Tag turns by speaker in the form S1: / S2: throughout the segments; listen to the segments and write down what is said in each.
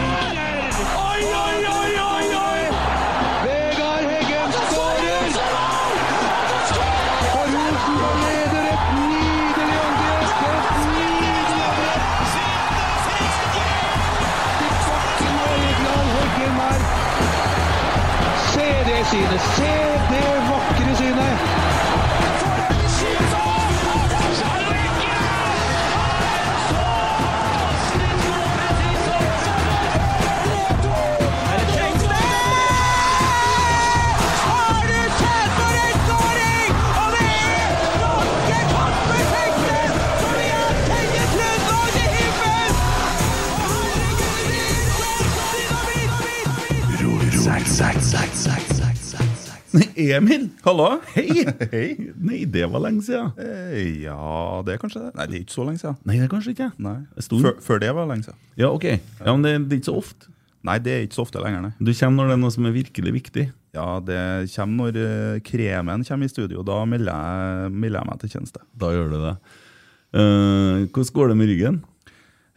S1: Oi, oi, oi, oi, oi! Vegard Heggen skårer! For Rosenborg leder et nydelig angrep! Et nydelig angrep! Til bakken og Egeland Heggen her. Se det synet! Se det vakre synet!
S2: Emil!
S3: Hallo?
S2: Hei!
S3: Hei.
S2: Nei, det var lenge siden.
S3: Eh, Ja, det er kanskje det. Nei, det er ikke så lenge siden.
S2: Nei, det er kanskje ikke.
S3: Nei.
S2: Det er stor.
S3: Før, før det var lenge siden.
S2: Ja, ok. Ja, men det, det er ikke så ofte.
S3: Nei, det er ikke så ofte lenger, nei.
S2: Du kommer når det er noe som er virkelig viktig.
S3: Ja, det kommer når eh, kremen kommer i studio. Da melder jeg, melder jeg meg til tjeneste.
S2: Da gjør du det. Eh, hvordan går det med ryggen?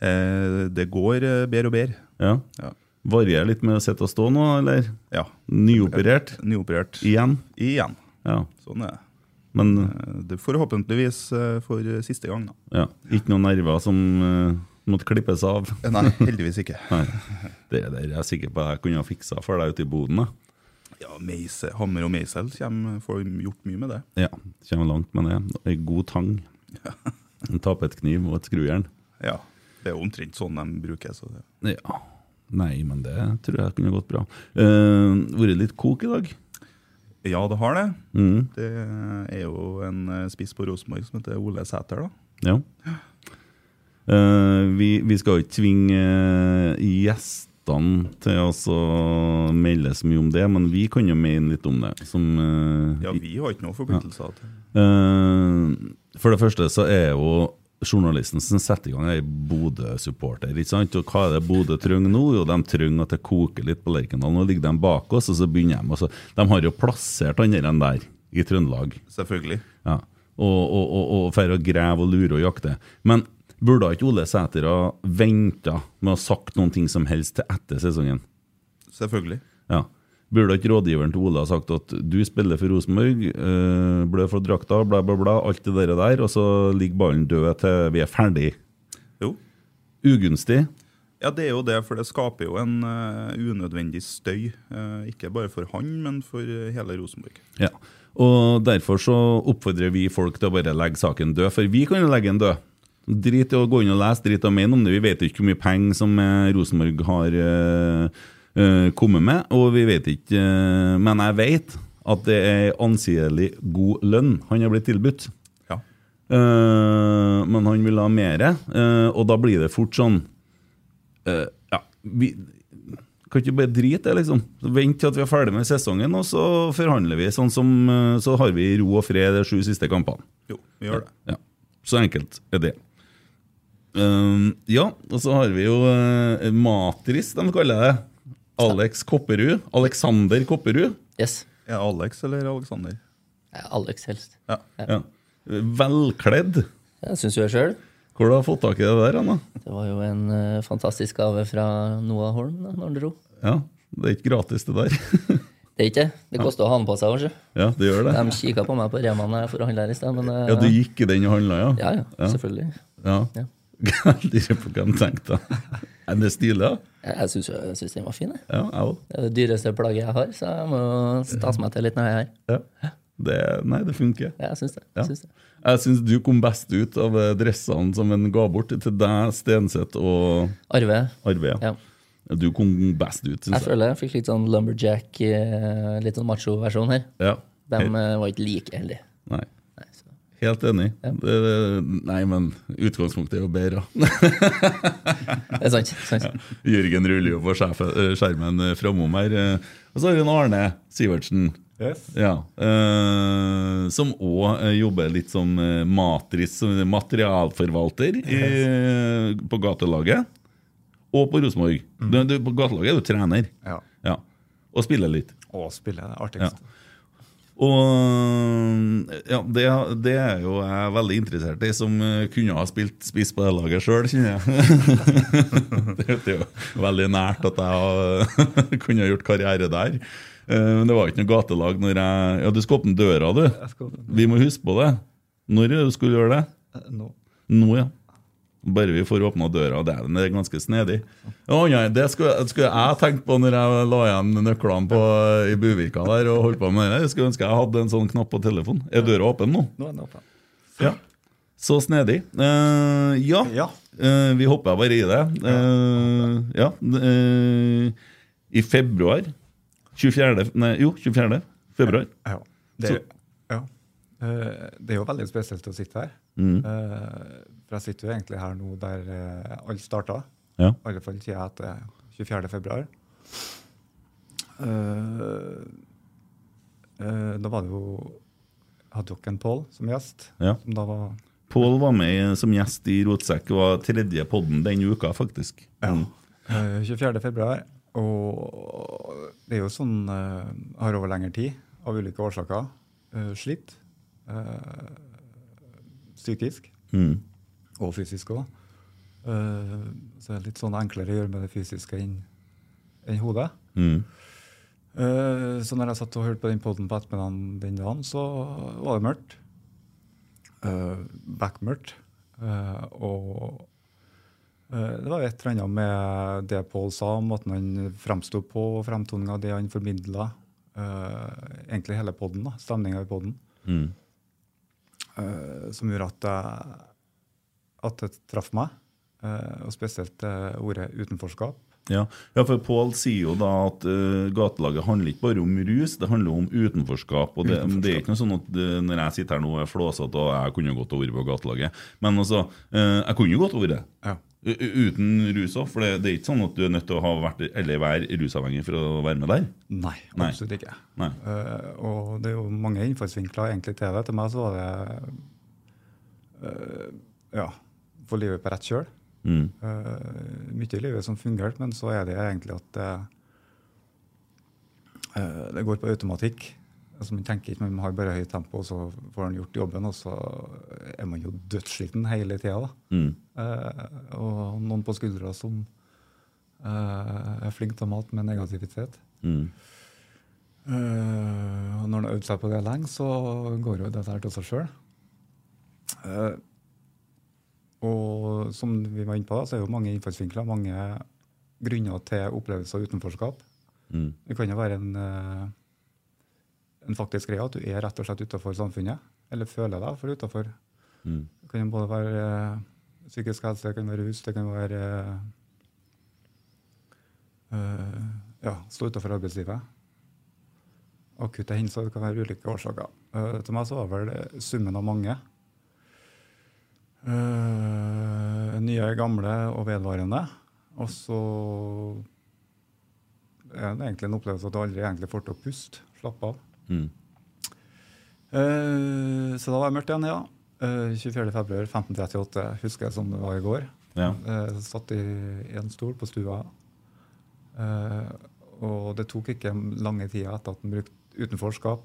S3: Eh, det går eh, bedre og bedre.
S2: Ja.
S3: Ja.
S2: Varierer litt med å sitte og stå nå, eller?
S3: ja. Eh,
S2: Nyoperert?
S3: Nyoperert.
S2: Igjen?
S3: Igjen.
S2: Ja.
S3: Sånn er det.
S2: Men
S3: Eh, det. Forhåpentligvis eh, for eh, siste gang, da.
S2: ja. ikke noen nerver som eh, måtte klippes av?
S3: Eh, Nei, heldigvis ikke.
S2: Nei. Det der er jeg sikker på at jeg kunne ha fiksa for deg ute i boden. jeg.
S3: Ja, meise, Hammer og meisel kommer, får gjort mye med det.
S2: Ja, kommer langt med det. Ei god tang. En tapetkniv og et skrujern.
S3: Ja. Det er jo omtrent sånn de bruker. Så det.
S2: Ja. Nei, men det tror jeg kunne gått bra. Uh, vært litt kok i dag.
S3: Ja, det har det.
S2: Mm,
S3: Det er jo en eh, spiss på Rosenborg som heter Ole Sæter. da.
S2: ja. Eh, vi, vi skal jo ikke tvinge eh, gjestene til å så melde så mye om det, men vi kan jo mene litt om det. Som, eh,
S3: Ja, Vi har ikke noen forpliktelser. til
S2: Eh, For det første så er jo journalisten som setter i gang ei Bodø-supporter. ikke sant? Og hva er det Bodø trenger nå? Jo, de trenger at det koker litt på Lerkendal. Nå ligger de bak oss, og så begynner de. Og så, de har jo plassert han der enn der i Trøndelag.
S3: Selvfølgelig.
S2: Ja. Og, og, og, og for å grave og lure og jakte. Men burde ikke Ole Sæter ha venta med å ha sagt noen ting som helst til etter sesongen?
S3: Selvfølgelig.
S2: Ja. Burde ikke rådgiveren til Ole ha sagt at du spiller for Rosenborg, eh, blør for drakta, bla, bla, bla, alt det der, der og så ligger ballen død til vi er ferdig?
S3: Jo.
S2: Ugunstig.
S3: Ja, det er jo det, for det skaper jo en eh, unødvendig støy. eh, ikke bare for han, men for eh, hele Rosenborg.
S2: Ja. Og derfor så oppfordrer vi folk til å bare legge saken død, for vi kan jo legge den død. Drit i å gå inn og lese, drit i å mene om det. Vi vet jo ikke hvor mye penger som eh, Rosenborg har eh, eh, kommet med, og vi vet ikke eh, Men jeg vet at det er anseelig god lønn han har blitt tilbudt.
S3: Ja.
S2: Eh, men han vil ha mere, eh, og da blir det fort sånn eh, ja, vi, Kan ikke bare drite det, liksom. Så Vent til at vi er ferdig med sesongen, og så forhandler vi. Sånn som, eh, så har vi ro og fred de sju siste kampene.
S3: Jo, vi gjør det.
S2: Ja. Så enkelt er det. Ehm, ja, og så har vi jo eh, Matris, de kaller det. Alex Kopperud. Alexander Kopperud.
S4: Yes.
S3: Er det Alex eller Alexander?
S4: Ja, Alex helst.
S3: Ja.
S2: Ja. Velkledd.
S4: Jeg syns jo jeg sjøl.
S2: Hvor har du fått tak i det der, Anna?
S4: Det var jo en eh, fantastisk gave fra Noah Holm da når han dro.
S2: Ja, Det er ikke gratis, det der.
S4: Det er ikke det. Det koster å ha den på seg. kanskje.
S2: ja, det gjør det.
S4: De kikka på meg på Rema når jeg forhandla her i sted. Men, eh,
S2: Ja, du gikk i den og handla, ja?
S4: ja, ja, selvfølgelig.
S2: ja.
S4: Ja.
S2: Jeg lurer på hva han tenkte. Er det stilig, da?
S4: Jeg, jeg syns- jeg syns den var fin. Jeg.
S2: Ja, jeg òg.
S4: Det er det dyreste plagget jeg har, så jeg må stase meg til litt når jeg er her.
S2: Ja. Det- Nei, det funker.
S4: Ja, Jeg syns det.
S2: Ja.
S4: Jeg syns det.
S2: Jeg syns du kom best ut av eh, dressene som en ga bort til deg, Stenseth og
S4: Arve.
S2: Arve.
S4: Ja.
S2: Du kom best ut,
S4: Jeg
S2: syns jeg.
S4: føler jeg fikk litt sånn lumberjack, eh, litt sånn macho-versjon her.
S2: Ja.
S4: De
S2: Helt-
S4: eh, var ikke like heldige.
S2: Nei.
S4: eh, Nei, så.
S2: Helt enig. Det, nei, men utgangspunktet er jo bedre.
S4: Det er sant. sant.
S2: Jørgen ruller jo på skjerfe- eh, skjermen eh, framom her. eh. Og så har vi en Arne Sivertsen. Ja, eh, som òg jobber litt som eh, matris, som materialforvalter i, eh, på gatelaget. Og på Rosenborg. Du- du- På gatelaget er du trener.
S5: Mm. Ja.
S2: Ja. Og spiller litt.
S5: Å spille, det er artigst.
S2: Og eh, ja, det, det er jo jeg veldig interessert i, som eh, kunne ha spilt spiss på det laget sjøl, kjenner jeg. det er jo veldig nært at jeg har- kunne ha gjort karriere der. Eh, Men det var ikke noe gatelag når jeg Ja, du skal åpne døra, du.
S5: skal åpne
S2: Vi må huske på det. Når er det du skulle gjøre det?
S5: Eh, Nå.
S2: Nå, ja. Bare vi får åpna døra. Det er, det er ganske snedig. Å nei, det skulle, skulle jeg tenkt på når jeg la igjen nøklene på, i Buvirka der og holdt på med det. Jeg skulle ønske jeg hadde en sånn knapp på telefonen. Er døra åpen nå?
S5: Nå er den åpen.
S2: Ja. Så snedig. Eh, ja.
S5: Ja.
S2: Eh, vi hopper bare i det. Eh, ja. eh, I februar 24. Nei, jo, 24. februar.
S5: Ja. Det, er- ja. Eh, det er jo veldig spesielt å sitte her.
S4: Mm.
S5: Eh, For jeg sitter jo egentlig her nå der eh, alt starta.
S2: Ja.
S5: I alle fall sier jeg at det er 24. februar. Eh, eh, da var det jo Hadde dere en Pål som gjest?
S2: Ja.
S5: Som da var
S2: Pål var med som gjest i Rotsekk og var tredje podden den uka, faktisk. Mm.
S5: Eh, 24. februar. Og det er jo sånn eh, har over lengre tid, av ulike årsaker, eh, slitt. eh, psykisk.
S2: Mm.
S5: Og fysisk òg. så det er litt sånn enklere å gjøre med det fysiske enn enn hodet.
S2: Mm.
S5: Eh, så når jeg satt og hørte på den poden på ettermiddagen den dagen, så var det mørkt. Uh, Backmørkt. Eh, og eh, det var et eller annet med det Pål sa, måten han framsto på, framtoninga, det han formidla. Eh, egentlig hele poden, stemninga i poden,
S2: Mm.
S5: som gjorde at, jeg- at det traff meg. eh, og spesielt eh, ordet utenforskap.
S2: Ja. ja, for Pål sier jo da at eh, gatelaget handler ikke bare om rus, det handler om utenforskap. Og det, det er ikke noe sånn at eh, når jeg sitter her nå og er flåsete og jeg kunne jo godt ha vært på gatelaget. Men altså, eh, jeg kunne jo godt ha vært det.
S5: Ja.
S2: U- u- Uten rus òg, for det, det er ikke sånn at du er nødt til å ha vært, eller være rusavhengig for å være med der.
S5: Nei,
S2: Nei.
S5: absolutt ikke.
S2: Nei.
S5: Eh, og det er jo mange innfallsvinkler egentlig til det. Til meg så var det eh, ja, få livet på rett kjøl.
S2: Mm.
S5: Eh, mye i livet som fungerte, men så er det egentlig at det, eh, det går på automatikk. Altså Man tenker ikke, man har bare høyt tempo, og så får man gjort jobben, og så er man jo dødssliten hele tida.
S2: Mm.
S5: Eh, og noen på skuldra som eh, er flink til å mate med negativitet.
S2: Mm.
S5: Eh, og når han har øvd seg på det lenge, så går jo dette her til seg sjøl. og som vi var inne på, da, så er det jo mange innfallsvinkler, mange grunner til opplevelse av utenforskap.
S2: Mm.
S5: Det kan jo være en, eh, en faktisk greie at du er rett og slett utafor samfunnet, eller føler deg for utafor.
S2: Mm.
S5: Det kan jo både være eh, psykisk helse, det kan være rus, det kan være eh, eh, ja, stå utafor arbeidslivet. Akutte hendelser det kan være ulike årsaker. Eh, til meg så var vel det summen av mange. Eh, nye, gamle og vedvarende. Og så er det egentlig en opplevelse at du aldri egentlig får til å puste. Slappe av.
S2: Mm.
S5: Eh, så da var det mørkt igjen, ja. Uh, 24.2.1538 husker jeg som det var i går.
S2: Ja.
S5: Eh, satt i en stol på stua. Eh, og det tok ikke lange tida etter at han brukte utenforskap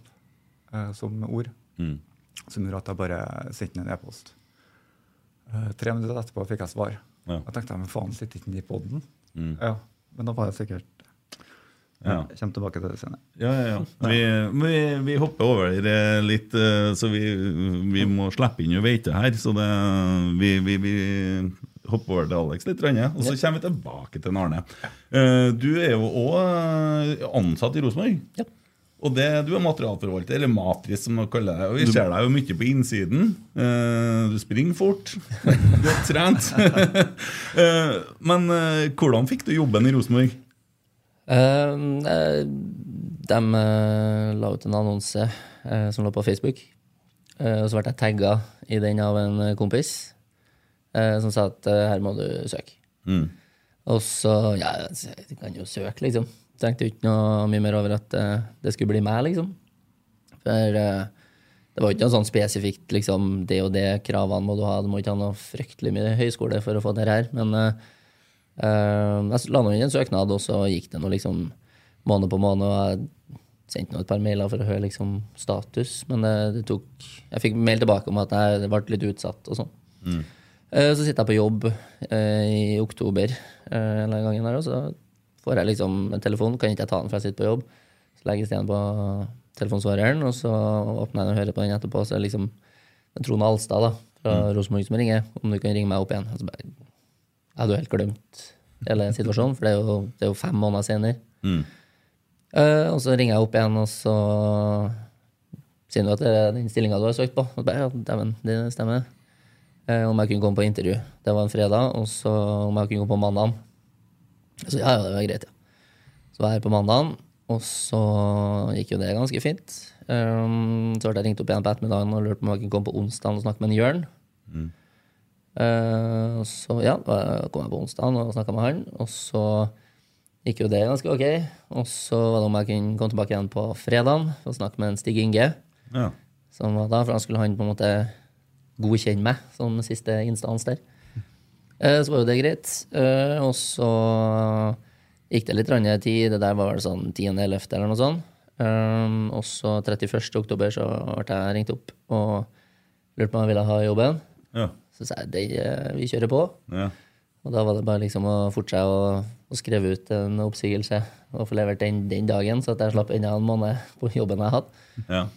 S5: eh, som ord,
S2: Mm.
S5: som gjorde at jeg bare sendte ned en e-post. Eh, tre minutter etterpå fikk jeg svar.
S2: Ja.
S5: Jeg tenkte men faen, sitter ikke den i poden?
S2: Mm.
S5: Ja, men da var jeg sikkert
S2: Ja.
S5: Jeg kommer tilbake til det senere.
S2: Ja, ja, ja. Vi, vi, vi hopper over eh, litt, eh, så vi, vi må slippe inn Veite her. Så det, vi, vi, vi hopper over til Alex litt, Ranje, og så kommer vi tilbake til Arne. Eh, Du er jo òg ansatt i Rosenborg.
S4: Ja.
S2: Og det, du er materialforvalter, eller matris, som man kaller det. Og vi ser deg jo mye på innsiden. Eh, Du springer fort. Godt trent. Eh, Men eh, hvordan fikk du jobben i Rosenborg?
S4: Eh, eh, de eh, la ut en annonse eh, som lå på Facebook. Eh, og så ble jeg tagga i den av en eh, kompis eh, som sa at eh, her må du søke.
S2: Mm.
S4: Og så Ja, du kan jo søke, liksom. Tenkte jo ikke noe mye mer over at eh, det skulle bli meg, liksom. For eh, det var jo ikke noe sånn spesifikt liksom, det og det kravene må du ha. Du må ikke ha noe fryktelig mye høyskole for å få det her. Men eh, Eh, jeg la nå inn en søknad, og så gikk det noe liksom måned på måned. og jeg Sendte nå et par mailer for å høre liksom status, men det, det tok Jeg fikk mail tilbake om at jeg ble litt utsatt og sånn. Eh, Så sitter jeg på jobb eh, i oktober eh, en eller annen gang her, og så får jeg liksom en telefon. Kan ikke jeg ta den, for jeg sitter på jobb. Så legges det igjen på telefonsvareren, og så åpner jeg den og hører på den etterpå. Så er det liksom det er Trond Alstad da, fra Rosenborg som ringer. Om du kan ringe meg opp igjen. Og så bare jeg hadde jo helt glemt hele situasjonen, for det er jo, det er jo fem måneder senere. Eh, og så ringer jeg opp igjen, og så sier du at det er den stillinga du har søkt på. Og så bare, ja, dæven, det stemmer. Eh, om jeg kunne komme på intervju. Det var en fredag. Og så om jeg kunne komme på mandagen. Så ja, ja, det var greit, ja. Så var jeg her på mandagen, og så gikk jo det ganske fint. Um, så ble jeg ringt opp igjen på ettermiddagen og lurte på om jeg kunne komme på onsdagen og snakke med en Jørn. Eh, og så ja, da kom jeg på onsdagen og snakka med han, og så gikk jo det ganske ok. Og så var det om jeg kunne komme tilbake igjen på fredagen og snakke med en Stig Inge.
S2: Ja.
S4: Som var da, for da skulle han på en måte godkjenne meg som siste instans der. Eh, Så var jo det greit. Eh, Og så gikk det litt rann tid. Det der var vel sånn 10.11. eller noe sånt. Um, Og så 31. oktober så ble jeg ringt opp og lurte på om jeg ville ha jobben.
S2: Ja.
S4: Så sa jeg det, eh, vi kjører på.
S2: ja.
S4: Og da var det bare liksom å fortsette å, å skrive ut en oppsigelse og få levert den den dagen, så at jeg slapp enda en måned på jobben jeg hadde.
S2: ja.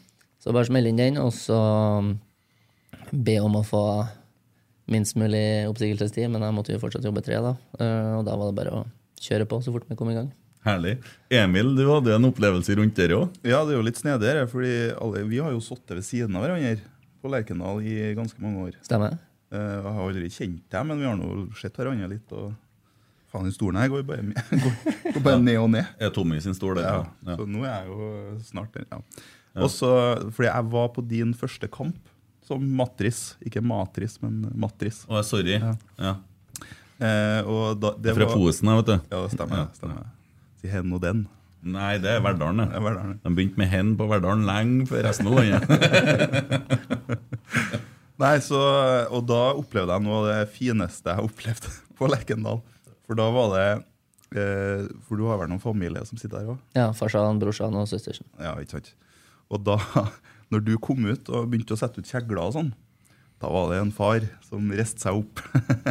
S4: Så bare smelle inn den, og så um, be om å få minst mulig oppsigelsestid. Men jeg måtte jo fortsatt jobbe tre, da. Eh, Og da var det bare å kjøre på så fort vi kom i gang.
S2: Herlig. Emil, du hadde jo en opplevelse rundt der òg.
S3: Ja, det er jo litt snedig her, fordi alle, vi har jo sittet ved siden av hverandre på Lerkendal i ganske mange år.
S4: Stemmer det?
S3: Eh, Jeg har aldri kjent deg, men vi har nå sett hverandre litt. og Faen, den stolen her går jo bare, går, går bare ned og ned.
S2: Er Tommy sin stol der?
S3: Ja,
S2: Ja.
S3: Så nå er jeg jo snart der. Ja. Og så, fordi jeg var på din første kamp som matris. Ikke matris, men matris.
S2: Å, sorry. Ja.
S3: Eh, og da,
S2: Det
S3: det
S2: er fra
S3: var-
S2: Fosen, jeg, vet du.
S3: Ja, det stemmer.
S2: Ja.
S3: det stemmer. Si hen og den.
S2: Nei, det er
S3: Det
S2: Verdalen.
S3: er
S2: det.
S3: Verdalen.
S2: De begynte med hen på Verdalen lenge før resten av landet.
S3: Nei, så, og da opplevde jeg noe av det fineste jeg opplevde på Lekendal. For da var det eh, For du har vel noen familie som sitter der òg?
S4: Ja. Farsan, brorsan og søstersen.
S3: Ja, ikke sant. Og da når du kom ut og begynte å sette ut kjegler og sånn, da var det en far som reiste seg opp.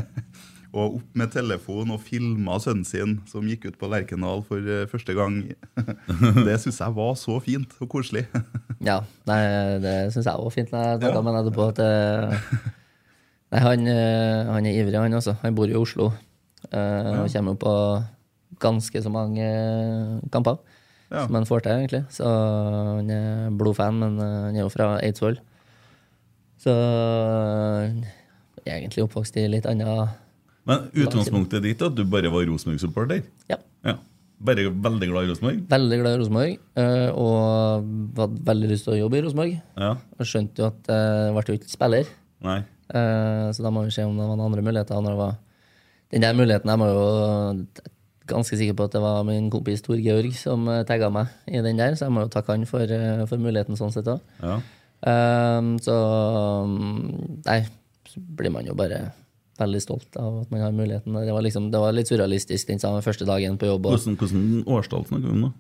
S3: og opp med telefon og filma sønnen sin, som gikk ut på Lerkendal for eh, første gang. det syns jeg var så fint og koselig.
S4: Ja, nei, det syns jeg var fint. Jeg snakka med ham etterpå at eh, Nei, han, eh, han er ivrig, han også. Han bor jo i Oslo. eh, Og kommer jo på ganske så mange eh, kamper
S3: Ja.
S4: som han får til, egentlig. Så han er blodfan, men eh, han er jo fra Eidsvoll. Så eh, egentlig oppvokst i litt annet
S2: Men utgangspunktet ditt er at du bare var Rosenborg-supporter?
S4: Ja.
S2: Ja. Bare veldig glad i Rosenborg?
S4: Veldig glad i Rosenborg, eh, og hadde veldig lyst til å jobbe i Rosenborg.
S2: Ja.
S4: Og skjønte jo at øh, jeg ble jo ikke spiller. øh,
S2: Nei.
S4: Eh, Så da må vi se om det var noen andre muligheter. Når det var den der muligheten der må jo ganske sikker på at det var min kompis Tor Georg som tagga meg i den der, så jeg må jo takke han for, eh, for muligheten sånn sett òg.
S2: Ja.
S4: Ehm, så mm, Nei, så blir man jo bare veldig stolt av at man har muligheten. Det var, liksom, det var litt surrealistisk den sa- første dagen på jobb. Og,
S2: Hvordan, hvordan årstall snakker vi om nå?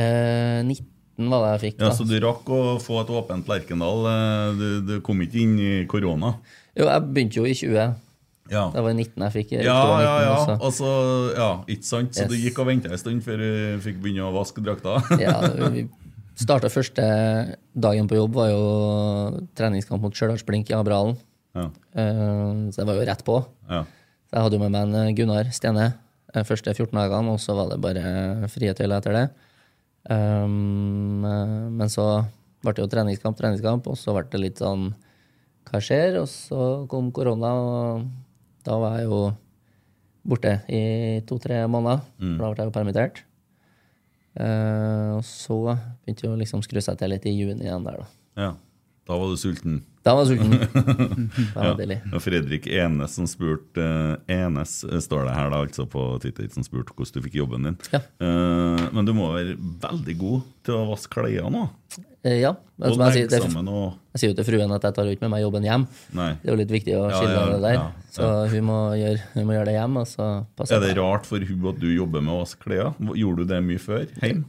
S4: eh, 19 var det jeg fikk, da.
S2: Ja, så du rakk å få et åpent Lerkendal. eh, Du, du kom ikke inn i korona.
S4: Jo, jeg begynte jo i 20.
S2: Ja.
S4: Det var 19 jeg fikk. i
S2: Ja,
S4: oktober
S2: ja,
S4: 19,
S2: ja.
S4: altså.
S2: Og så, ja, ikke sant? Så
S4: Yes.
S2: du gikk og venta en stund før du fikk begynne å vaske drakta?
S4: Ja, vi starta første dagen på jobb, var jo treningskamp mot Stjørdalsblink i Abrahalen.
S2: Ja.
S4: Eh, Så jeg var jo rett på.
S2: Ja.
S4: Så jeg hadde jo med meg en eh, Gunnar Stene de første 14 dagene, og så var det bare frie tøyler etter det. Um, eh, men så ble det jo treningskamp, treningskamp, og så ble det litt sånn Hva skjer? Og så kom korona, og da var jeg jo borte i to-tre måneder. For da ble jeg jo permittert. Eh, og så begynte jo liksom å skru seg til litt i juni igjen der, da.
S2: ja. Da var du sulten.
S4: Da var jeg sulten. Da var det deilig.
S2: Og Fredrik Enes som spurte eh, Enes eh, står det her da, altså på Twitter, som spurte hvordan du fikk jobben din.
S4: Ja.
S2: Eh, men du må være veldig god til å vaske klærne nå.
S4: Eh, ja. men
S2: Og
S4: som jeg sier,
S2: legge
S4: det,
S2: sammen og
S4: Jeg sier jo til fruen at jeg tar jo ikke med meg jobben hjem.
S2: Nei.
S4: Det er jo litt viktig å
S2: Ja,
S4: skille
S2: ja,
S4: det der.
S2: ja,
S4: Så hun må, gjøre, hun må gjøre det hjemme. Og så passer
S2: Er det
S4: jeg.
S2: rart for hun at du jobber med å vaske klær? Gjorde du det mye før? Heim?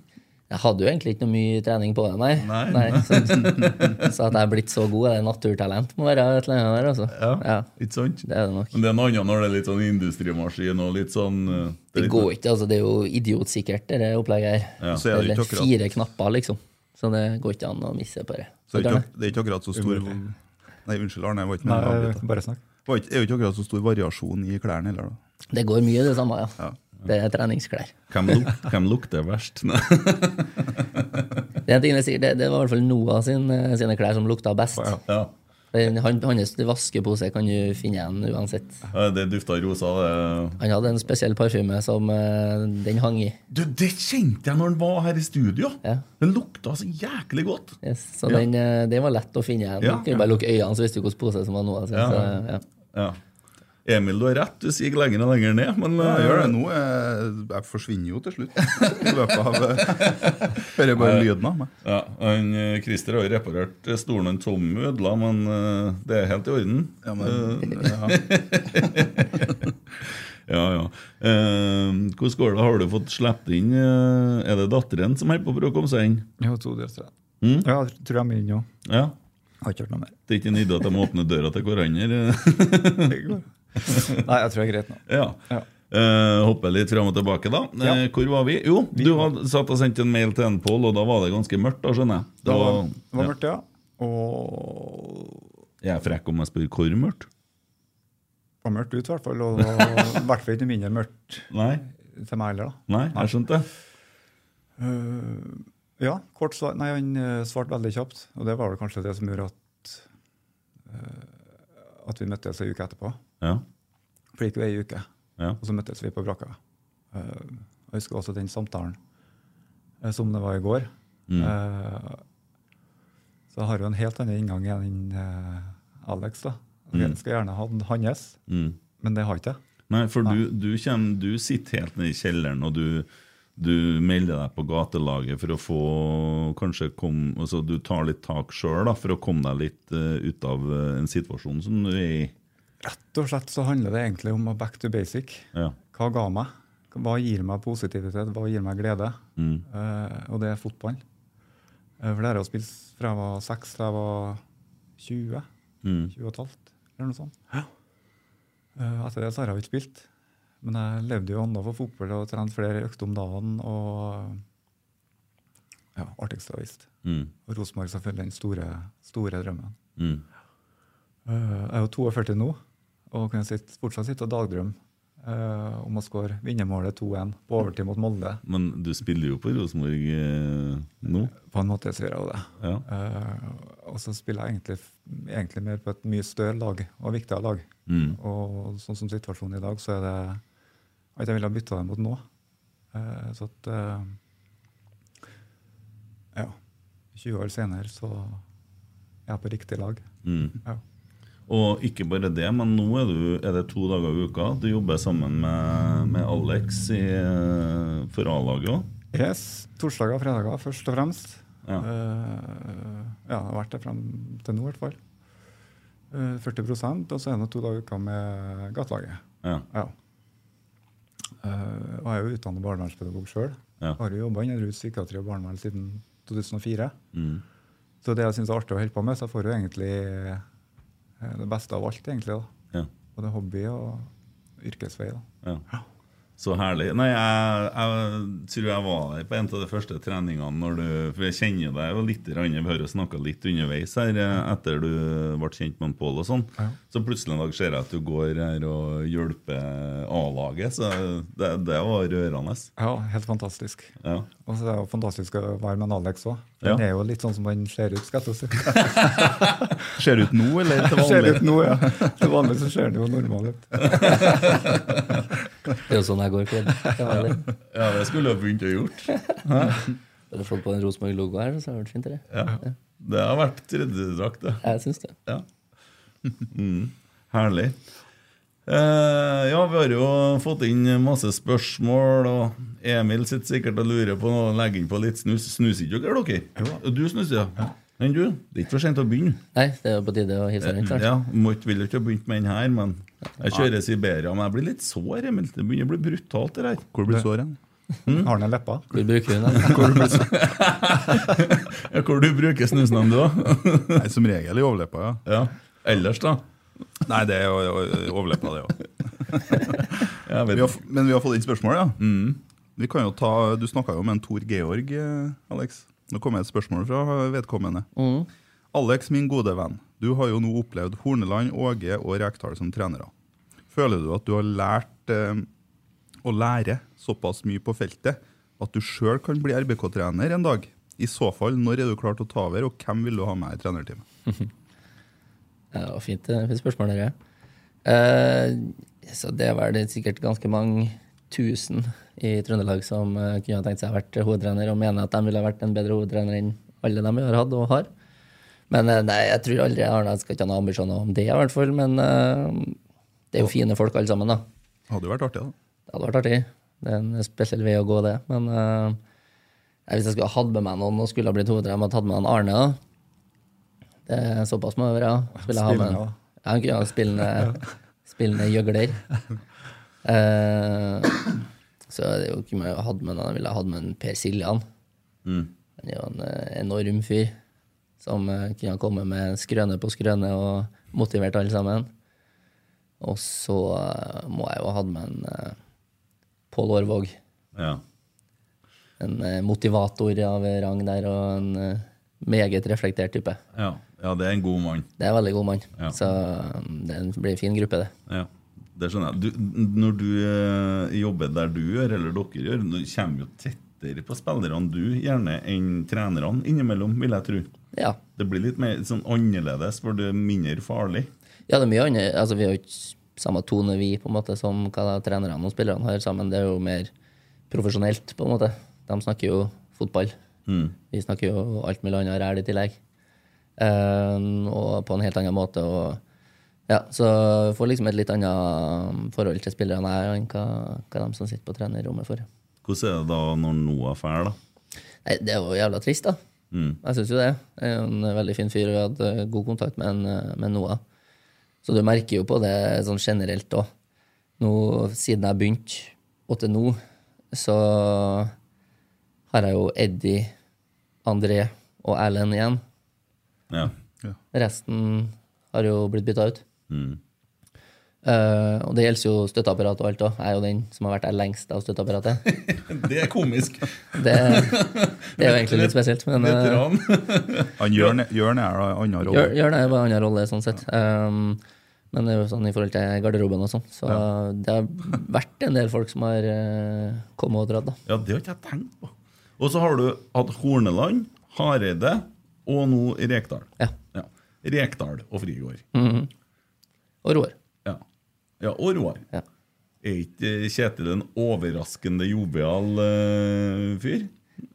S4: Jeg hadde jo egentlig ikke noe mye trening på det, nei.
S2: Nei.
S4: så, så at jeg er blitt så god, er det naturtalent må være et eller annet der, altså. Ja,
S2: Ikke sant?
S4: det er det nok.
S2: Men det er noe annet når det er litt sånn industrimaskin og litt sånn eh,
S4: Det
S2: litt-
S4: går ikke, altså. Det er jo idiotsikkert, det der opplegget her.
S3: Så er det ikke
S4: det er
S3: akkurat-
S4: fire knapper, liksom. Så det går ikke an å misse på det.
S3: Så det er
S4: Dere,
S3: ikke, det er ikke akkurat så stor Nei, eh, unnskyld, Arne. Jeg var ikke med.
S5: Nei,
S3: jeg avbryter.
S5: bare snakk.
S3: Det var ikke- er jo ikke akkurat så stor variasjon i klærne heller, da.
S4: det går mye, det samme, ja.
S3: Ja.
S4: Det er treningsklær.
S2: Hvem, luk, hvem lukter verst? Nei.
S4: Det, er en ting jeg sier, det, det var i hvert fall Noah sin, eh, sine klær som lukta best.
S2: Ja.
S4: Den- Han, hans vaskepose kan du finne igjen uansett.
S2: Ja, Det dufta rosa. Det.
S4: Han hadde en spesiell parfyme som eh, den hang i.
S2: Du, det kjente jeg når han var her i studio!
S4: Ja.
S2: Den lukta så jæklig godt!
S4: Yes. Så den, eh, den var lett å finne igjen.
S2: Ja.
S4: Du kunne bare lukke øynene, så visste du hvilken pose som var noe. Så,
S2: Ja.
S4: ja.
S2: Ja. Emil, du har rett. Du siger lenger og lenger ned. Men
S3: Jeg
S2: eh,
S3: gjør det nå. Jeg, jeg forsvinner jo til slutt. I løpet av Hører bare lyden av meg.
S2: Ja, han, eh, Christer har jo reparert eh, stolen han Tommy ødela, men eh, det er helt i orden. Eh,
S3: Ja, men, ja.
S2: Ja, ja. Eh, hvordan går det? Har du fått sluppet inn eh, Er det datteren som holder på å prøve å komme seg inn?
S5: Jeg har to døtre. Mm. Ja, jeg tror jeg må inn nå.
S2: Ja.
S5: Har ikke hørt noe mer.
S2: Det er ikke en idé at de må åpne døra til hverandre.
S5: Det går. Nei, jeg tror det er greit nå.
S2: Ja.
S5: Ja.
S2: Eh, hoppe litt fram og tilbake, da.
S5: Ja.
S2: Eh, hvor var vi? Jo, du hadde satt og sendt en mail til en Pål, og da var det ganske mørkt, da, skjønner jeg.
S5: Det
S2: Da,
S5: var, det var mørkt, ja. Og
S2: Jeg er frekk om jeg spør hvor mørkt.
S5: det var mørkt ut, i hvert fall. Og det var i hvert fall ikke noe mindre mørkt
S2: Nei,
S5: til meg heller, da.
S2: nei, jeg skjønte det.
S5: Eh, ja, kort svar. Nei, han eh, svarte veldig kjapt. Og det var vel kanskje det som gjorde at, eh, at vi møttes ei uke etterpå.
S2: Ja.
S5: For det gikk jo ei uke,
S2: Ja.
S5: og så møttes vi på brakka. Eh, og jeg husker også den samtalen, eh, som det var i går. Eh, så jeg har jo en helt annen inngang enn eh, Alex. da. Jeg skal gjerne ha den hans, men det har jeg ikke.
S2: Nei, for du, du, kjem, du sitter helt nede i kjelleren, og du, du melder deg på gatelaget for å få Kanskje kom, altså, du tar litt tak sjøl for å komme deg litt eh, ut av eh, en situasjon som du er i.
S5: Rett og slett så handler det egentlig om å back to basic.
S2: Ja.
S5: Hva ga meg? Hva gir meg positivitet? Hva gir meg glede? Eh, og det er fotball. Eh, for det har jeg jo spilt fra jeg var seks til jeg var 20. 20 og et halvt, eller noe sånt. Eh, etter det så har jeg jo ikke spilt. Men jeg levde jo annet for fotball og trente flere økter om dagen. Og ja, artigstavist.
S2: Mm.
S5: Og Rosenborg selvfølgelig den store, store drømmen.
S2: Mm.
S5: Eh, Jeg er jo 42 nå og kan sitte, fortsatt sitte og dagdrømme eh, om å skåre vinnermålet 2-1 på overtid mot Molde.
S2: Men du spiller jo på Rosenborg eh, nå.
S5: På en måte så gjør jeg jo det.
S2: Ja.
S5: Eh, og så spiller jeg egentlig, egentlig mer på et mye større lag og viktigere lag.
S2: Mm.
S5: Og sånn som situasjonen i dag, så er det at jeg ville ha bytta dem mot nå. Eh, så at eh, Ja. 20 år senere så er jeg på riktig lag.
S2: Mm.
S5: Ja.
S2: Og ikke bare det, men nå er, du, er det to dager i uka. Du jobber sammen med, med Alex i, eh, for A-laget òg.
S5: Yes, Torsdager og fredager, først og fremst.
S2: Ja.
S5: Eh, ja, det har vært det frem til nå, i hvert fall. Eh, 40 og så er det nå to dager i uka med gatelaget.
S2: Ja.
S5: Ja. Eh, og jeg er jo utdannet barnevernspedagog sjøl.
S2: Ja.
S5: Har jo jobba innen rus, psykiatri og barnevern siden 2004.
S2: Mm.
S5: Så det jeg syns er artig å holde på med, så jeg får jo egentlig eh, det beste av alt. egentlig da.
S2: Ja.
S5: Både hobby og yrkesvei. da.
S2: Ja. Så herlig. Nei, jeg, jeg tror jeg var der på en av de første treningene når du For jeg kjenner deg jo litt, grann, vi har jo snakka litt underveis her eh, etter du ble kjent med Pål og sånn. Så plutselig en dag ser jeg at du går her og hjelper A-laget, så det, det var rørende.
S5: Ja, helt fantastisk.
S2: Ja.
S5: Og så er det jo fantastisk å være med en Alex òg.
S2: Ja.
S5: Han er jo litt sånn som han ser ut, skal jeg til å si.
S3: Ser ut nå, eller til
S5: Ser ut
S3: vanlig?
S5: nå, ja. Til vanlig så ser han jo normal ut.
S4: Det er jo sånn jeg går kledd. Det var det.
S2: Ja, det skulle du ha begynt å gjort.
S4: Hadde fått på en Rosenborg-logo her, så hadde det vært fint. Det.
S2: Ja. Det har vært tredjedrakt, det.
S4: Jeg syns det.
S2: Ja. Mm. Herlig. Eh, ja, vi har jo fått inn masse spørsmål, og Emil sitter sikkert og lurer på noe. Legger inn på litt snus. Snuser ikke dere, dere? Du snuser, ja. Enn du? Det er ikke for sent å begynne.
S4: Nei, det er jo på tide å hilse
S5: Eh,
S4: rundt.
S2: Ja, må ikke- Vil jo ikke ha begynt med den her, men jeg kjører Siberia. Men jeg blir litt sår, Emil. Det begynner å bli brutalt, det her.
S3: Hvor blir såret?
S5: Har han en leppa?
S4: Hvor bruker hun den?
S2: Ja, Hvor du bruker snusen hen, du òg?
S3: Nei, som regel i overleppa, ja.
S2: Ja. Ellers, da?
S3: Nei, det er jo jo- overleppa, det òg.
S2: Jeg vet. Mm.
S3: Vi har f- Men vi har fått inn spørsmål, ja. Vi kan jo ta, du snakka jo med en Tor Georg, eh, Alex. Nå kommer et spørsmål fra vedkommende.
S2: Mm.
S3: Alex, min gode venn. Du har jo nå opplevd Horneland, Åge og Rekdal som trenere. Føler du at du har lært eh, å lære såpass mye på feltet at du sjøl kan bli RBK-trener en dag? I så fall, når er du klar til å ta over, og hvem vil du ha med i trenerteamet?
S4: Ja, det var fint, det fint spørsmål, dere. Eh, så det var det sikkert ganske mange tusen i Trøndelag som eh, kunne ha tenkt seg å vært hovedtrener, og mener at de ville ha vært en bedre hovedtrener enn alle de har hatt og har. Men eh, nei, jeg tror aldri jeg har jeg skal ikke ha noen ambisjoner om det, i hvert fall. Men eh, det er jo fine folk alle sammen, da.
S3: Hadde jo vært artig, da.
S4: Det hadde vært artig. Det er en spesiell vei å gå, det. Men eh, nei, hvis jeg skulle ha hatt med meg noen og skulle ha blitt hovedtrener, måtte jeg hatt med en Arne. da. Det er såpass må det være. ja. Skulle jeg ha med
S5: Spillende, da.
S4: en- Ja, han kunne ha spillende, spillende gjøgler. Eh, så det er jo ikke mye jeg hadde med noen. Jeg ville ha hatt med en Per Siljan. Han er jo en eh, enorm fyr som eh, kunne ha kommet med skrøne på skrøne og motivert alle sammen. Og så eh, må jeg jo ha hatt med en eh, Pål Aarvåg.
S2: Ja.
S4: En eh, motivator av rang der, og en eh, meget reflektert type.
S2: Ja. ja, det er en god mann.
S4: Det er en veldig god mann.
S2: Ja.
S4: Så mm, det blir en fin gruppe, det.
S2: Ja, det skjønner jeg. Du, n- når du eh, jobber der du gjør, eller dere gjør, du kommer jo tettere på spillerne du gjerne enn trenerne innimellom, vil jeg tro.
S4: Ja.
S2: Det blir litt mer sånn annerledes, for det er mindre farlig.
S4: ja, det er mye annet. Altså, vi har jo ikke samme tone, vi, på en måte, som hva da trenerne og spillerne har sammen. Det er jo mer profesjonelt, på en måte. De snakker jo fotball. Vi snakker jo alt mulig annet ræl i tillegg. Eh, og på en helt annen måte. Og, ja, så jeg får liksom et litt annet forhold til spillerne her enn hva, hva de som sitter på trenerrommet får.
S2: Hvordan er det da når Noah drar, da?
S4: Nei, det er jo jævla trist, da. Jeg syns jo det. Jeg er jo en eh, veldig fin fyr, og jeg hadde eh, god kontakt med, en, eh, med Noah. Så du merker jo på det sånn generelt òg. Siden jeg begynte, og til nå, så har jeg jo Eddie, André og Erlend igjen.
S2: Ja.
S4: Resten har jo blitt bytta ut. Mm. Eh, og det gjelder jo støtteapparat og alt òg. Jeg er jo den som har vært der lengst av støtteapparatet.
S2: Det er komisk.
S4: Det, det er jo egentlig litt spesielt, men eh,
S2: Veteran.
S3: Han Jørn Jørn er da en annen rolle.
S4: Gjør, gjør det, bare annen rolle, sånn sett. Um, men det er jo sånn i forhold til garderoben og sånn. Så det har vært en del folk som har eh, kommet og dratt, da.
S2: Ja, det har ikke jeg tenkt på. Og så har du hatt Horneland, Hareide og nå Rekdal.
S4: Ja.
S2: Ja. Rekdal og Frigård.
S3: Mm.
S4: Og Roar.
S2: Ja. ja og Roar.
S4: Ja.
S2: Er ikke eh, Kjetil en overraskende jovial eh, fyr?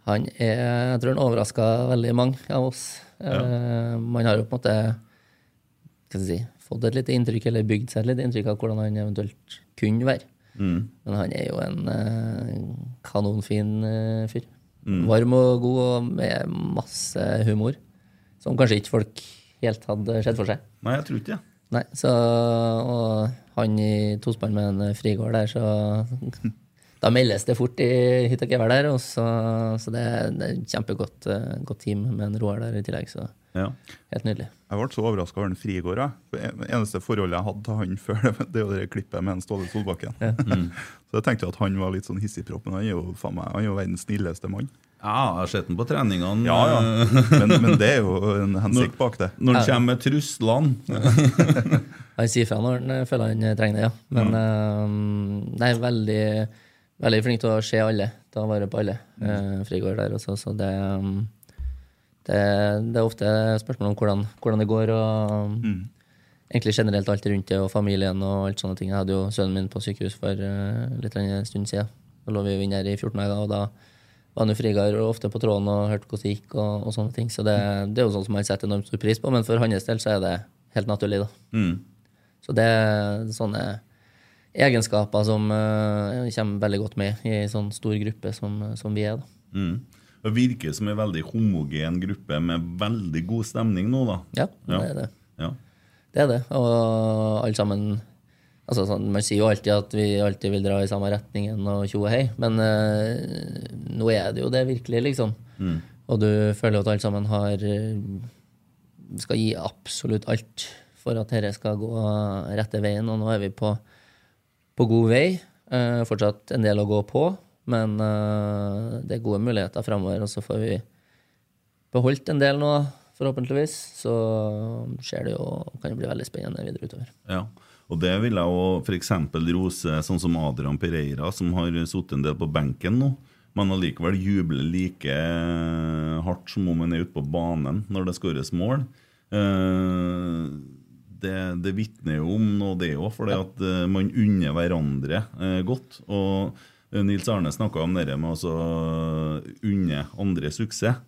S4: Han er, jeg tror han overraska veldig mange av oss. Eh, man har jo på en måte hva skal jeg si, fått et lite inntrykk, eller bygd seg et lite inntrykk av hvordan han eventuelt kunne være. Men han er jo en eh, kanonfin eh, fyr. Varm og god og med masse humor. Som kanskje ikke folk helt hadde sett for seg.
S2: Nei, jeg tror ikke det.
S4: Nei, så Og han i tospann med en frigård der, så Da meldes det fort i hytt og gevær der. Og så, så det, det er et kjempegodt eh, godt team med en Roar der i tillegg, så
S2: Ja.
S4: helt nydelig.
S3: Jeg ble så overraska over den Frigård. jeg. For Det eneste forholdet jeg hadde til han før, det var- det er jo det klippet med en Ståle Solbakken.
S4: Mm.
S3: så jeg tenkte at han var litt sånn hissigpropp, men han er jo, faen meg, han er jo verdens snilleste mann.
S2: Ja, jeg har sett den på treningene.
S3: Men, men det er jo en hensikt bak det.
S2: Når han kommer med truslene.
S4: Han sier fra når han eh, føler han trenger det, ja. Men eh, nei, veldig, veldig flink til å se alle, ta vare på alle. eh, Frigård der også, så det, mm, det Det er ofte spørsmål om hvordan, hvordan det går, og mm. egentlig generelt alt rundt det, og familien og alt sånne ting. Jeg hadde jo sønnen min på sykehus for eh, litt eller annet stund siden. Da lå vi jo inne her i 14 dager, og da var han jo Frigård ofte på tråden og hørte hvordan det gikk, og, og sånne ting. Så det, det er jo sånn som han setter enormt stor pris på, men for hans del så er det helt naturlig, da. Så det er sånne egenskaper som eh, kommer veldig godt med i en sånn stor gruppe som, som vi er. Da.
S2: Mm. Det virker som en veldig homogen gruppe med veldig god stemning nå, da.
S4: Ja, det er det.
S2: Ja.
S4: Det er det. Og alle sammen altså sånn, Man sier jo alltid at vi alltid vil dra i samme retningen og tjo og hei, men eh, nå er det jo det virkelig, liksom. Og du føler jo at alle sammen har eh, skal gi absolutt alt for at dette skal gå rette veien, og nå er vi på, på god vei. Eh, fortsatt en del å gå på, men eh, det er gode muligheter framover, og så får vi beholdt en del nå, forhåpentligvis, så skjer det jo, kan det bli veldig spennende videre utover.
S2: Ja. Og det vil jeg jo f.eks. rose sånn som Adrian Pereira, som har sittet en del på benken nå. Men allikevel jubler like eh, hardt som om han er ute på banen når det skåres mål. Eh, Det, det vitner jo om noe, det òg, for at eh, man unner hverandre eh, godt. Og eh, Nils Arne snakka om det med å så unne andre suksess.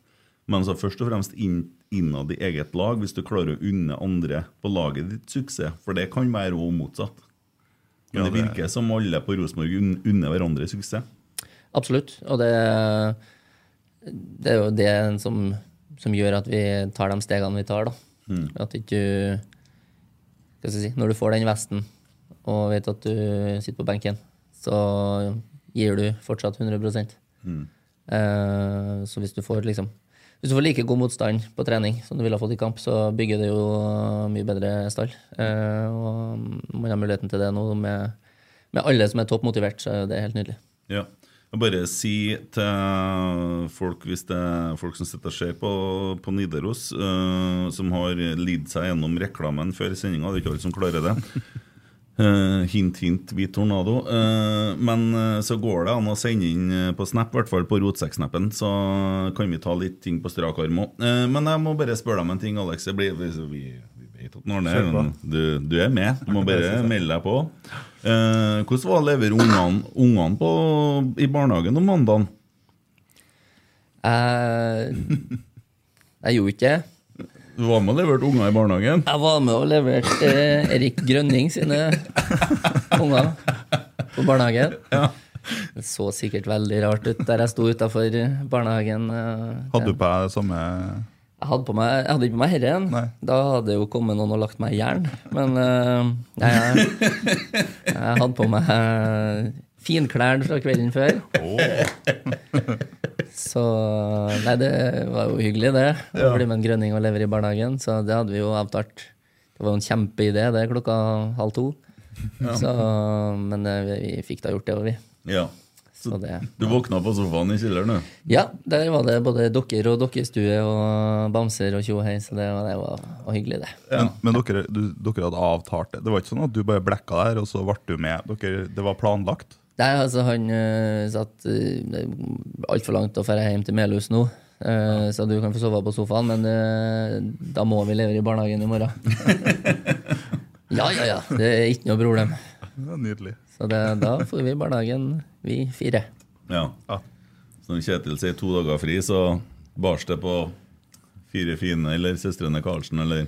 S2: Men så først og fremst inn, innad i eget lag, hvis du klarer å unne andre på laget ditt suksess. For det kan være òg motsatt. Men
S3: Ja,
S2: det
S3: det-
S2: virker som alle på Rosenborg un- unner hverandre suksess.
S4: Absolutt. Og det, det er jo det som, som gjør at vi tar de stegene vi tar. Da. At ikke du hva skal jeg si, Når du får den vesten og vet at du sitter på benken, så gir du fortsatt 100 eh, Så hvis du får liksom hvis du får like god motstand på trening som du ville ha fått i kamp, så bygger det jo mye bedre stall. Eh, og man har muligheten til det nå med, med alle som er topp motivert, så er jo det helt nydelig.
S2: Ja. Jeg bare si til folk hvis det er folk som sitter og ser på, på Nidaros, eh, som har lidd seg gjennom reklamen før sendinga, det er ikke alle som klarer det. Eh, hint, hint, hvit tornado. Eh, men eh, så går det an å sende inn eh, på Snap, i hvert fall på rotsekksnappen, så kan vi ta litt ting på strak arm òg. men jeg må bare spørre deg om en ting, Alex. Jeg blir, vi, vi, vi vet at Norne,
S5: Kjør på.
S2: du, du er med. Du må bare melde deg på. Eh, hvordan var å levere ungene, ungene på, i barnehagen om mandagen?
S4: Jeg, Eh, jeg gjorde ikke det.
S2: Du var med og leverte unger i barnehagen?
S4: Jeg var med og leverte eh, Erik Grønning sine unger på barnehagen. Det så sikkert veldig rart ut der jeg sto utafor barnehagen. eh,
S3: Hadde du på deg samme
S4: Jeg hadde, på meg, jeg hadde ikke på meg herren.
S3: Nei.
S4: Da hadde jo kommet noen og lagt meg i jern. Men eh, nei, jeg, jeg hadde på meg eh, finklærne fra kvelden før. Så Nei, det var jo hyggelig, det. Å bli med en grønning og levere i barnehagen. Så det hadde vi jo avtalt. Det var jo en kjempeidé, det, klokka halv to. Så, men eh, vi, vi fikk da gjort det, og vi.
S2: Ja.
S4: Så det
S2: Du våkna på sofaen i kjelleren, du?
S4: ja, der var det både dokker og dokkestue og bamser og tjo og hei, så det var, det var var hyggelig, det.
S3: Men, men dere, du, dere hadde avtalt det? Det var ikke sånn at du bare blekka der, og så ble du med? Dere, det var planlagt?
S4: Nei, altså, han øh, satt øh, altfor langt å dra hjem til Melhus nå, øh, så du kan få sove på sofaen, men øh, da må vi levere i barnehagen i morgen. ja, ja, ja. Det er ikke noe problem.
S3: Det er nydelig.
S4: Så det, da får vi i barnehagen, vi fire.
S2: Ja.
S3: Ja.
S2: Så når Kjetil sier to dager fri, så bars det på fire fine, eller søstrene Karlsen, eller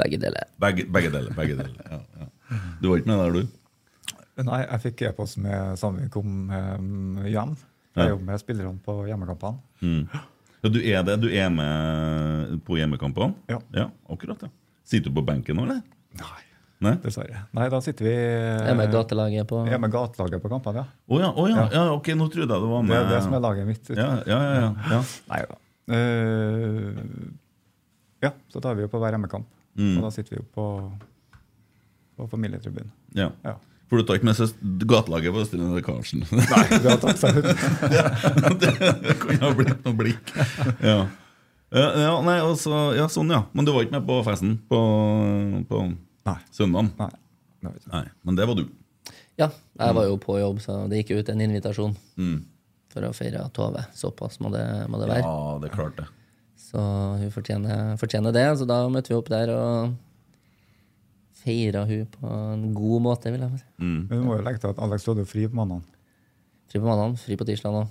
S4: Begge deler.
S2: Begge, begge deler. begge deler ja, ja. Du var ikke med der, du?
S5: Nei, jeg fikk e-post med samme vi kom eh, hjem. Jeg
S2: Ja.
S5: jobber med spillerne på hjemmekampene.
S2: Ja, du er det? Du er med på hjemmekampene?
S5: Ja.
S2: akkurat, ja. Sitter du på benken nå, eller?
S5: Nei,
S2: Nei?
S5: dessverre. Nei, da sitter vi
S4: Jeg er med gatelaget på
S5: Jeg er med gatelaget på kampene, ja.
S2: Å ja, å ja, ja, ok, nå trodde jeg det var
S5: Det
S2: med
S5: er det som er laget mitt.
S2: ja, ja, ja, ja, ja.
S5: Nei da. Eh, ja, så tar vi jo på hver hjemmekamp. Og da sitter vi jo på, på familietribunen.
S2: ja.
S5: Ja.
S2: For du tar ikke med søs- gatelaget på Østerlandet Karlsen?
S5: Nei, det har tatt seg ut.
S2: det kunne ha blitt noe blikk. Ja. Ja, ja, nei, altså, ja, sånn, ja. Men du var ikke med på festen på, på
S5: Nei.
S2: søndagen?
S5: Nei. det vet jeg ikke.
S2: Nei, Men det var du.
S4: Ja, jeg var jo på jobb, så det gikk jo ut en invitasjon for å feire Tove. Såpass må det, må det være.
S2: Ja, det klarte jeg.
S4: Så hun fortjener, fortjener det. Så da møtte vi opp der og feira hun på en god måte, vil jeg si.
S5: Men du må jo legge til at Alex du hadde jo fri på mandag.
S4: Fri på mandagen, fri på tirsdag nå.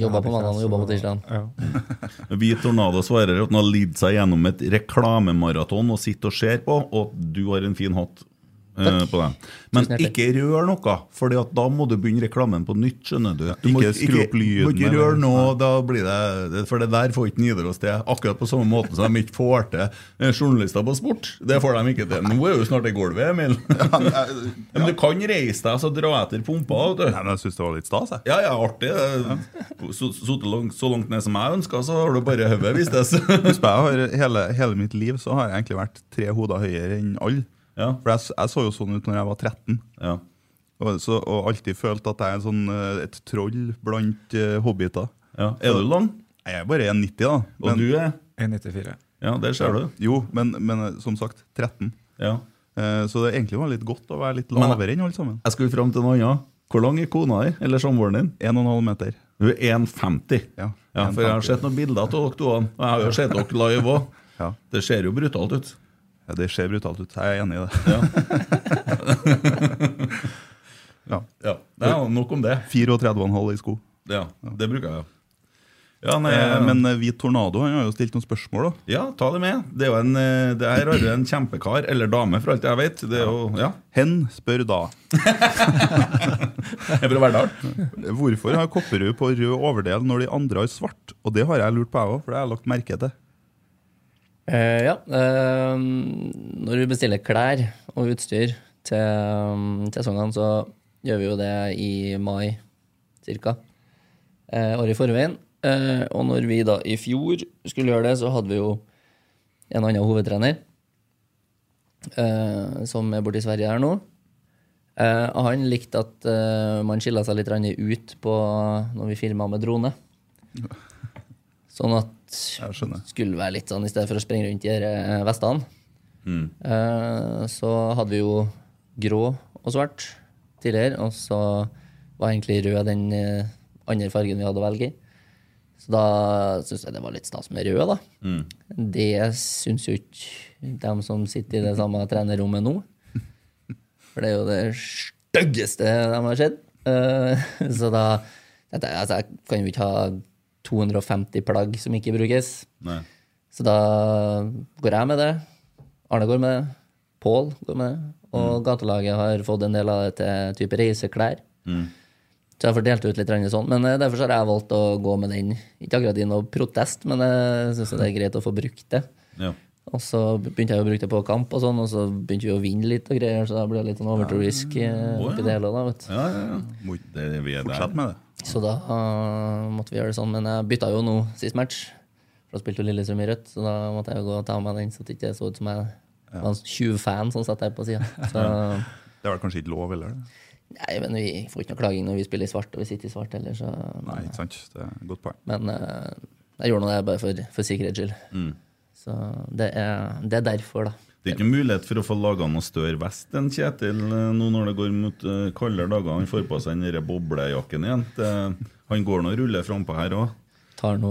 S4: jobba på mandag og jobba på tirsdag.
S5: Ja.
S2: Vi i Tornado svarer at han har lidd seg gjennom et reklamemaraton og sitter og ser på, og du har en fin hatt eh, på deg. Men
S4: Tusen hjertelig.
S2: ikke rør noe, for da må du begynne reklamen på nytt. skjønner du. du
S3: ikke skru opp lyden,
S2: Må ikke
S3: eller-
S2: røre noe, da blir det, for det der får ikke Nidaros til. Akkurat på samme måten som de ikke får til eh, journalister på sport. Det får de ikke til. Nå er jo snart i gulvet, Emil. Men du kan reise deg og så dra etter pumpa. vet du.
S3: Nei, men jeg syns det var litt stas, jeg.
S2: Ja, ja, artig. Så, så, langt, så langt ned som jeg ønska, så har du bare hodet, vistes.
S3: Husk på, jeg har, hele, hele mitt liv så har jeg egentlig vært tre hoder høyere enn alle.
S2: Ja.
S3: For jeg, s- jeg så jo sånn ut når jeg var 13.
S2: Ja.
S3: Og, så, og alltid følt at jeg er sånn, eh, et troll blant eh, hobbiter.
S2: Ja. Er du lang?
S3: Jeg er bare 1,90, da.
S2: Og
S3: Men,
S2: du er?
S5: 1,94.
S2: Ja, der ser du.
S3: Jo, men, men eh, som sagt, 13.
S2: Ja.
S3: Eh, Så det egentlig var litt godt å være litt
S2: Men-
S3: lavere enn alle sammen.
S2: Jeg skulle fram til noe annet. Hvor lang er kona di, eller samboeren din?
S3: 1,5 meter.
S2: Hun er 1,50.
S3: Ja,
S2: ja, for jeg har
S3: 1,50.
S2: sett noen bilder av dere to. Og jeg har jo sett dere live òg.
S3: Ja.
S2: Det ser jo brutalt ut.
S3: Ja, det ser brutalt ut. Jeg er enig i det. Ja.
S2: Ja, det er Nok om det.
S3: 34,5 i sko.
S2: Ja, Det bruker jeg jo. Ja, nei,
S3: Eh,
S2: men
S3: Men eh, Hvit Tornado han har jo stilt noen spørsmål, da.
S2: ja, ta det med. Det er jo en, eh, det her er jo en kjempekar, eller dame, for alt jeg vet. Det er jo, ja,
S3: Hen spør da
S2: Jeg er fra Verdal.
S3: hvorfor har Kopperud på rød overdel når de andre har svart. Og det har jeg lurt på, jeg òg, for det har jeg lagt merke til.
S4: Eh, ja. eh, når vi bestiller klær og utstyr til, um, til sesongene, så gjør vi jo det i mai ca. året i forveien. Eh, og når vi da i fjor skulle gjøre det, så hadde vi jo en annen hovedtrener eh, som er borte i Sverige her nå. Eh, og han likte at eh, man skilla seg litt grann ut på når vi filma med drone. Sånn at
S3: Jeg skjønner.
S4: skulle være litt sånn i stedet for å springe rundt i de her, eh, vestene. Eh, så hadde vi jo grå og svart tidligere, og så var egentlig rød den eh, andre fargen vi hadde å velge i. Så da syns jeg det var litt stas med rød, da. Det syns jo ikke dem som sitter i det samme trenerrommet nå. For det er jo det styggeste de har sett. Eh, så da tenkte jeg altså, jeg kan jo ikke ha 250 plagg som ikke brukes.
S2: Nei.
S4: Så da går jeg med det. Arne går med det. Pål går med det. Og gatelaget har fått en del av det til type reiseklær. Så jeg får delt ut litt grann sånn. Men eh, derfor så har jeg valgt å gå med den. Ikke akkurat i noe protest, men eh, jeg syns det er greit å få brukt det.
S2: Ja.
S4: Og så begynte jeg å bruke det på kamp, og sånn, og så begynte vi å vinne litt, og greier, så da ble jeg litt sånn overtroisk eh, oppi det hele. da, vet du.
S2: Ja, ja, ja. Må ikke- Det, vi er der.
S3: Fortsett med det.
S4: Så da eh, måtte vi gjøre det sånn. Men jeg bytta jo nå sist match, for da spilte jo Lillestrøm i rødt, så da måtte jeg jo gå og ta av meg den, så det ikke så ut som jeg var en tjuvfan som satt der på sida. Nei,
S3: Det er vel kanskje ikke lov, eller?
S4: men vi får ikke noe klaging når vi spiller i svart, og vi sitter i svart heller, så
S3: Nei, ikke sant. Det er et godt poeng.
S4: Men eh, jeg gjorde nå det bare for, for sikkerhets skyld. Så det er, det er derfor, da.
S2: Mm. Det er ikke noe mulighet for å få laga noe større vest enn Kjetil eh, nå når det går mot eh, kaldere dager. Han får på seg den der boblejakken igjen. Det, han går nå og ruller frampå her òg.
S4: Tar nå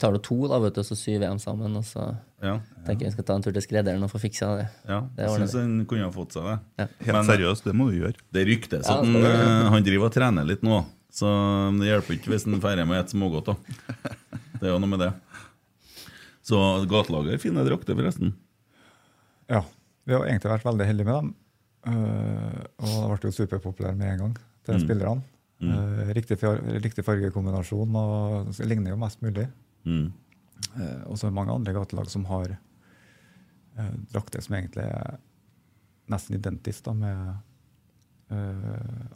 S4: tar nå to, da, vet du, og så syr vi dem sammen, og så
S2: Ja,
S4: Tenker jeg skal ta en tur til skredderen og få fiksa det.
S2: ja.
S4: Det
S2: Jeg
S4: ordner
S2: syns han kunne ha fått seg det.
S3: Helt seriøst, det må du gjøre.
S2: Det ryktes at han, eh, han driver og trener litt nå, så det hjelper ikke hvis han feirer med et smågodt. da. Det er jo noe med det. Så gatelaget har fine drakter, forresten.
S5: Ja. Vi har egentlig vært veldig heldige med dem. Eh, og det ble jo superpopulære med en gang til spillerne. Eh, riktig, fjar- riktig fargekombinasjon og så ligner jo mest mulig.
S2: Mm.
S5: Eh, og så er det mange andre gatelag som har eh, drakter som egentlig er nesten identisk da, med eh,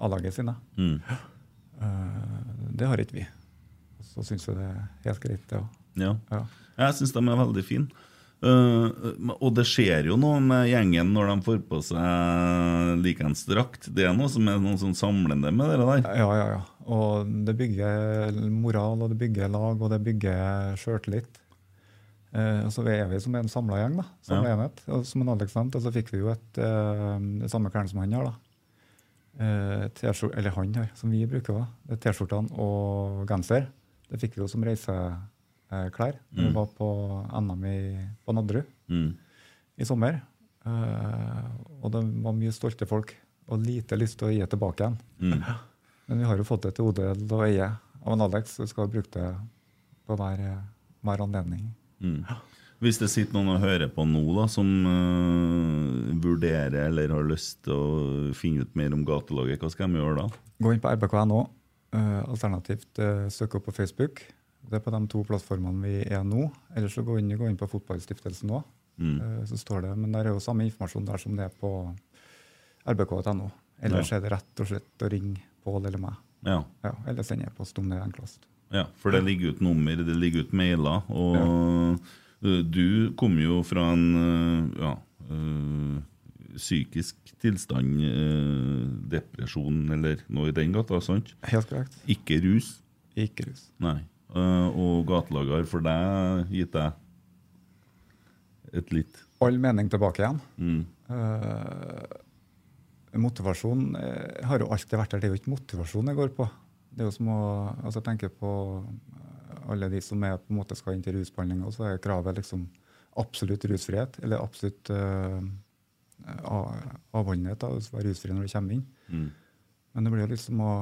S5: A-laget sine.
S2: Mm.
S5: Eh, det har ikke vi. Og så syns vi det er helt greit, det òg.
S2: Ja.
S5: Ja.
S2: Jeg syns de er veldig fine. Eh, og det skjer jo noe med gjengen når de får på seg likeens drakt. Det er noe som er noe sånn samlende med det der.
S5: Ja, ja, ja. Og det bygger moral, og det bygger lag, og det bygger sjøltillit. Eh, og så er vi som en samla gjeng, da. Samla
S2: Ja.
S5: enhet. Og som en Alex nevnte, så fikk vi jo et, eh, det samme klærne som han har, da. Eh, t-skjor- eller han har, som vi bruker. da. Det er T-skjortene og genser. Det fikk vi jo som reiseklær da vi var på NM i, på Nadderud
S2: Mm.
S5: i sommer. Eh, og det var mye stolte folk, og lite lyst til å gi tilbake igjen.
S2: Mm.
S5: Men vi har jo fått det til odel og eie av en Alex, så vi skal bruke det på hver, hver anledning.
S2: Mm. Hvis det sitter noen og hører på nå, da, som eh, vurderer eller har lyst til å finne ut mer om gatelaget, hva skal de gjøre da?
S5: Gå inn på rbk.no, eh, alternativt eh, søk opp på Facebook. Det er på de to plattformene vi er nå. Ellers så gå inn, gå inn på Fotballstiftelsen nå.
S2: Mm.
S5: eh, så står det, Men det er jo samme informasjon der som det er på rbk.no. Ellers
S2: Ja.
S5: er det rett og slett å ringe Pål eller meg.
S2: Ja.
S5: Ja, eller sende e-post om det er enklest.
S2: ja, for det ligger ut nummer, det ligger ut mailer, og eh, du kom jo fra en eh, ja, eh, psykisk tilstand, eh, depresjon eller noe i den gata, sant?
S5: Helt korrekt.
S2: Ikke rus,
S5: Ikke rus.
S2: nei. Eh, og gatelaget har for deg gitt deg et litt
S5: All mening tilbake igjen.
S2: mm.
S5: Motivasjon eh, har jo alltid vært der. Det er jo ikke motivasjon jeg går på. Det er jo som å, altså Jeg tenker på eh, alle de som er, på en måte skal inn til rusbehandling, og så er kravet liksom absolutt rusfrihet. Eller absolutt eh, a- avholdenhet. da, Du skal være rusfri når du kommer inn.
S2: Mm.
S5: Men det blir jo liksom å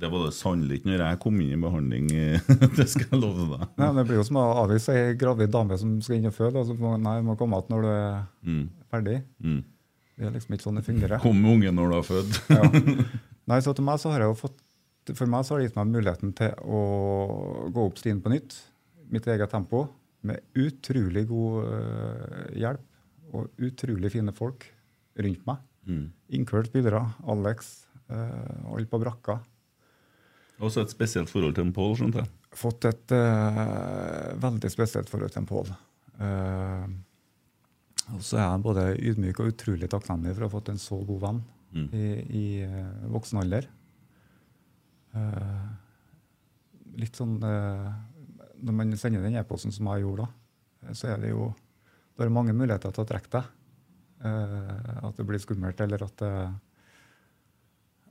S2: Det var det sannelig ikke når jeg kom inn i behandling. eh, det skal jeg love deg.
S5: nei, men det blir jo som å avvise ei gravid dame som skal inn og føde. og så må, nei, du må komme igjen når du er
S2: Mm.
S5: ferdig.
S2: Mm.
S5: Det er liksom ikke sånn det fungerer.
S2: Kom med ungen når du er født.
S5: Ja. Nei, så til meg så har jeg jo fått For meg så har det gitt meg muligheten til å gå opp stien på nytt. Mitt eget tempo. Med utrolig god øh, hjelp og utrolig fine folk rundt meg.
S2: Mm.
S5: Inkludert spillere. Alex. øh, alle på brakka.
S2: Også et spesielt forhold til en Pål, skjønte jeg.
S5: Fått et øh, veldig spesielt forhold til en Pål. Eh, og så er jeg både ydmyk og utrolig takknemlig for å ha fått en så god venn.
S2: Mm.
S5: i, i eh, voksen alder. Eh, litt sånn eh, Når man sender den e-posten som jeg gjorde da, eh, så er det jo da er det mange muligheter til å trekke deg. Eh, at det blir skummelt, eller at, det-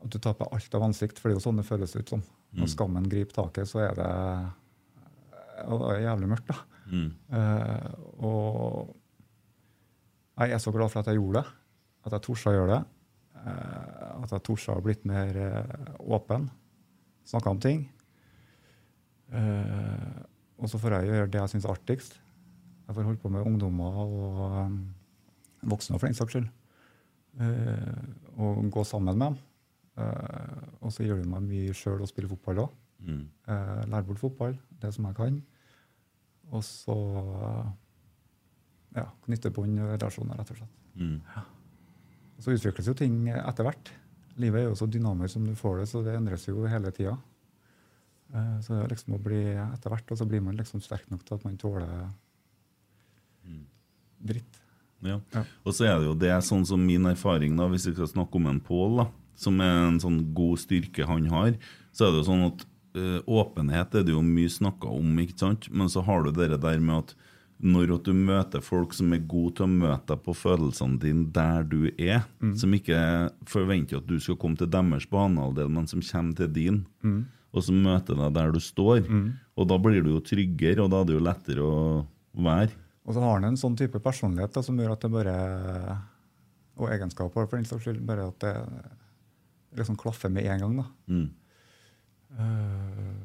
S5: at du taper alt av ansikt. For det er jo sånn det føles ut som. Når skammen griper taket, så er det, ja, det er jævlig mørkt. da.
S2: Mm.
S5: Eh, og jeg er så glad for at jeg gjorde det. At jeg torde å gjøre det. Eh, at jeg torde å ha blitt mer eh, åpen. Snakka om ting. Eh, og så får jeg jo gjøre det jeg syns er artigst. Jeg får holde på med ungdommer og eh, voksne, for den saks skyld. Eh, og gå sammen med dem. Eh, og så gjør det meg mye sjøl å spille fotball òg.
S2: Mm.
S5: Eh, lære bort fotball, det som jeg kan. Og så eh, ja, knytte bånd og relasjoner, rett og slett.
S2: Mm.
S5: Og så utvikles jo ting etter hvert. Livet er jo så dynamisk som du får det, så det endres jo hele tida. Eh, Så det er liksom å bli etter hvert, og så blir man liksom sterk nok til at man tåler dritt.
S2: Ja.
S5: Ja.
S2: Og så er det jo det sånn som min erfaring, da, hvis vi skal snakke om en Pål, da, som er en sånn god styrke han har, så er det jo sånn at eh, åpenhet er det jo mye snakka om, ikke sant? Men så har du det der med at når at du møter folk som er gode til å møte deg på følelsene dine der du er, som ikke forventer at du skal komme til deres banehalvdel, men som kommer til din, og som møter deg der du står, og da blir du jo tryggere, og da er det jo lettere å være.
S5: Og så har han en sånn type personlighet da, som gjør at det bare Og egenskaper, for den saks skyld. Bare at det liksom klaffer med en gang. da.
S2: Mm.
S5: Eh,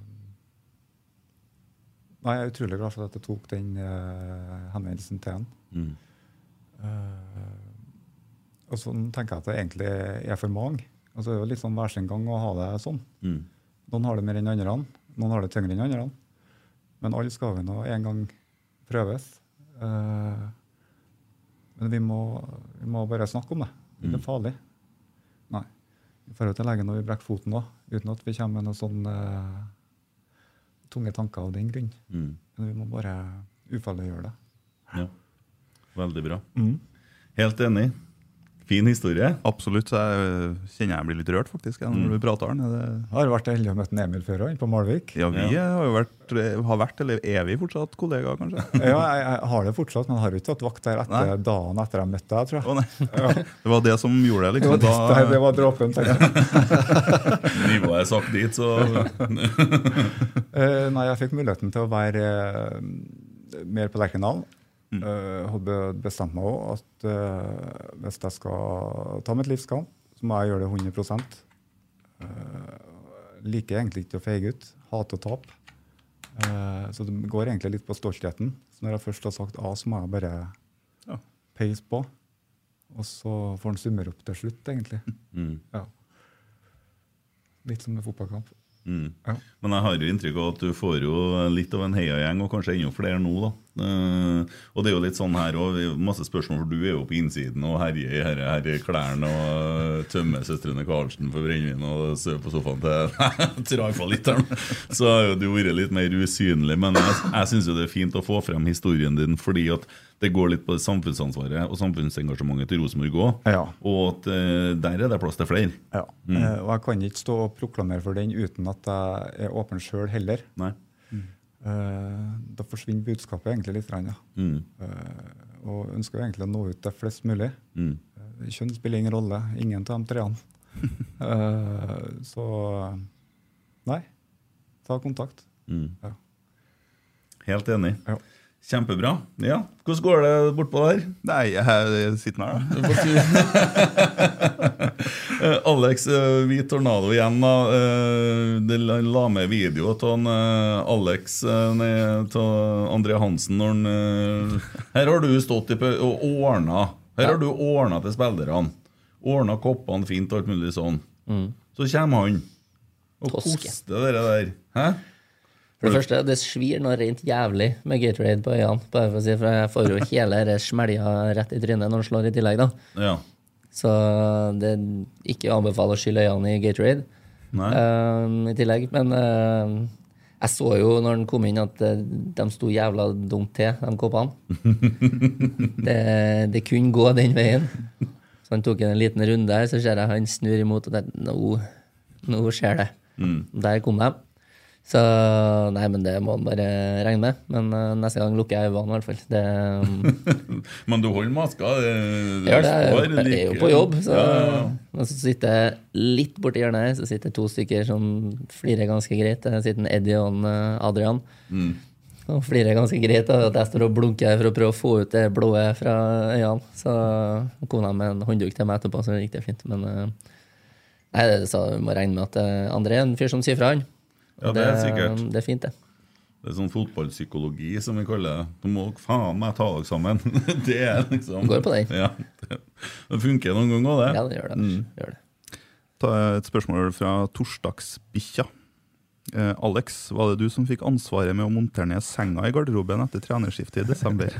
S5: Nei, jeg er utrolig glad for at jeg tok den eh, henvendelsen til han.
S2: Mm.
S5: Eh, og sånn tenker jeg at det egentlig er for mange. Altså, det er jo litt sånn værsengang å ha det sånn.
S2: Mm.
S5: Noen har det mer enn andre, noen har det tyngre enn andre. Men alle skal vi nå en gang prøves. Eh, men vi må, vi må bare snakke om det. Det er farlig. Nei. Vi drar til legen når vi brekker foten òg, uten at vi kommer med noen sånne eh, tunge tanker av den grunn. Men vi må bare ufarliggjøre det.
S2: Mm.
S5: Mm.
S2: Ja. Veldig bra. Helt enig. Fin historie. Mm.
S3: Absolutt. så Jeg øh, kjenner jeg blir litt rørt, faktisk, jeg, når du prater om det.
S5: Jeg har vært heldig og møtt en Emil før òg, på Malvik.
S3: Ja, vi øh, har jo vært, øh, har vært, eller er vi fortsatt kollegaer, kanskje?
S5: Ja, jeg, jeg har det fortsatt, men jeg har jo ikke tatt vakt der etter
S3: Nei.
S5: dagen etter jeg møtte deg. tror
S3: Å
S5: jeg.
S3: nei. Det var det som gjorde det,
S5: Det
S3: liksom.
S5: var, det, det
S3: Da,
S5: var dråpen. tenkte jeg.
S2: Nivået er sagt dit, så
S5: Eh, nei, jeg fikk muligheten til å være eh, mer på Lerkendal. Mm. hadde bestemt meg òg at eh, hvis jeg skal ta mitt livs kamp, så må jeg gjøre det 100 Eh, Liker egentlig ikke å feige ut. Hater å tape. Eh, så det går egentlig litt på stoltheten. Så når jeg først har sagt A, så må jeg bare
S3: Ja.
S5: peise på. Og så får en summer opp til slutt, egentlig. Ja. Litt som en fotballkamp.
S2: Men jeg har jo inntrykk av at du får jo litt av en heiagjeng, og kanskje enda flere nå. da. Eh, og det er jo litt sånn her òg, masse spørsmål, for du er jo på innsiden og herjer i herre, herre klærne og eh, tømmer søstrene Karlsen for brennevin og sover på sofaen til Traifa litt her. nå. Så har jo du vært litt mer usynlig, men jeg, jeg syns jo det er fint å få frem historien din, fordi at det går litt på samfunnsansvaret og samfunnsengasjementet til Rosenborg òg,
S5: Ja.
S2: og at eh, der er det plass til flere.
S5: Ja. Eh, og jeg kan ikke stå og proklamere for den uten at jeg er åpen sjøl heller.
S2: Nei?
S5: Eh, da forsvinner budskapet egentlig litt. grann, Ja. Eh, og ønsker jo egentlig å nå ut til flest mulig. Eh, kjønn spiller ingen rolle. Ingen av de treene. eh, så nei, ta kontakt. Ja.
S2: Helt enig.
S5: Ja.
S2: Kjempebra. Ja, Hvordan går det bortpå der?
S3: nei, jeg sitter her, da.
S2: Eh, Alex, eh, vi Tornado igjen. da Eh, Det la- la med video av han, eh, Alex eh, ned til André Hansen når han eh, Her har du stått i pau- og ordna. Her har du ordna til spillerne. Ordna koppene fint og alt mulig sånn. Så kommer han og
S4: Mm. Toske.
S2: koster det der. Hæ?
S4: For det første, det svir noe rent jævlig med Gatorade på øynene. Bare for å si, for jeg får jo hele dette smelja rett i trynet når han slår i tillegg, da.
S2: Ja.
S4: Så det er ikke å anbefale å skylle øynene i Gatorade
S2: Nei.
S4: eh, i tillegg. Men eh, jeg så jo når han kom inn, at eh, de sto jævla dumt til, de koppene. det, det kunne gå den veien. Så han tok en liten runde her, så ser jeg han snur imot, og det, nå, nå skjer det. Der kom de. Så nei, men det må han bare regne med. Men eh, neste gang lukker jeg øynene, i hvert fall. Det,
S2: Men du holder maska? eh,
S4: jeg gjør det. Jeg er
S2: står
S4: jo- Jeg er jo
S2: like-
S4: på jobb. Så,
S2: Ja, ja, ja.
S4: Men så sitter jeg litt borti hjørnet her, så sitter det to stykker som flirer ganske greit. Der sitter en Eddie og en eh, Adrian.
S2: Mm.
S4: Og flirer ganske greit da, at jeg står og blunker for å prøve å få ut det blået fra øynene. Så kom de med en håndduk til meg etterpå, så det gikk det fint. Men eh, nei, det- så vi må regne med at eh, André er en fyr som sier fra, han.
S2: Ja, det er sikkert.
S4: Det er fint, det.
S2: Det er sånn fotballpsykologi som vi kaller det. Nå må dere faen meg ta dere sammen. det er liksom
S4: Går på den.
S2: Ja. Det funker noen ganger, også, det.
S4: Ja, det gjør det.
S2: Mm.
S4: Gjør det.
S3: Ta et spørsmål fra Torsdagsbikkja. Eh, Alex, var det du som fikk ansvaret med å montere ned senga i garderoben etter trenerskiftet i desember?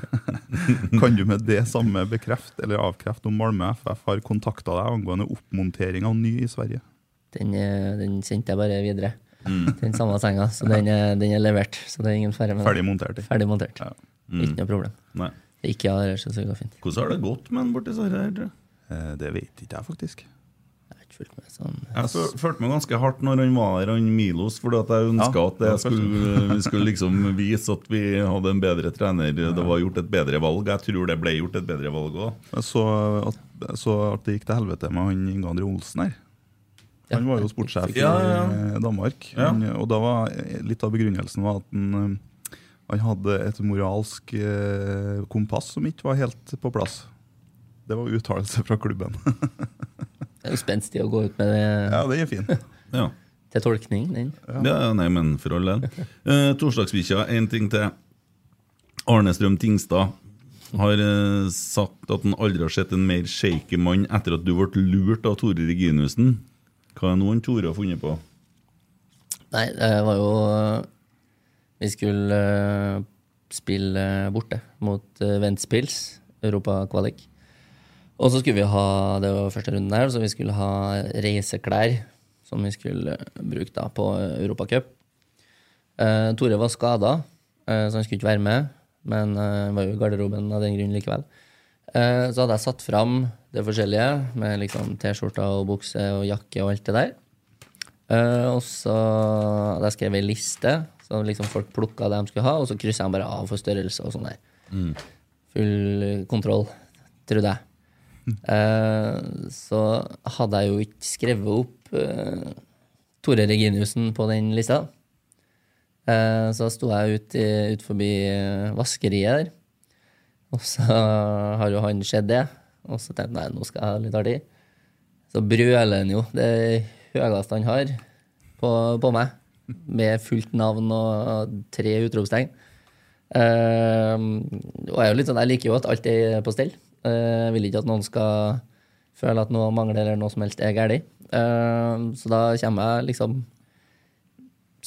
S3: kan du med det samme bekrefte eller avkrefte om Malmö FF har kontakta deg angående oppmontering av ny i Sverige?
S4: Den, eh, den sendte jeg bare videre.
S3: Mm.
S4: Den samme senga. Så den er, den er levert. Så det er ingen fare med det.
S3: Ferdig montert. ikke?
S4: Ferdig montert.
S3: Ja. Mm.
S4: Ikke noe problem.
S2: Nei.
S4: Ikke av det, så det går fint.
S2: Hvordan har det gått med den borti Sverige? her, tror jeg?
S3: Eh, Det vet ikke jeg faktisk. Altså-
S4: Jeg har ikke fulgt med sånn.
S2: Jeg fø- følte meg ganske hardt når han var her, han Milos, fordi at jeg ønska
S3: Ja,
S2: at jeg
S3: det var
S2: skulle, vi skulle liksom vise at vi hadde en bedre trener. Det var gjort et bedre valg. Jeg tror det ble gjort et bedre valg òg.
S3: Jeg så at, jeg så at det gikk til helvete med han Inge André Olsen her. Han var jo sportssjef i
S2: Ja, ja,
S3: eh, Danmark.
S2: Ja.
S3: Han, og da var eh, litt av begrunnelsen var at han, eh, han hadde et moralsk eh, kompass som ikke var helt på plass. Det var uttalelse fra klubben.
S4: Det er jo spenstig å gå ut med det
S3: ja, den er fin.
S2: Ja.
S4: til tolkning. Den.
S2: Ja, ja, nei, men for all del. Eh, torsdagsbikkja, én ting til. Arne Strøm Tingstad. har eh, sagt at han aldri har sett en mer shaky mann etter at du ble lurt av Tore Reginussen. Hva er nå han Tore har funnet på?
S4: Nei, det var jo eh, Vi skulle eh, spille borte mot eh, Ventspils, Europa-kvalik. Og så skulle vi ha det var første runden der, så vi skulle ha reiseklær som vi skulle eh, bruke da på Europacup. Eh, Tore var skada, eh, så han skulle ikke være med. Men eh, han var jo i garderoben av den grunn likevel. Eh, så hadde jeg satt fram det forskjellige, med liksom T-skjorter og bukse og jakke og alt det der. Eh, og så hadde jeg skrevet ei liste, så liksom folk plukka det de skulle ha, og så kryssa jeg bare av for størrelse og sånn der. Full kontroll, trodde jeg. Eh, så hadde jeg jo ikke skrevet opp eh, Tore Reginiussen på den lista. Eh, så sto jeg ut, i- ut forbi eh, vaskeriet der, og så har jo han sett det. Og så tenkte jeg nei, nå skal jeg ha litt artig. Så brøler han jo det høyeste han har på, på meg, med fullt navn og tre utropstegn. Eh, og jeg, er jo litt sånn, jeg liker jo at alt er på stell. Eh, jeg vil ikke at noen skal føle at noe mangler eller noe som helst er galt. Eh, så da kommer jeg liksom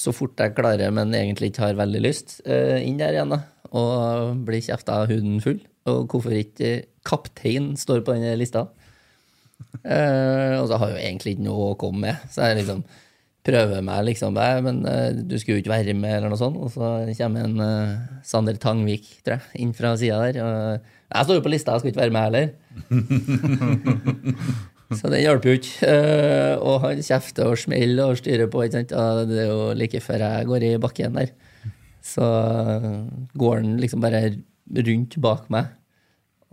S4: så fort jeg klarer, men egentlig ikke har veldig lyst, eh, inn der igjen da, og blir kjefta av huden full. Og hvorfor ikke eh, kaptein står på denne lista? Eh, og så har jeg jo egentlig ikke noe å komme med, så jeg liksom prøver meg liksom «Nei, Men eh, du skulle jo ikke være med, eller noe sånt. Og så kommer en eh, Sander Tangvik, tror jeg, inn fra sida der. Og, jeg står jo på lista, jeg skal ikke være med heller. Så det hjalp jo ikke. Eh, og han kjefter og smeller og styrer på. Ikke sant? Og det er jo like før jeg går i bakken der. Så eh, går han liksom bare rundt bak meg,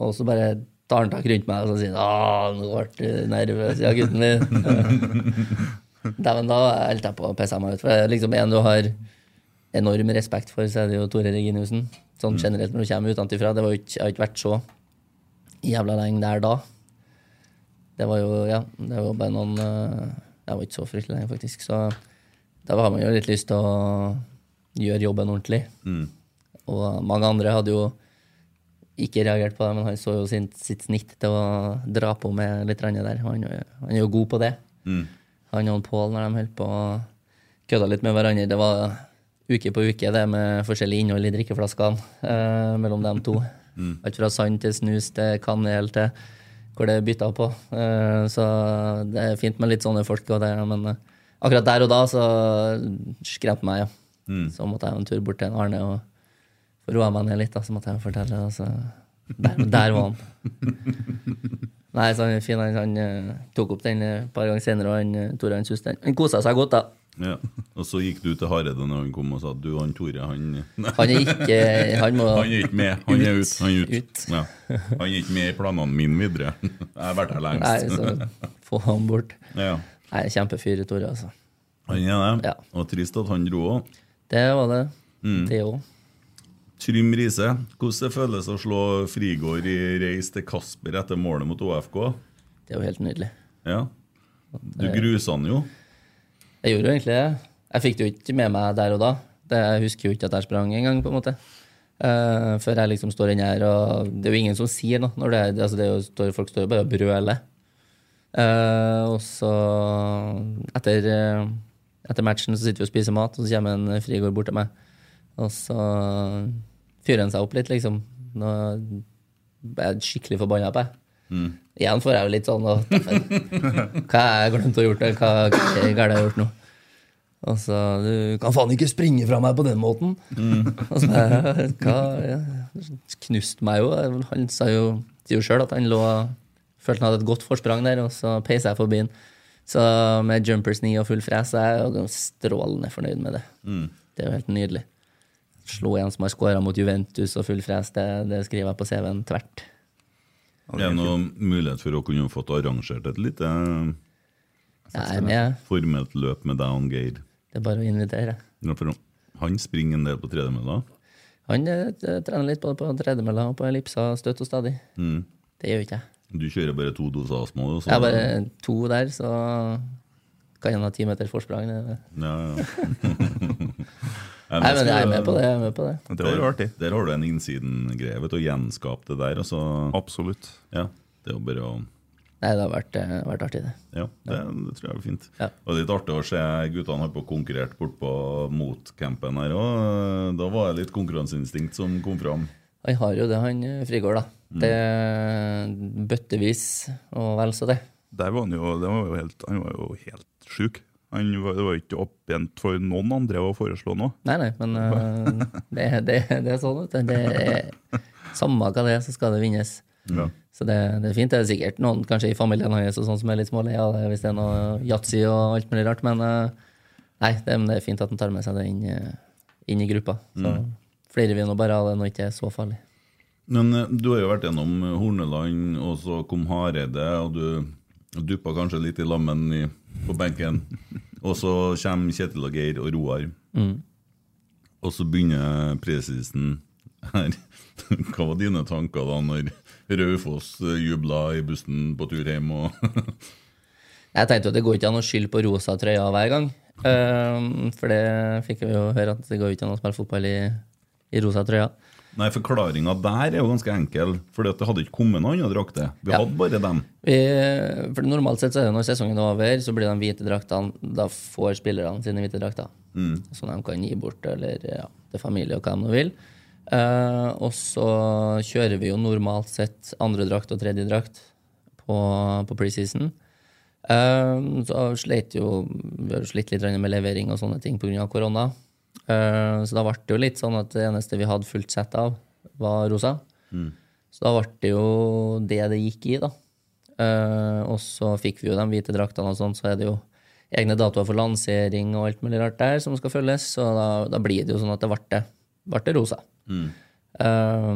S4: og så bare tar han tak rundt meg og så sier han, «Ah, nå ble du nervøs, ja, gutten min. Dæven, da holdt jeg på å pisse meg ut. For det er liksom en du har enorm respekt for, så er det jo Tore Reginiussen. Sånn generelt når du kommer utenfra. Det var jo ikke, jeg har ikke vært så jævla lenge der da. Det var jo, ja, det var bare noen eh, Jeg var ikke så fryktelig lenge, faktisk. Så da har man jo litt lyst til å gjøre jobben ordentlig. Og mange andre hadde jo ikke reagert på det, men han så jo sin, sitt snitt til å dra på med litt rann der. Han, han er jo god på det. Han og Pål, når de holdt på og kødda litt med hverandre Det var uke på uke, det med forskjellig innhold i drikkeflaskene eh, mellom dem to. Alt fra sand til snus til kanel til hvor det er bytta på. Eh, så det er fint med litt sånne folk, og det, men eh, akkurat der og da så skremte meg, ja. Så måtte jeg en tur bort til en Arne og få roa meg ned litt, da, så måtte jeg fortelle. Og så der, der var han. Nei, så han er fin, han, han eh, tok opp den eh, et par ganger senere, og han, eh, Tore han synes den. Han kosa seg godt, da.
S2: Ja. Og så gikk du til Hareide når han kom og sa at du, han Tore, han Nei,
S4: Han er ikke Han må
S2: han er ikke med. Han er ut. Han er, ut.
S4: Ut.
S2: Ja. han er ikke med i planene mine videre. Jeg har vært her
S4: Nei,
S2: lengst.
S4: så få han bort.
S2: Ja.
S4: Nei, kjempefyr, Tore, altså.
S2: Han er det.
S4: Ja.
S2: Og trist at han dro òg.
S4: Det var det.
S2: Mm.
S4: Det òg.
S2: Trym Riise, hvordan det føles å slå Frigård i reis til Kasper etter målet mot OFK?
S4: Det er jo helt nydelig.
S2: Ja. Du
S3: Eh.
S2: grusa han jo.
S4: Jeg gjorde jo egentlig det. Jeg fikk det jo ikke med meg der og da. Det, jeg husker jo ikke at jeg sprang engang, på en måte. Eh, før jeg liksom står inne her, og det er jo ingen som sier noe. Når det er, altså det er jo, står, folk står jo bare og brøler. Eh, og så, etter, eh, etter matchen, så sitter vi og spiser mat, og så kommer en Frigård bort til meg. Og så fyrer han seg opp litt, liksom. Nå er jeg skikkelig forbanna på deg. Igjen får jeg jo litt sånn og, Hva har jeg glemt å gjort? eller Hva, hva er det jeg har gjort nå? Og så Du kan faen ikke springe fra meg på den måten! Og så bare, hva, ja, knuste meg jo. Han sa jo sier jo sjøl at han lå følte han hadde et godt forsprang der, og så peisa jeg forbi han. Så med jumpers knee og full fres så er jeg jo strålende fornøyd med det. Det er jo helt nydelig. Slå en som har skåra mot Juventus og full fres, det, det skriver jeg på CV-en tvert.
S2: Er det noen mulighet for å kunne fått arrangert et lite eh,
S4: Jeg er med.
S2: formelt løp med deg og Geir?
S4: Det er bare å invitere.
S2: Ja, for Han springer en del på tredemølla.
S4: Han eh, trener litt både på tredemølla og på ellipsa støtt og stadig. Det gjør jo ikke jeg.
S2: Du kjører bare Mm. to doser astma. og så-
S4: Jeg har bare to der, så kan han ha ti meter forsprang. det-
S2: Ja, ja. Ja,
S4: Nei,
S2: det
S4: men jeg er
S2: skal-
S4: med på det. Jeg er med på det.
S3: Det var jo artig.
S2: Der har du en innsiden-greie, vet du, å gjenskape det der. Og så,
S3: Absolutt.
S2: ja, det er jo bare å
S4: Nei, det har vært, eh, vært artig, det.
S2: Ja, det, det tror jeg er fint.
S4: Ja.
S2: Og det er litt artig å se guttene har på konkurrert bort på motcampen her òg. Da var det litt konkurranseinstinkt som kom fram.
S4: Han har jo det, han eh, Frigård, da.
S2: Mm.
S4: Det Bøttevis og vel så det.
S3: Der var han jo, det var jo helt, han var jo helt sjuk. Han var, det var jo ikke åpent for noen andre å foreslå noe.
S4: Nei, nei, men eh, det, det, det er sånn, vet du. Det er samme hva det er, så skal det vinnes. Så det, det er fint. Det er sikkert noen kanskje i familien hans og sånn som er litt smålei av det, hvis det er noe yatzy og alt mulig rart, men eh, nei, det, men det er fint at han tar med seg det inn, eh, inn i gruppa. Så flirer vi nå bare av det når det ikke er så farlig.
S2: Men eh, du har jo vært gjennom Horneland, og så kom Hareide, og du duppa kanskje litt i lammen i, på benken. Og så kommer Kjetil og Geir og Roar. Og så begynner presisen her. Hva var dine tanker da når Raufoss eh, jubla i bussen på tur hjem? Og
S4: Jeg tenkte jo at det går ikke an å skylde på rosa trøya hver gang. Ehm, for det fikk vi jo høre, at det går ikke an å spille fotball i, i rosa trøya.
S2: Nei, forklaringa der er jo ganske enkel. For det hadde ikke kommet noen andre drakter. Vi
S4: Ja.
S2: hadde bare dem.
S4: Vi, for normalt sett så er det når sesongen er over, så blir de hvite draktene Da får spillerne sine hvite drakter. Som de kan gi bort eller ja, til familie og hva de nå vil. Eh, og så kjører vi jo normalt sett andre drakt og tredje drakt på, på preseason. Eh, så sleit jo Vi har jo slitt litt grann med levering og sånne ting pga. korona. Eh, så da ble det jo litt sånn at det eneste vi hadde fullt sett av, var rosa. Så da ble det jo det det gikk i, da. Eh, og så fikk vi jo de hvite draktene, og sånn, så er det jo egne datoer for lansering og alt mulig rart der som skal følges, så da, da blir det jo sånn at det ble, det, ble det rosa. Eh,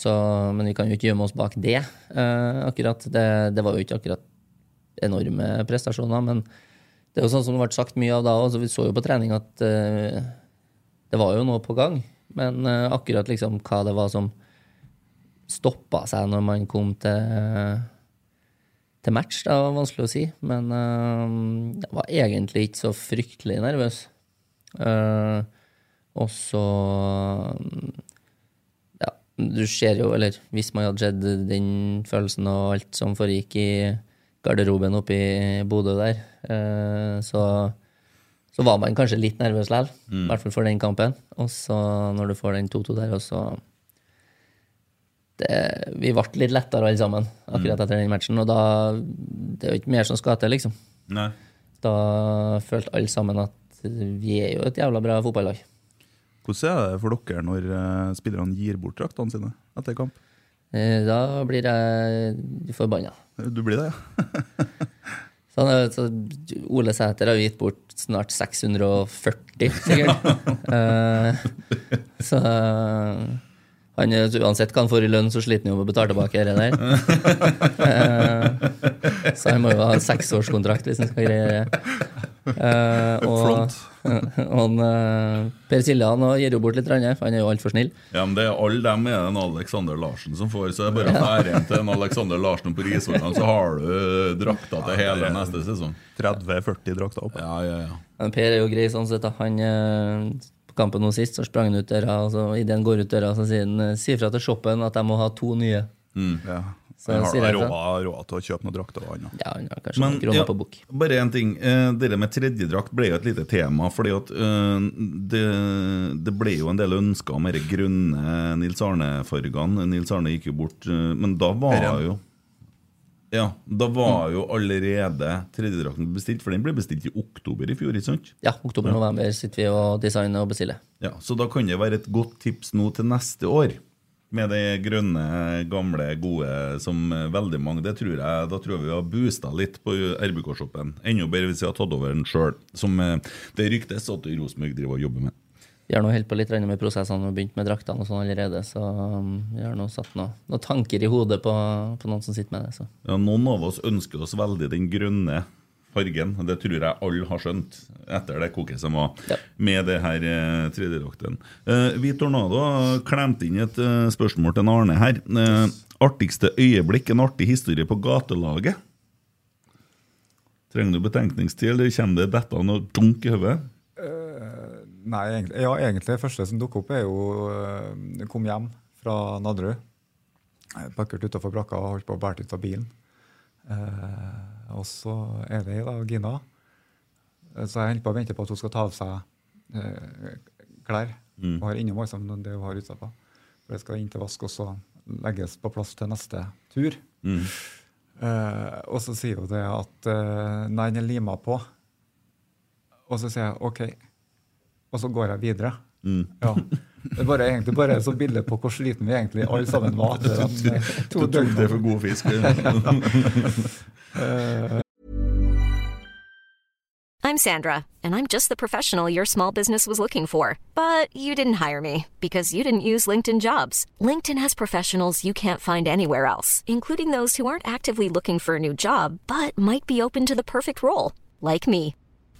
S4: så, men vi kan jo ikke gjemme oss bak det, eh, akkurat. Det, det var jo ikke akkurat enorme prestasjoner, men det er jo sånn som det ble sagt mye av da òg, vi så jo på trening at eh, det var jo noe på gang, men eh, akkurat liksom hva det var som stoppa seg når man kom til til match, det var vanskelig å si. Men eh, jeg var egentlig ikke så fryktelig nervøs. Eh, og så Ja, du ser jo, eller hvis man hadde sett den følelsen og alt som foregikk i garderoben oppe i Bodø der, eh, så så var man kanskje litt nervøs likevel. I hvert fall for den kampen. Og så når du får den 2-2 der, og så det, vi ble litt lettere alle sammen akkurat etter den matchen. Og da Det er jo ikke mer som skal til, liksom.
S2: Nei.
S4: Da følte alle sammen at vi er jo et jævla bra fotballag.
S3: Hvordan er det for dere når eh, spillerne gir bort draktene sine etter kamp?
S4: Eh, Da blir jeg forbanna.
S3: Du blir det, ja.
S4: Så, han er- så Ole Sæter har jo gitt bort snart 640, sikkert. Eh, så han, er- så uansett hva han får i lønn, så sliter han jo med å betale tilbake det der. Eh, så han må jo ha en seksårskontrakt hvis han skal greie det. Eh, og, og han, eh, per Silje han også gir jo bort litt, rann, for han er jo altfor snill.
S2: Ja, men det er Alle dem er det en Alexander Larsen som får, så det er bare å fære hjem til en Alexander Larsen på Risvollan, så har du eh, drakta til hele neste sesong.
S3: 30-40 drakter opp.
S2: Ja, ja, ja.
S4: Men Per er jo grei sånn sett. da. Han, eh, på kampen nå sist så sprang han ut døra, og så idet han går ut døra, så sier han eh, si fra til shoppen at jeg må ha to nye.
S2: Mm.
S3: Ja.
S4: Så
S3: Han
S4: sier
S3: har
S4: jeg
S3: råd
S4: det.
S3: råd til å kjøpe noen drakter. han, ja.
S4: Ja, han har kanskje
S2: Men,
S4: noen kroner
S2: ja,
S4: på bok.
S2: Bare én ting. Eh, Det der med tredjedrakt ble jo et lite tema. fordi at eh, det, det ble jo en del ønsker om de grønne Nils Arne-fargene. Nils Arne gikk jo bort, eh, men da var
S3: Herren.
S2: jo Ja, da var jo allerede tredjedrakten bestilt, for den ble bestilt i oktober i fjor. ikke sant?
S4: Ja, oktober-november sitter vi og designer og bestiller.
S2: Ja, Så da kan det være et godt tips nå til neste år. Med det grønne, gamle, gode som eh, veldig mange det tror jeg, Da tror jeg vi har boosta litt på RBK-shoppen. Enda bedre hvis vi har tatt over den sjøl, som eh, det ryktes at Rosenborg driver og jobber med.
S4: Vi har nå holdt på litt grann med prosessene og begynt med draktene og sånn allerede, så um, vi har nå satt noe, noen tanker i hodet på, på noen som sitter med det. Så.
S2: Ja, noen av oss ønsker oss veldig den grønne fargen. og Det tror jeg alle har skjønt etter det koket som var
S4: Ja.
S2: med det her eh, tredjedrakten. Eh, Hvit Tornado har klemt inn et eh, spørsmål til en Arne her. Eh, artigste øyeblikk, en artig historie på gatelaget? Trenger du betenkningstid, eller kommer det dette noe dunk i hodet?
S5: Nei, egentlig, ja, egentlig det første som dukket opp, er jo eh, Kom hjem fra Nadderud. Eh, Parkert utafor brakka og holdt på å bære ut av bilen. Eh, og så er det da Gina. Eh, Så jeg holder på å vente på at hun skal ta av seg eh, klær. Og har innom liksom, det hun har utapå. For det skal inn til vask og så legges på plass til neste tur.
S2: Mm.
S5: Eh, og så sier hun det at eh, nei, den er lima på. Og så sier jeg OK og så går jeg videre.
S2: Mm.
S5: Ja. Det er bare, egentlig bare et sånt bilde på hvor sliten vi egentlig alle sammen var. etter de, eh, to døgnene.
S2: Det er for god fisk.
S6: I'm Sandra, and I'm just the professional your small business was looking for. But you didn't hire me because you didn't use LinkedIn jobs. LinkedIn has professionals you can't find anywhere else, including those who aren't actively looking for a new job but might be open to the perfect role, like me.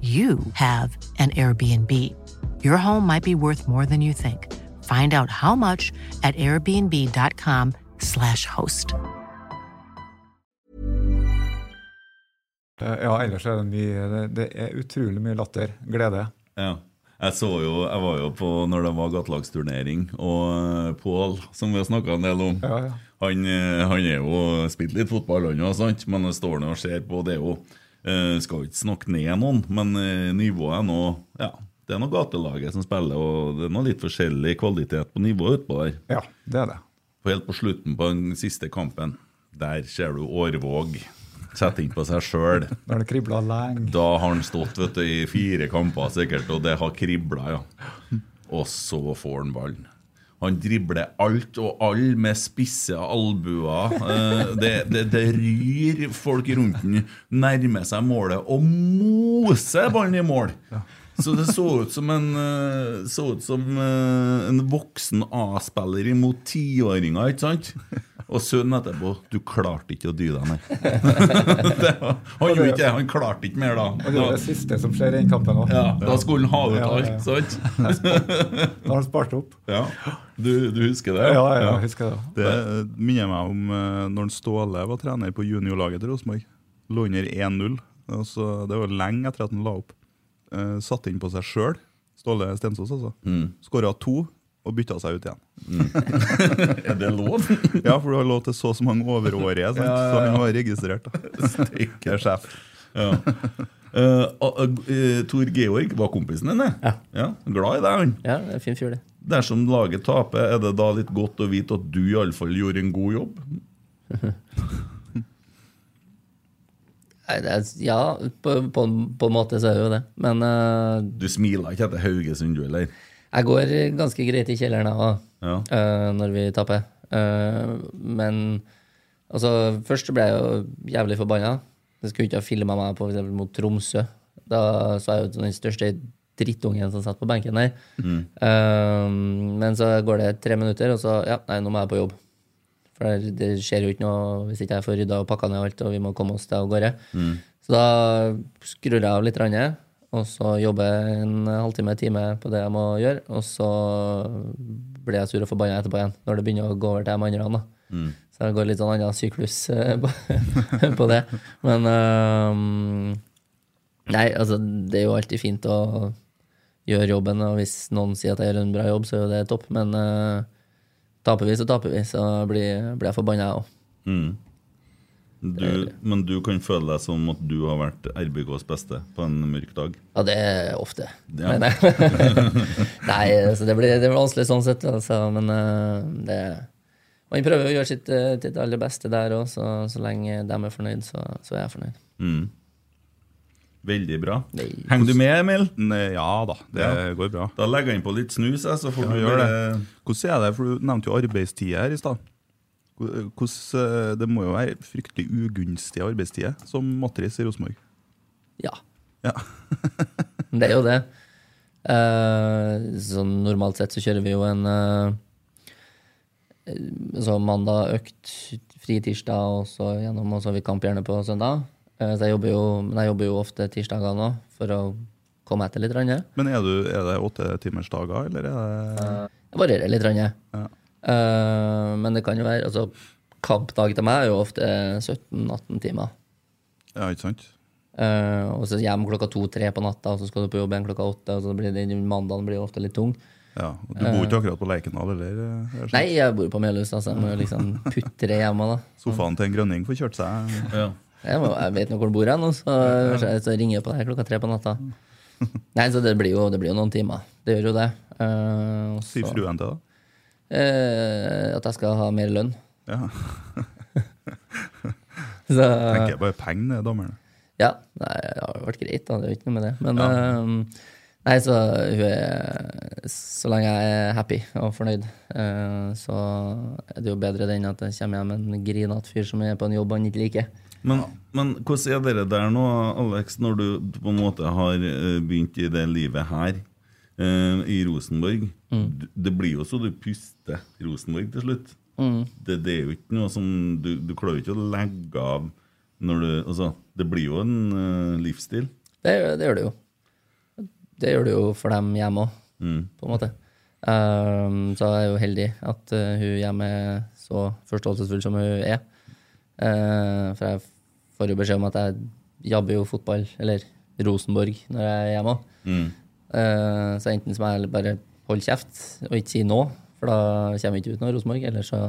S7: you have an Airbnb. Your home might be worth more than you think. Find out how much at airbnb.com/slash host.
S5: Eh, Ja, ellers er det mye Det, det er utrolig mye latter. Glede.
S2: Ja. Jeg, så jo, jeg var jo på når det var gatelagsturnering, og eh, Pål, som vi har snakka en del om,
S5: Ja, ja.
S2: Han, eh, han er jo spilt litt fotball, han òg, sant? men han står nå og ser på. Det er jo eh, Skal ikke snakke ned noen, men eh, nivået er nå Ja, det er nå gatelaget som spiller, og det er nå litt forskjellig kvalitet på nivået utpå der.
S5: Ja, det er det.
S2: For helt på slutten på den siste kampen, der ser du Årvåg sette inn på seg sjøl.
S5: Da har det kribla lenge.
S2: Da har han stått vet du, i fire kamper sikkert, og det har kribla, ja. Og så får han ballen. Han dribler alt og alle med spisse albuer. Eh, Det, det, det ryr folk rundt han, nærmer seg målet og moser ballen i mål. Så det så ut som en, eh, så ut som eh, en voksen A-spiller imot tiåringer, ikke sant? Og sønnen etterpå 'Du klarte ikke å dy deg, nei'. Det var- han gjorde ikke det. Han klarte ikke mer da.
S5: Og det er det
S2: Da,
S5: siste som skjer i den kampen òg.
S2: ja, da skulle han ha ut
S5: Ja, ja.
S2: alt, sant?
S5: Da har han spart opp.
S2: Ja. Du, du husker det?
S5: Ja, ja, jeg husker det.
S3: Det eh, minner meg om eh, når Ståle var trener på juniorlaget til Rosenborg. Lå under 1-0. Altså, det var lenge etter at han la opp. Eh, Satt inn på seg sjøl, Ståle Stensås, altså.
S2: Mm.
S3: Skåra to og bytta seg ut igjen.
S2: Er det lov?
S3: Ja, for du har lov til så og så mange overårige, sant? så han var registrert. da. Det er sjef.
S2: Ja. Eh, og, eh, Tor Georg var kompisen din, det?
S4: Ja.
S2: Glad i deg, han.
S4: Ja, det er en fin fyr, det.
S2: Dersom laget taper, er det da litt godt å vite at du iallfall gjorde en god jobb?
S4: Nei, det er, ja, på, på, på en måte så er det jo det. Men eh,
S2: Du smiler ikke etter Haugesund, du heller?
S4: jeg går ganske greit i kjelleren da,
S2: Ja.
S4: eh, når vi taper. Eh, men altså, først så ble jeg jo jævlig forbanna. Jeg skulle ikke ha filma meg på, for eksempel, mot Tromsø. Da så jeg jo den største drittungen som satt på benken der. Eh, men så går det tre minutter, og så Ja, nei, nå må jeg på jobb. For det, det skjer jo ikke noe hvis ikke jeg får rydda og pakka ned alt, og vi må komme oss til av gårde. Så da skrur jeg av litt, randet, og så jobber jeg en halvtime, time på det jeg må gjøre. Og så blir jeg sur og forbanna etterpå igjen, når det begynner å gå over til de andre. da. Så det går litt sånn annen syklus eh, på, på det. ehm, Men øhm, Nei, altså, det er jo alltid fint å gjør jobben. Og hvis noen sier at jeg gjør en bra jobb, så er jo det topp. Men eh, taper vi, så taper vi. Så blir, blir jeg forbanna, jeg òg.
S2: Mm. Du, men du kan føle deg som at du har vært RBKs beste på en mørk dag?
S4: Ja, det er ofte.
S2: Ja.
S4: Men, Nei, så det blir, det blir vanskelig sånn sett. Altså, men eh, det Man prøver å gjøre sitt eh, til det aller beste der òg, så, så lenge de er fornøyd, så, så er jeg fornøyd.
S2: Mm. Veldig bra. Henger du med, Emil?
S3: ja da, det går bra.
S2: Da legger jeg inn på litt snus, jeg, så får
S3: Ja,
S2: du
S3: gjør
S2: gjøre
S3: det.
S2: det.
S3: Hvordan er det, for Du nevnte jo arbeidstid her i stad. Hvor- hvordan, eh, Det må jo være fryktelig ugunstig arbeidstid eh, som matris i Rosenborg.
S4: Ja.
S3: Ja.
S4: Men det er jo det. Eh, sånn normalt sett så kjører vi jo en eh, eh, Så mandag økt, fri tirsdag, og så gjennom, og så har vi kamp gjerne på søndag. Eh, så jeg jobber, jo, men jeg jobber jo ofte tirsdager nå for å komme etter litt. Rann, jeg.
S3: Men er, du, er det åttetimersdager, eller er det
S4: Det varierer litt. Rann, jeg. Eh, men det kan jo være altså, Kampdag til meg er jo ofte 17-18 timer.
S3: Ja, ikke sant?
S4: Eh, og så hjem klokka to-tre på natta, og så skal du på jobb igjen klokka åtte. Og så blir det, mandagen blir jo ofte litt tung.
S3: Ja, og Du bor ikke akkurat på Lerkendal, eller? eh, er det sant?
S4: Nei, jeg bor på Melhus, altså. Jeg må jo liksom putre hjemme, da.
S3: Sofaen til en grønning får kjørt seg.
S2: Ja.
S4: Jeg, må, jeg vet nå hvor han bor, jeg, nå, så, så ringer jeg på deg klokka tre på natta. Nei, så det blir jo, det blir jo noen timer. Det gjør jo det. Eh, og
S3: Sier
S4: så-
S3: fruen til deg?
S4: Eh, at jeg skal ha mer lønn.
S3: Ja.
S4: Eh. Så,
S3: Tenker jeg bare penger, det, damer.
S4: Ja, nei, det har jo vært greit, da. Det er jo ikke noe med det. Men ehm, nei, så hun er Så lenge jeg er happy og fornøyd, eh, så er det jo bedre det enn at jeg kommer hjem med en grinete fyr som er på en jobb han ikke liker.
S2: Men, men hvordan er dere der nå, Alex, når du på en måte har eh, begynt i det livet her, eh, i Rosenborg?
S4: Mm.
S2: D- Det blir jo så du puster Rosenborg til slutt.
S4: Mm.
S2: Det, det er jo ikke noe som Du, du klarer jo ikke å legge av når du Altså, det blir jo en eh, livsstil.
S4: Det, det gjør det jo. Det gjør det jo for dem hjemme òg,
S2: Mm.
S4: på en måte. Ehm, så jeg er jo heldig at eh, hun hjemme er så forståelsesfull som hun er. Eh, for jeg får jo beskjed om at jeg jabber jo fotball, eller Rosenborg, når jeg er hjemme. også.
S2: Mm.
S4: Eh, så enten så må jeg bare holde kjeft og ikke si noe, for da kommer jeg ikke ut noe Rosenborg, eller så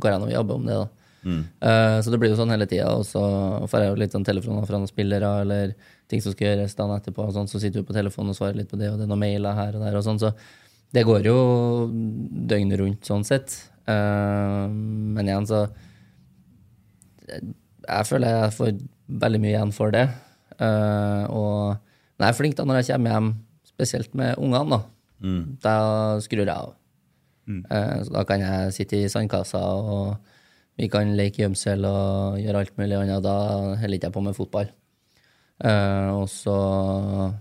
S4: går jeg nå og jabber om det, da.
S2: Mm.
S4: Eh, så det blir jo sånn hele tida, og så får jeg jo litt sånn telefoner fra noen spillere eller ting som skal gjøres dagen etterpå, og sånn, så sitter du på telefonen og svarer litt på det, og det er noen mailer her og der og sånn, så det går jo døgnet rundt sånn sett. Eh, men igjen, så jeg føler jeg får veldig mye igjen for det. Eh, og men jeg er flink da når jeg kommer hjem, spesielt med ungene. Da
S2: Mm.
S4: Da skrur jeg av. Eh, så da kan jeg sitte i sandkassa, og vi kan leke gjemsel og gjøre alt mulig annet. Da holder ikke jeg på med fotball. Eh, og så,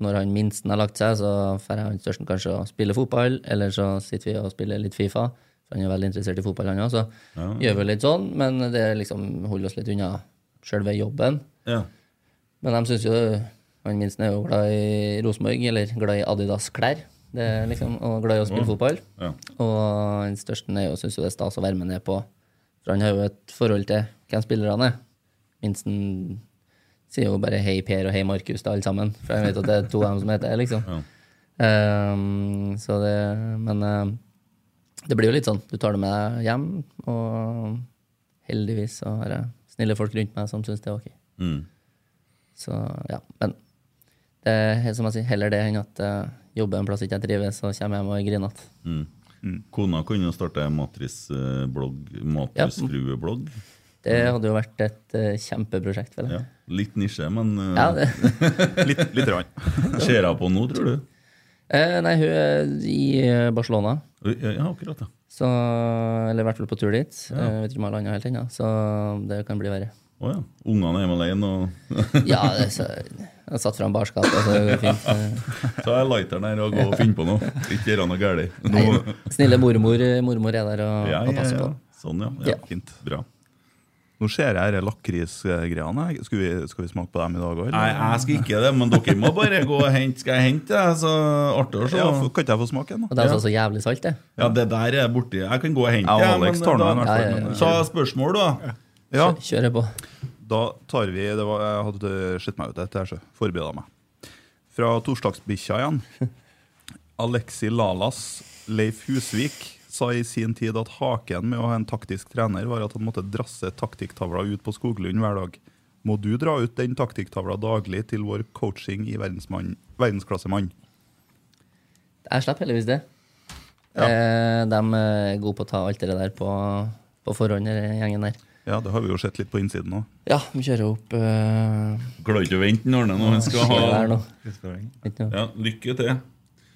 S4: når han minsten har lagt seg, så får jeg han størsten kanskje å spille fotball, eller så sitter vi og spiller litt Fifa. For han er veldig interessert i fotball, han òg, så
S2: Ja.
S4: gjør vi litt sånn. Men det liksom holder oss litt unna sjølve jobben.
S2: Ja.
S4: Men de syns jo Han minsten er jo glad i Rosenborg, eller glad i Adidas-klær. Det er liksom, og glad i å spille fotball.
S2: Ja.
S4: Og den største er jo, syns jo det er stas å være med ned på For han har jo et forhold til hvem spillerne er. Minsten sier jo bare 'hei Per' og 'hei Markus' til alle sammen. For jeg vet at det er to av dem som heter det, liksom.
S2: Ja.
S4: Ehm, så det Men eh, det blir jo litt sånn. Du tar det med deg hjem, og heldigvis så har jeg snille folk rundt meg som syns det er ok.
S2: Mm.
S4: Så ja, men det er he- som jeg sier, heller det enn at jeg jobber en plass ikke jeg trives, så kommer jeg hjem og er grinete.
S2: Mm. Kona kunne jo starte matrisblogg, matrisfrueblogg.
S4: Det hadde jo vært et eh, kjempeprosjekt, vel.
S2: Ja. Litt nisje, men eh,
S4: Ja, det,
S3: Litt, litt rann.
S2: ser jeg på nå, tror du?
S4: eh, nei, hun er i eh, Barcelona,
S2: Oi, Ja, akkurat, ja.
S4: så, eller i hvert fall på tur dit.
S2: Ja.
S4: Eh, vet ikke om jeg har landa helt ennå, så det kan bli verre.
S2: Å ja. Ungene er hjemme alene, og
S4: Ja, det, så, jeg satt fram barskapet, så det går fint. Eh,
S2: så er lighteren her og gå og finne på noe. Ikke gjør noe galt.
S4: Nei,
S2: Nå-
S4: snille mormor, mormor er der og,
S2: Ja,
S4: og
S2: ja,
S4: passer
S2: ja.
S4: på.
S2: Sånn, ja.
S4: Ja.
S2: ja. Fint. Bra.
S3: Nå ser jeg disse lakrisgreiene. her. Skal, vi- skal vi smake på dem i dag òg?
S2: Nei, jeg skal ikke det, men dere må bare gå og hente. Skal jeg hente det? Så artig å se.
S3: Ja, for- kan ikke jeg få smake en?
S4: Og
S3: da?
S4: det er altså så jævlig salt, det.
S2: Ja, det der er borti. Jeg kan gå og hente
S3: Jeg og
S2: det.
S3: Alex tar den i hvert
S4: Ja,
S3: fall.
S4: ja, ja.
S3: men-
S2: Så spørsmål, da.
S3: Ja,
S4: Kjører på.
S3: Da tar vi det var, Jeg hadde sett meg ut etter, så forbereda meg. Fra torsdagsbikkja igjen. Alexi Lalas Leif Husvik sa i sin tid at haken med å ha en taktisk trener var at han måtte drasse taktikktavla ut på Skoglund hver dag. Må du dra ut den taktikktavla daglig til vår coaching i verdensmann- verdensklassemann?
S4: Jeg slapp heldigvis det. Eh, de er gode på å ta alt det der på, på forhånd, den gjengen der.
S3: Ja, det har vi jo sett litt på innsiden òg.
S4: Ja, vi kjører opp eh,
S2: Klarer ikke å vente Arne nå. Han skal ha
S4: Skal være
S2: ja, Lykke til.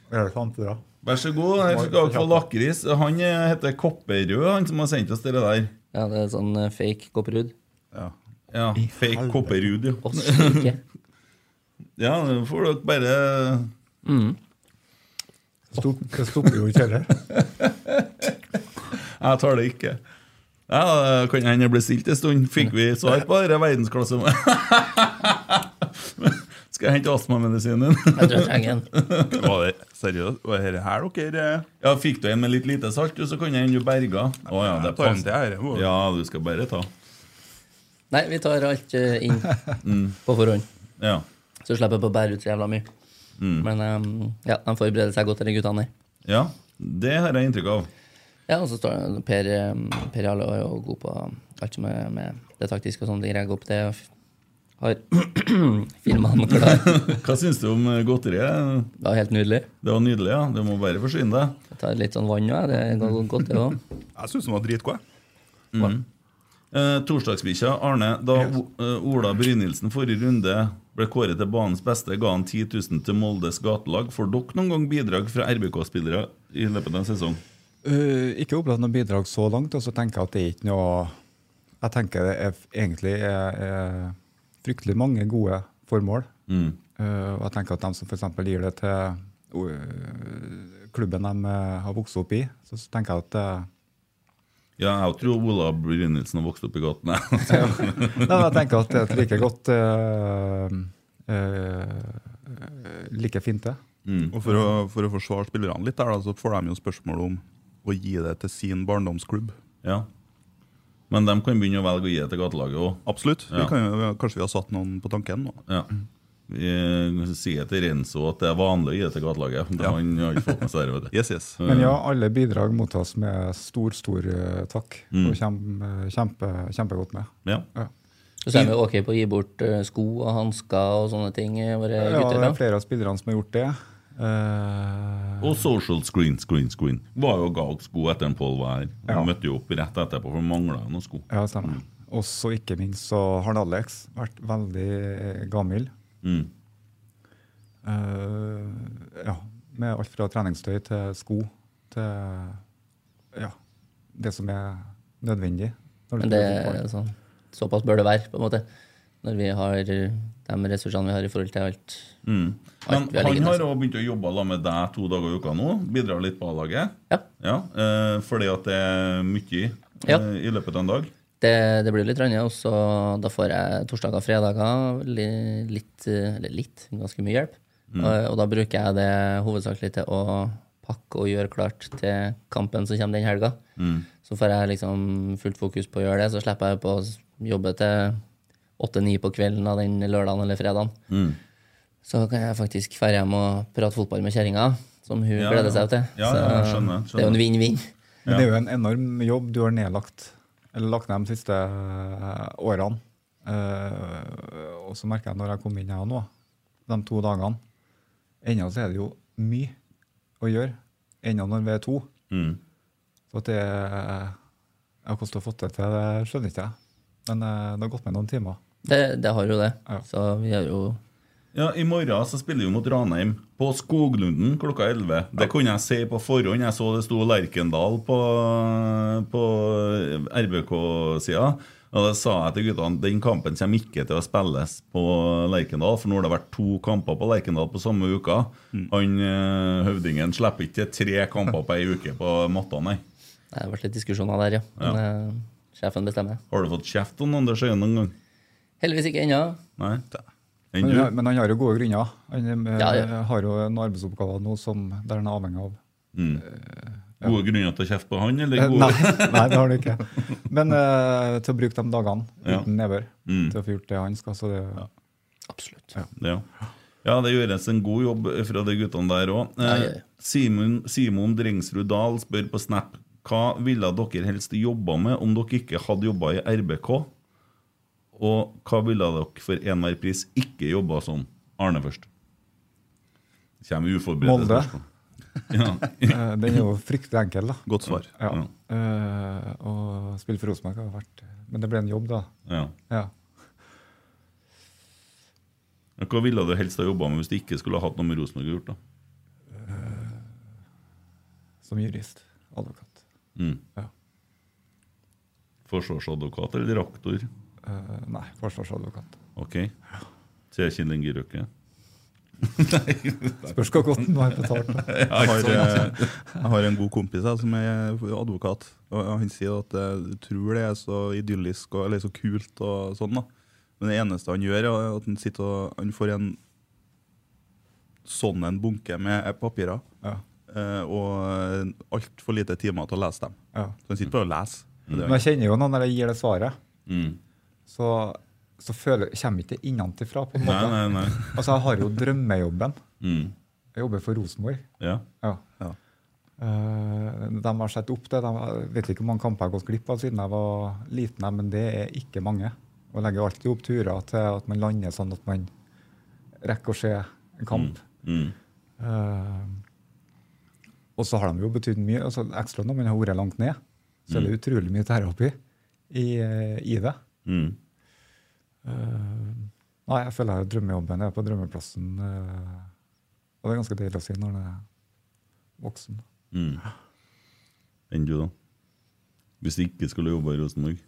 S5: Gjør det for andre, da.
S2: Vær så god. Her skal dere få lakris. Han eh, heter Kopperud, han som har sendt oss det der.
S4: Ja, det er sånn eh, fake kopperud.
S2: Ja. fake Kopperud, ja.
S4: Oss ikke.
S2: ja, nå får dere bare
S5: Stopp, det stopper jo ikke heller.
S2: Jeg tar det ikke. Ja, det Kan hende det blir stilt en stund. Fikk vi svar på dette verdensklasse? Skal jeg hente astmamedisinen?
S4: Jeg tror jeg trenger en.
S2: Var det seriøst? Var det her dere eh, Ja, Fikk du en med litt lite salt, du, så kan jeg hende du berga? Å ja, det
S3: jeg tar en
S2: passer.
S3: til her, jeg må-
S2: Ja, du skal bare ta.
S4: Nei, vi tar alt eh, inn
S2: Mm.
S4: på forhånd.
S2: Ja.
S4: Så slipper jeg på å bære ut så jævla mye.
S2: Mm.
S4: Men eh, ja, de forbereder seg godt, de guttene der.
S2: Ja, det har jeg inntrykk av.
S4: Ja, og så står det Per, eh, per Jarle er jo god på alt som er med det taktiske og sånne ting. Jeg går på det og f- har filmene klar.
S2: Hva syns du om eh, godteriet?
S4: Det var helt nydelig.
S2: Det var nydelig, ja. Du må bare forsyne deg.
S4: Jeg tar litt sånn vann òg, det går godt, det òg.
S3: Jeg syns den var dritgod. jeg.
S2: Mm. Eh, Torsdagsbikkja, Arne. Da O- eh, Ola Brynildsen forrige runde ble kåret til banens beste, ga han 10 000 til Moldes gatelag. Får dere noen gang bidrag fra RBK-spillere i løpet av en sesong?
S5: Eh, ikke opplevd noe bidrag så langt, og så tenker jeg at det er ikke noe Jeg tenker det er f- egentlig er, er fryktelig mange gode formål.
S2: Mm.
S5: Eh, og jeg tenker at de som f.eks. gir det til eh, klubben de eh, har vokst opp i, så, så tenker jeg at eh,
S2: Ja, jeg tror Ola Brynildsen har vokst opp i gatene.
S5: Nei, men jeg tenker at det er et like godt eh, eh, Like fint, det.
S3: Og for å, for å forsvare spillerne litt, der, da, så får de jo spørsmål om å gi det til sin barndomsklubb.
S2: ja. Men de kan begynne å velge å gi det til gatelaget òg.
S3: Absolutt.
S2: Ja.
S3: Vi kan, jo- kanskje vi har satt noen på tanken nå.
S2: Ja. Vi eh, sier til Renzo at det er vanlig å gi det til gatelaget.
S3: Ja.
S2: Han har ikke fått med seg det. vet du.
S3: Yes, yes.
S5: Men ja, alle bidrag mottas med stor, stor eh, takk.
S2: Mm.
S5: Og kommer kjempe, kjempegodt med.
S2: Eh, Ja.
S4: Så er vi ok på å gi bort eh, sko og hansker og sånne ting. eh, Våre
S5: Ja,
S4: gutter
S5: det
S4: da.
S5: er flere av spillerne som har gjort det. Eh,
S2: Og social screen, screen, screen. Var jo ga oss sko etter en Pål Wær. Ja.
S5: Ja.
S2: Møtte jo opp rett etterpå, for mangla noen sko.
S5: ja, stemmer. Også ikke minst så har Alex vært veldig eh, gammel.
S2: Mm.
S5: Eh, ja, med alt fra treningstøy til sko til ja, det som er nødvendig. når du
S4: Men det
S5: spiller fotball.
S4: er sånn, såpass bør det være, på en måte. Når vi har de ressursene vi har i forhold til alt.
S2: Mm.
S4: alt
S2: Men
S4: altså. vi har
S2: han har
S4: liggende.
S2: også begynt å jobbe sammen med deg to dager i uka nå. Bidrar litt på A-laget.
S4: Ja.
S2: eh, fordi at det er mye
S4: Ja.
S2: eh, i løpet av en dag.
S4: Det, det blir litt annet, og så da får jeg torsdager og fredager li- litt, eh, eller litt, ganske mye hjelp.
S2: Mm.
S4: Og, og da bruker jeg det hovedsakelig til å pakke og gjøre klart til kampen som kommer den helga.
S2: Mm.
S4: Så får jeg liksom fullt fokus på å gjøre det, så slipper jeg på å s- jobbe til åtte-ni på kvelden av den lørdagen eller fredagen.
S2: Mm.
S4: Så kan jeg faktisk dra hjem og prate fotball med kjerringa, som hun
S2: Ja,
S4: gleder
S2: ja.
S4: seg til.
S2: Ja,
S4: så
S2: ja, jeg skjønner, skjønner.
S4: det er jo en vinn-vinn.
S5: Men det er jo en enorm jobb du har nedlagt, eller lagt ned de siste eh, årene. Eh, og så merker jeg når jeg kom inn her nå, de to dagene Ennå så er det jo mye å gjøre. Ennå når vi er to.
S2: Mm.
S5: Så at det ja, Hvordan du har fått det til, det skjønner ikke jeg. Men eh, det har gått med noen timer.
S4: Det, det har jo det.
S5: Ja.
S4: Så vi har jo
S2: Ja, I morgen så spiller vi mot Ranheim på Skoglunden klokka 11. Det kunne jeg si på forhånd. Jeg så det sto Lerkendal på, på RBK-sida. Og da sa jeg til guttene den kampen kommer ikke til å spilles på Lerkendal. For nå har det vært to kamper på Lerkendal på samme uka.
S5: Mm.
S2: Han eh, høvdingen slipper ikke til tre kamper på ei uke på matta, nei.
S4: Det har vært litt diskusjoner der, ja. Men eh, sjefen bestemmer.
S2: Har du fått kjeft av Anders Øyen noen gang?
S4: Heldigvis ikke ennå.
S2: Nei? Enn
S5: Men,
S2: du?
S5: men han har jo gode grunner. Han eh,
S4: Ja, ja.
S5: har jo en arbeidsoppgave nå som, der han er avhengig av
S2: Mm. Gode grunner til å kjefte på han, eller
S5: Eh,
S2: gode
S5: Nei, nei, det har du ikke. Men eh, til å bruke de dagene uten
S2: Ja.
S5: nedbør
S2: Mm.
S5: til å få gjort det han skal. Så det,
S4: Absolutt.
S2: Ja. Ja, det gjøres en god jobb fra de guttene der òg.
S4: Ja, ja, ja.
S2: Simon, Simon Drengsrud Dahl spør på Snap hva ville dere helst jobba med om dere ikke hadde jobba i RBK? Og hva ville dere for enhver pris ikke jobba som? Arne først. Det Kommer uforberedt.
S5: Molde.
S2: Ja.
S5: Eh, Den er jo fryktelig enkel, da.
S2: Godt svar.
S5: Ja. Eh, og spille for Rosenborg har vært Men det ble en jobb, da.
S2: Ja.
S5: Ja.
S2: Hva ville du helst ha jobba med hvis du ikke skulle ha hatt noe med Rosenborg å gjøre? da?
S5: Som jurist. Advokat.
S2: Mm.
S5: Ja.
S2: Forsvarsadvokat eller aktor?
S5: Eh, nei, forsvarsadvokat.
S2: Ok. Sier Kjell Inge Røkke.
S5: Spørs hvor godt den var betalt.
S3: Jeg
S5: da.
S3: har, eh, jeg har en god kompis jeg, som er advokat. og Han sier at eh, du tror det er så idyllisk og, eller så kult, og sånn da. men det eneste han gjør, er at han, sitter og, han får en sånn en bunke med eh, papirer.
S5: Ja.
S3: eh, Og altfor lite timer til å lese dem.
S5: Ja.
S3: Så han sitter bare og leser. Det er
S5: Men jeg kjenner jo noen når jeg gir det svaret,
S2: Mm.
S5: så, så føler, kommer ikke det innenfra. på en
S2: Nei,
S5: måte.
S2: nei, nei.
S5: Altså, jeg har jo drømmejobben.
S2: Mm.
S5: Jeg jobber for Rosenborg.
S2: Ja.
S5: Ja.
S3: Ja.
S5: Eh, de har sett opp det. De jeg vet ikke hvor mange kamper jeg har gått glipp av siden jeg var liten, men det er ikke mange. Og jeg legger jo alltid opp turer til at man lander sånn at man rekker å se en kamp.
S2: Mm.
S5: Eh, og så har de jo betydd mye. altså Ekstra når man har vært langt ned, så er det utrolig mye terapi i, i det.
S2: Mm.
S5: Eh, nei, jeg føler jeg har drømmejobben. Jeg er på drømmeplassen. eh, og det er ganske deilig å si når man er voksen.
S2: Mm. Enn du, da? Hvis du ikke skulle jobba i Rosenborg?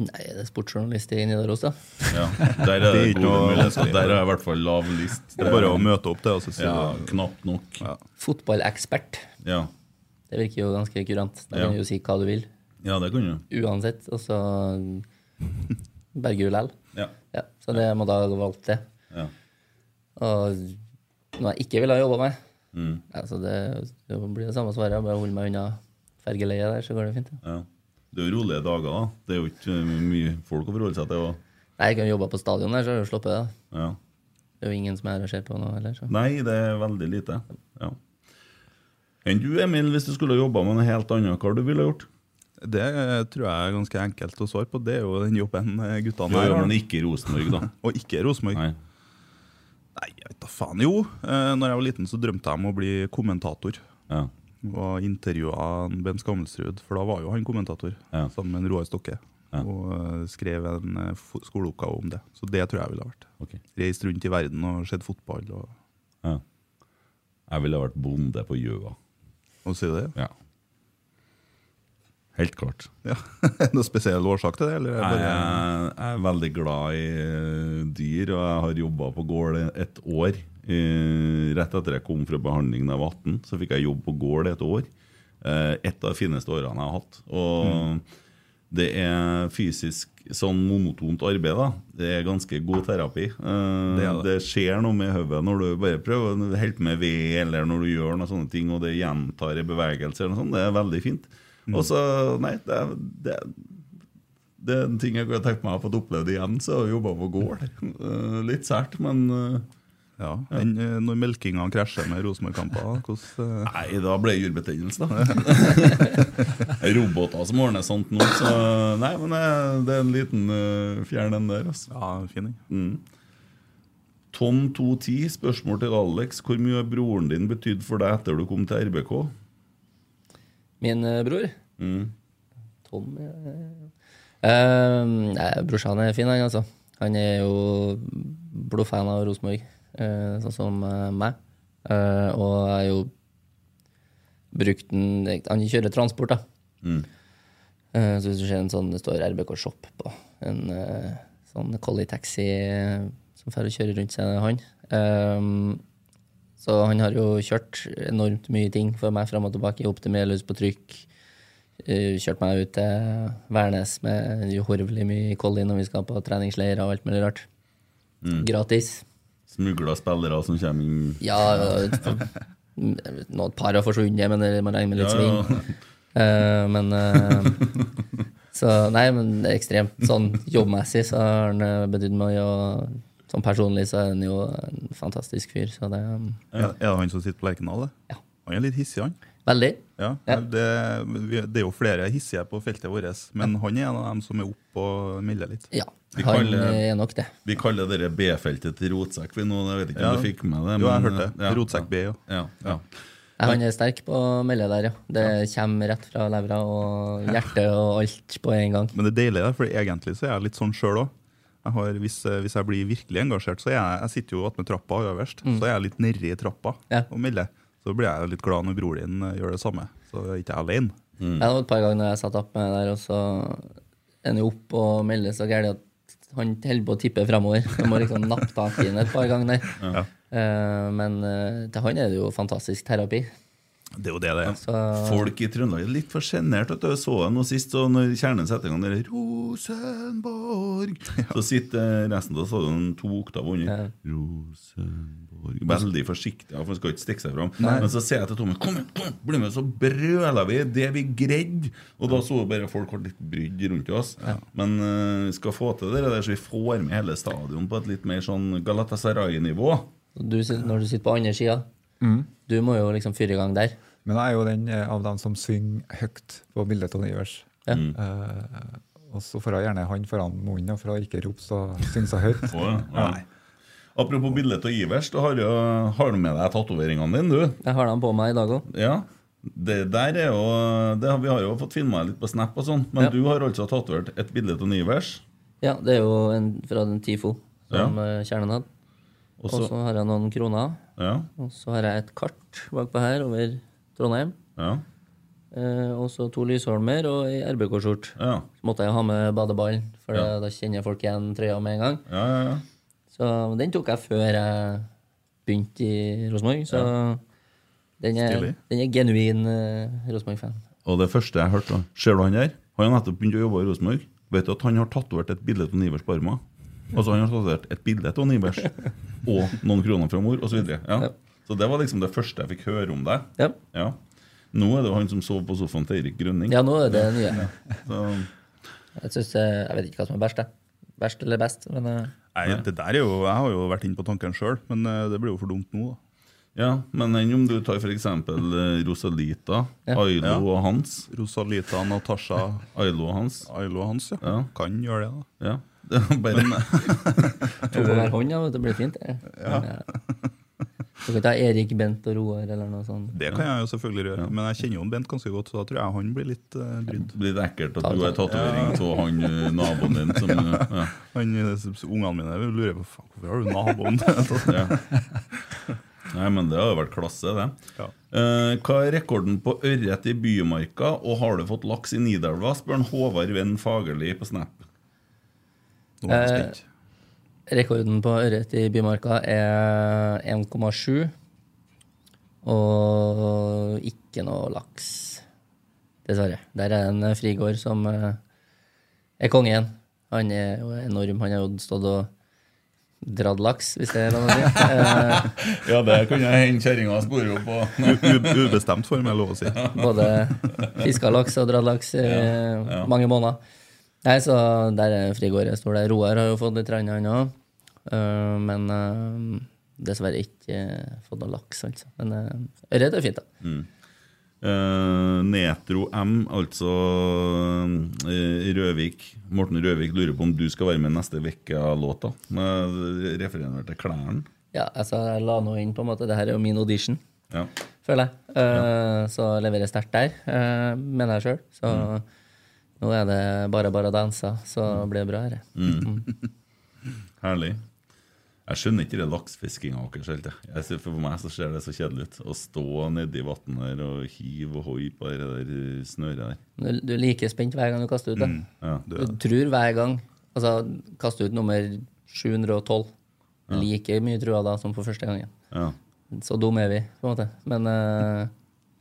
S4: Nei, det er sportsjournalist i Nidaros, da.
S2: Ja. Der er det,
S3: Det er ikke
S2: gode
S3: noe
S2: muligheter. Der har jeg i hvert fall lav list.
S3: Det er bare å møte opp til og så si
S2: Ja,
S3: det.
S2: knapt nok.
S3: Ja.
S4: Fotballekspert.
S2: Ja.
S4: Det virker jo ganske kurant. Da
S2: Ja.
S4: kan du jo si hva du vil,
S2: ja, det kan du.
S4: uansett. Og så berger du lell.
S2: Ja.
S4: Ja, så det må da ha valgt det.
S2: Ja.
S4: Og noe jeg ikke ville ha jobba med.
S2: Mm.
S4: Ja, så det, det blir det samme svaret. Bare hold meg unna fergeleiet der, så går det fint. Ja.
S2: ja. Det er jo rolige dager, da. Det er jo ikke uh, mye folk å forholde seg til. Og,
S4: Nei, jeg kan jobbe på stadion der, så har jeg jo sluppet det. da.
S2: ja.
S4: Det er jo ingen som er her og ser på nå heller. Så.
S2: Nei, det er veldig lite. Ja. Enn du, Emil, hvis du skulle jobba med noe helt annet, hva du ville gjort?
S3: Det eh, tror jeg er ganske enkelt å svare på. Det er jo den jobben eh, guttene
S2: Ja,
S3: her
S2: ja,
S3: har.
S2: men ikke i Rosenborg, da.
S3: Og ikke Rosenborg.
S2: Nei.
S3: Nei, jeg vet da faen. Jo, eh, når jeg var liten, så drømte jeg om å bli kommentator.
S2: Ja.
S3: Og intervjua Ben Skammelsrud, for da var jo han kommentator
S2: Ja.
S3: sammen med Roar Stokke.
S2: Ja.
S3: Og eh, skrev en eh, fo- skoleoppgave om det. Så det tror jeg ville vært.
S2: ok.
S3: Reist rundt i verden og sett fotball. og,
S2: Ja. Jeg ville vært bonde på Gjøa.
S3: og si det.
S2: Ja. Helt klart.
S3: Ja. Noe spesiell årsak til det? Eller er det
S2: Jeg,
S3: bare,
S2: jeg er veldig glad i eh, dyr, og jeg har jobba på gård et år. Eh, Rett etter jeg kom fra behandling da jeg var 18, så fikk jeg jobb på gård et år. Eh, Et av de fineste årene jeg har hatt.
S3: Mm.
S2: Og det er fysisk sånn monotont arbeid. da. Det er ganske god terapi. Eh,
S3: Det er det.
S2: det skjer noe med hodet når du bare prøver å holde på med ved, eller når du gjør noen sånne ting, og det gjentar en bevegelse. eller noe sånt. Det er veldig fint.
S3: Mm.
S2: Og så, nei, det er, det, er- det er en ting jeg kunne tenkt meg å ha fått opplevd igjen, så har jeg jobba på gård. Eh, Litt sært, men eh,
S3: ja. Den, eh, når melkinga krasjer med Rosenborg-kamper, hvordan eh,
S2: Nei, da ble det jurbetennelse, da. Roboter som ordner sånt nå, så Nei, men eh, det er en liten eh, fjern, den der. altså. Mm.
S3: Ja, fin den.
S2: Tom 210, spørsmål til Alex. Hvor mye har broren din betydd for deg etter du kom til RBK?
S4: Min eh, bror,
S2: Mm.
S4: Tom ja, ja, ja. Eh, Nei, brorsan er fin, han, altså. Han er jo blodfan av Rosenborg, eh, sånn som eh, meg. Eh, og jeg har jo brukt den Han kjører transport, da.
S2: Mm.
S4: Eh, så hvis du ser en sånn, det står RBK Shop på en eh, sånn collie taxi eh, som får kjøre rundt seg, det er han. Ehm, så han har jo kjørt enormt mye ting for meg fram og tilbake. Optimer løs på trykk. Eh, Kjørt meg ut til Værnes med uhorvelig mye collie når vi skal på treningsleirer og alt mulig rart.
S2: Mm.
S4: Gratis.
S2: Smugla spillere som kommer inn
S4: Ja, noen par har forsvunnet, men det må regne med litt sving.
S2: ja.
S4: Eh, men eh, Så Nei, men det er ekstremt sånn jobbmessig så har han eh, betydd mye. Og Sånn personlig så er han jo en fantastisk fyr. Så det, um,
S3: Er, er det han som sitter på Lerkendal? Ja. Han er litt hissig, han.
S4: Veldig.
S3: Ja, Det, vi- det er jo flere hissige på feltet vårt, men han er en av dem som er oppe og melder litt.
S4: Ja,
S2: Vi eh, han kaller- er
S4: nok det.
S2: Vi kaller dere B-feltet til rotsekk. Vi nå, jeg vet ikke
S3: Ja.
S2: om du fikk med det.
S3: Jo, jeg
S2: men-
S3: hørte det. Rotsekk B, ja.
S2: ja, ja.
S4: Nei, han er sterk på å melde der, ja. Det kommer rett fra levra og hjertet og alt på en gang.
S3: Men det er deilig, da, for egentlig så er jeg litt sånn sjøl òg. Hvis, eh, hvis jeg blir virkelig engasjert, så er jeg, jeg sitter jo attmed trappa øverst.
S4: Mm.
S3: Så er jeg litt nedi trappa og melder. Så blir jeg jo litt glad når bror din eh, gjør det samme. Så er jeg ikke alene.
S4: Jeg hadde et par ganger når jeg satt opp med det der, og så er han jo opp og melder så gærent at han holder på å tippe framover. Jeg må liksom nappe tak i han et par ganger der.
S3: Ja.
S4: Eh, Men eh, til han er det jo fantastisk terapi.
S3: Det er jo det det er.
S2: Folk i Trøndelag er litt for sjenert. vet du. Jeg så henne nå sist, og når kjernen setter i gang der, Rosenborg Så sitter resten av stadion to oktaver under. Rosenborg Veldig forsiktig, ja, for han skal ikke stikke seg fram.
S3: Nei.
S2: Men så sier jeg til Tommy Kom igjen, kom, igjen, bli med, så brøler vi det vi greide! Og da så bare folk ble litt brydd rundt oss. Men eh, vi skal få til det der, så vi får med hele stadion på et litt mer sånn Galatasaray-nivå.
S4: Du, sit- når du sitter på andre sida,
S5: Mm.
S4: du må jo liksom fyre i gang der.
S5: Men jeg er jo den eh, av dem som synger høyt på bildet av Nivers.
S4: Ja.
S5: Eh, og så får jeg gjerne han foran munnen, da, for å ikke rope så synger så høyt.
S2: Å, ja. Ja. Apropos bildet av Ivers, da har, jo, har du med deg tatoveringene dine, du?
S4: Jeg har dem på meg i dag òg.
S2: Ja. Det der er jo, det har, vi har jo fått filma litt på Snap, og sånn, men
S4: Ja.
S2: du har altså tatovert et bilde av Ivers.
S4: Ja, det er jo en, fra den TIFO som eh, kjernen hadde.
S2: Og
S4: Og
S2: så-
S4: så har jeg noen kroner.
S2: Ja.
S4: Og så har jeg et kart bakpå her over Trondheim.
S2: Ja.
S4: Eh, og så to lysholmer og ei RBK-skjorte.
S2: Ja.
S4: Så måtte jeg jo ha med badeballen, for
S2: Ja.
S4: da kjenner folk igjen trøya med en gang.
S2: Ja, ja, ja.
S4: Så den tok jeg før jeg begynte i Rosenborg. Så den, er,
S2: Stilig.
S4: den er genuin eh, Rosenborg-fan.
S2: Og det første jeg hørte, da, ser du han der? Han har nettopp begynt å jobbe i Rosenborg. Vet du at han har tatovert et bilde av Ivers på armen? Altså, han har tatovert et bilde av Ivers og noen kroner fra mor, osv. Ja. Så det var liksom det første jeg fikk høre om deg.
S4: Ja.
S2: Nå er det jo han som sov på sofaen til Eirik Grønning.
S4: Ja, nå er det nye.
S2: Så-
S4: Jeg, synes, eh, jeg vet ikke hva som er verst, jeg. Verst eller best, men eh,
S3: Nei, det der er jo, jeg har jo vært inne på tanken sjøl, men eh, det blir jo for dumt nå. da.
S2: Ja, men enn om du tar for eksempel eh, Rosalita, Ailo
S3: Ja.
S2: og Hans
S3: Rosalita, Natasha
S2: Ailo og Hans.
S3: Ailo og Hans, ja.
S2: Ja.
S3: Kan gjøre det, da.
S2: Ja. Det er bare
S4: to på hver hånd, ja, vet du, det blir fint. Det. Ja. Du kan ikke ha Erik, Bent og Roar eller noe sånt.
S3: Det kan jeg jo selvfølgelig gjøre, men jeg kjenner jo Bent ganske godt, så da tror jeg han blir litt uh, brydd.
S2: Det blir ekkelt at du er tatovering av han eh, naboen din som eh, ja.
S3: Han, eh, s- s- Ungene mine lurer på "Faen, hvorfor har du naboen.
S2: ja. Nei, men det har jo vært klasse, det.
S3: Ja.
S2: Eh, hva er rekorden på ørret i Bymarka, og har du fått laks i Nidelva? spør han Håvard Venn Fagerli på Snap.
S3: Nå er jeg
S4: Eh,
S3: spent.
S4: Rekorden på ørret i Bymarka er 1,7. Og ikke noe laks, dessverre. Der er det en Frigård som eh, er konge igjen. Han er jo enorm. Han har jo stått og dratt laks, hvis det er lov å si. Eh,
S2: Ja, det kunne jeg hende kjerringa spore opp på.
S3: U- u- Ubestemt form, er lov å si.
S4: Både fiska laks og dratt laks i mange måneder. Nei, så der er Frigård jeg står der. Roar har jo fått litt rann, han òg. men eh, dessverre ikke eh, fått noe laks, altså. Men eh, ørret er fint, da.
S2: Eh, Netro M, altså eh, Røvik Morten Røvik lurer på om du skal være med neste uke av låta. Eh, Refererer til klærne.
S4: Ja, altså jeg la nå inn på en måte Det her er jo min audition,
S2: Ja.
S4: føler jeg. Eh, Så leverer jeg sterkt der, eh, mener jeg sjøl. Så nå er det bare bare å danse, så blir det bra. Her.
S2: Herlig. Jeg skjønner ikke det laksefiskinga deres helt. jeg. Jeg ser- For meg så ser det så kjedelig ut. Å stå nedi vannet der og hive og hoi på det der eh, snøret der.
S4: Du, du er like spent hver gang du kaster ut det.
S2: Ja.
S4: Du tror hver gang Altså, kaste ut nummer 712. Like mye trua da som på første gangen.
S2: Ja.
S4: Så dum er vi, på en måte. Men eh,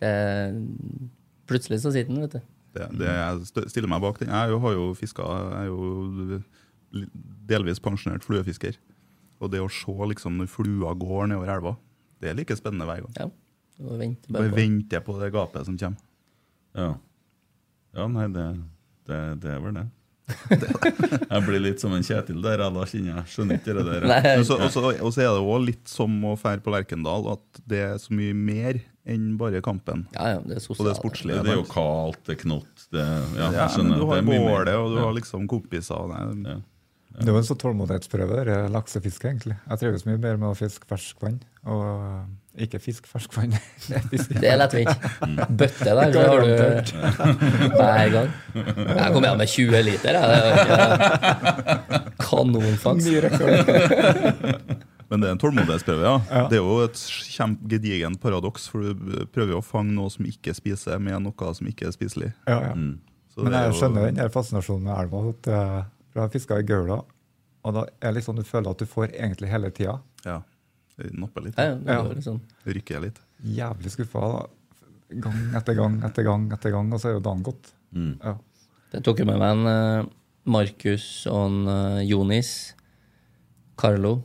S4: det, plutselig så sitter den, vet du.
S3: Det, det, jeg stø- stiller meg bak den. Jeg er jo- har jo fiska Jeg er jo li- delvis pensjonert fluefisker. Og det å se liksom når flua går nedover elva, det er like spennende hver gang.
S4: Ja. Og venter
S3: Bare
S4: bare på.
S3: venter på det gapet som kommer.
S2: Ja, ja nei, det, det, det er vel det. Jeg blir litt som en Kjetil der, jeg da kjenner jeg. Skjønner ikke det der.
S3: Nei.
S2: Men
S3: Og så og så- og så er det òg litt som å fære på Lerkendal, at det er så mye mer enn bare kampen. og det sportslige.
S2: Det er jo
S3: sant?
S2: kaldt, det er knott det, ja,
S3: Ja,
S2: jeg
S3: men
S2: skjønner.
S3: du har
S2: Det er mye mer.
S3: bålet, og du
S2: Ja.
S3: har liksom kompiser. og det er-
S5: Det var en sånn tålmodighetsprøve, det der, laksefiske, egentlig. Jeg trives mye bedre med å fiske ferskvann, og eh, ikke fisk ferskvann.
S4: Det letter vi ikke.
S5: Mm.
S4: Bøtte der, så har du hver gang. Jeg kom hjem med 20 liter, jeg. Kanonfangst.
S3: Men det er en tålmodighetsprøve, ja.
S4: Ja.
S3: Det er jo et kjempe- gedigent paradoks, for du prøver jo å fange noe som ikke spiser, med noe som ikke er spiselig.
S5: Ja, ja.
S3: Mm. Så
S5: Men
S3: det er
S5: jeg
S3: jo-
S5: skjønner den der fascinasjonen med elva. At eh, for jeg har fiska i Gaula, og da er det liksom du føler at du får egentlig hele tida.
S3: Ja. Napper litt.
S5: Ja, ja, det er
S4: sånn.
S3: Rykker litt.
S5: Jævlig skuffa da. gang etter gang etter gang, etter gang, og så er jo dagen gått.
S3: Mm.
S5: Ja.
S4: Det tok jeg med meg en eh, Markus og en eh, Jonis, Carlo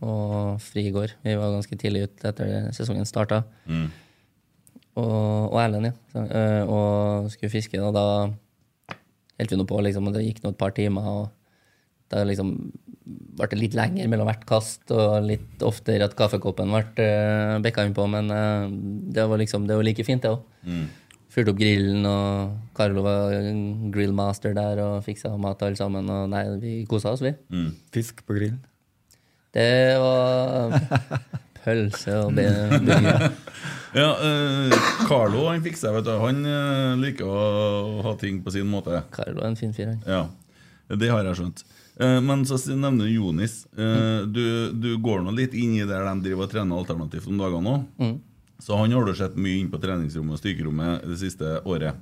S4: og Frigård. Vi var ganske tidlig ute etter det sesongen starta.
S2: Mm.
S4: Og, og Erlend, ja. Så, eh, og skulle fiske, og da holdt vi nå på, liksom, og det gikk nå et par timer. og da liksom ble det litt lenger mellom hvert kast, og litt oftere at kaffekoppen ble uh, bekka innpå, men eh, det var liksom, det var like fint, det òg.
S2: Mm.
S4: Fyrte opp grillen, og Carlo var grillmaster der og fiksa mat til alle sammen. Og nei, vi kosa oss, vi.
S5: Fisk på grillen?
S4: Det var pølse og be- burger.
S2: Ja, eh, Carlo han fikk seg, vet du. Han eh, liker å ha ting på sin måte.
S4: Carlo er en fin fyr, han.
S2: Ja, det har jeg skjønt. Eh, men så s- nevner du Jonis. Eh,
S4: Mm.
S2: du, du går nå litt inn i der de driver og trener alternativt om dagene nå.
S4: Mm.
S2: Så han har du sett mye inn på treningsrommet og styrkerommet det siste året.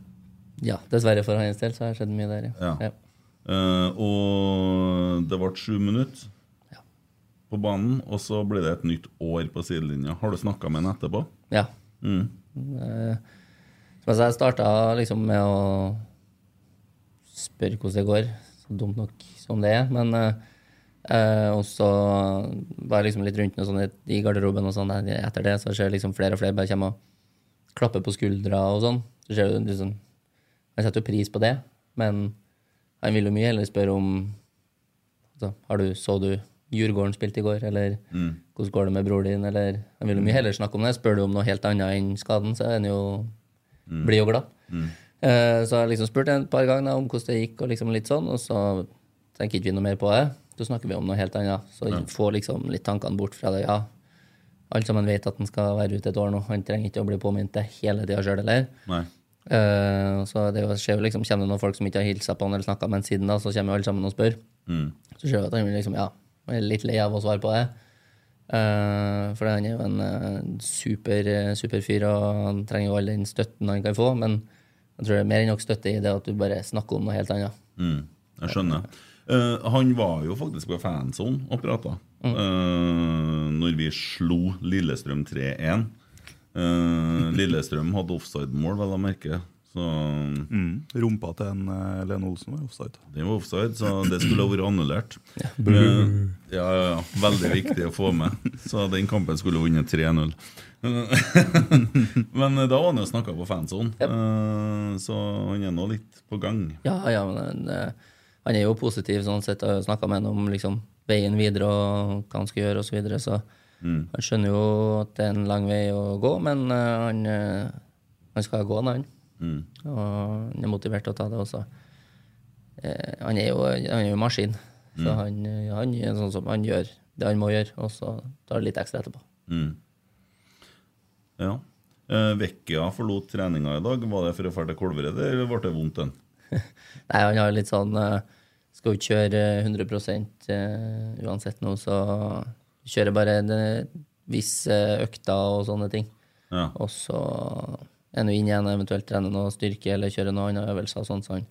S4: Ja, dessverre for hans del så har det skjedd mye der, ja.
S2: Ja. Eh, og det ble sju minutter på banen, og så ble det et nytt år på sidelinja. Har du snakka med han etterpå?
S4: Ja.
S2: Mm.
S4: Eh, Som jeg sa, jeg starta liksom med å spørre hvordan det går. Så dumt nok som det er. Men eh, eh, og så var jeg liksom litt rundt noe sånt i garderoben, og sånn der. etter det så ser jeg liksom flere og flere bare kommer og klapper på skuldra og sånn. Så ser du liksom Han setter jo pris på det, men han vil jo mye heller spørre om altså, har du, Så du Djurgården spilte i går, eller
S2: Mm.
S4: hvordan går det med bror din, eller Han vil jo mye heller snakke om det. Spør du om noe helt annet enn skaden, så er han jo
S2: Mm.
S4: blir jo glad.
S2: Mm.
S4: Eh, Så har jeg liksom spurt en par ganger om hvordan det gikk, og liksom litt sånn, og så tenker ikke vi noe mer på det. Så snakker vi om noe helt annet. Så
S2: Ja.
S4: får liksom litt tankene bort fra det. Ja, alle sammen vet at han skal være ute et år nå. Han trenger ikke å bli påminnet det hele tida sjøl heller.
S2: Nei.
S4: Eh, så det jo- skjer jo liksom, kommer det noen folk som ikke har hilsa på han eller snakka med han siden da, så kommer jo alle sammen og spør.
S2: Mm.
S4: Så ser vi at han blir liksom, ja, er litt lei av å svare på det. Eh, for han er jo en eh, super, eh, super fyr, og han trenger jo all den støtten han kan få. Men jeg tror det er mer enn nok støtte i det at du bare snakker om noe helt annet.
S2: Mm, jeg skjønner. Eh, han var jo faktisk på fansonen og prata mm. når vi slo Lillestrøm 3-1. Eh, Lillestrøm hadde offside-mål, vel å merke. Så
S3: Mm. Rumpa til en eh, Lene Olsen var offside.
S2: det var offside, så det skulle ha vært annullert. Ja.
S3: Buh.
S2: ja, ja, ja. Veldig viktig å få med. Så den kampen skulle ha vunnet 3-0. Men eh, da var han jo snakka på fansonen, Eh, så han er nå litt på gang.
S4: Ja, ja, men han, eh, han er jo positiv sånn sett. Jeg har snakka med han om liksom, veien videre og hva han skal gjøre osv. Så, videre, så
S2: Mm.
S4: han skjønner jo at det er en lang vei å gå, men eh, han, eh, han skal gå, han.
S2: Mm.
S4: Og han er motivert til å ta det også. Eh, han er jo han er jo en maskin, så
S2: Mm.
S4: han, eh, han er sånn som han gjør det han må gjøre, og så tar det litt ekstra etterpå.
S2: Mm. Ja. Eh, Vecchia forlot treninga i dag. Var det for å dra til Kolvereid, eller ble det vondt, den?
S4: Nei, han har litt sånn eh, Skal jo ikke kjøre eh, 100 eh, uansett nå, så kjører bare en eh, viss eh, økter og sånne ting.
S2: Ja.
S4: Og så er han jo inn igjen og eventuelt trener noe styrke eller kjører noen andre øvelser. og sånn, så han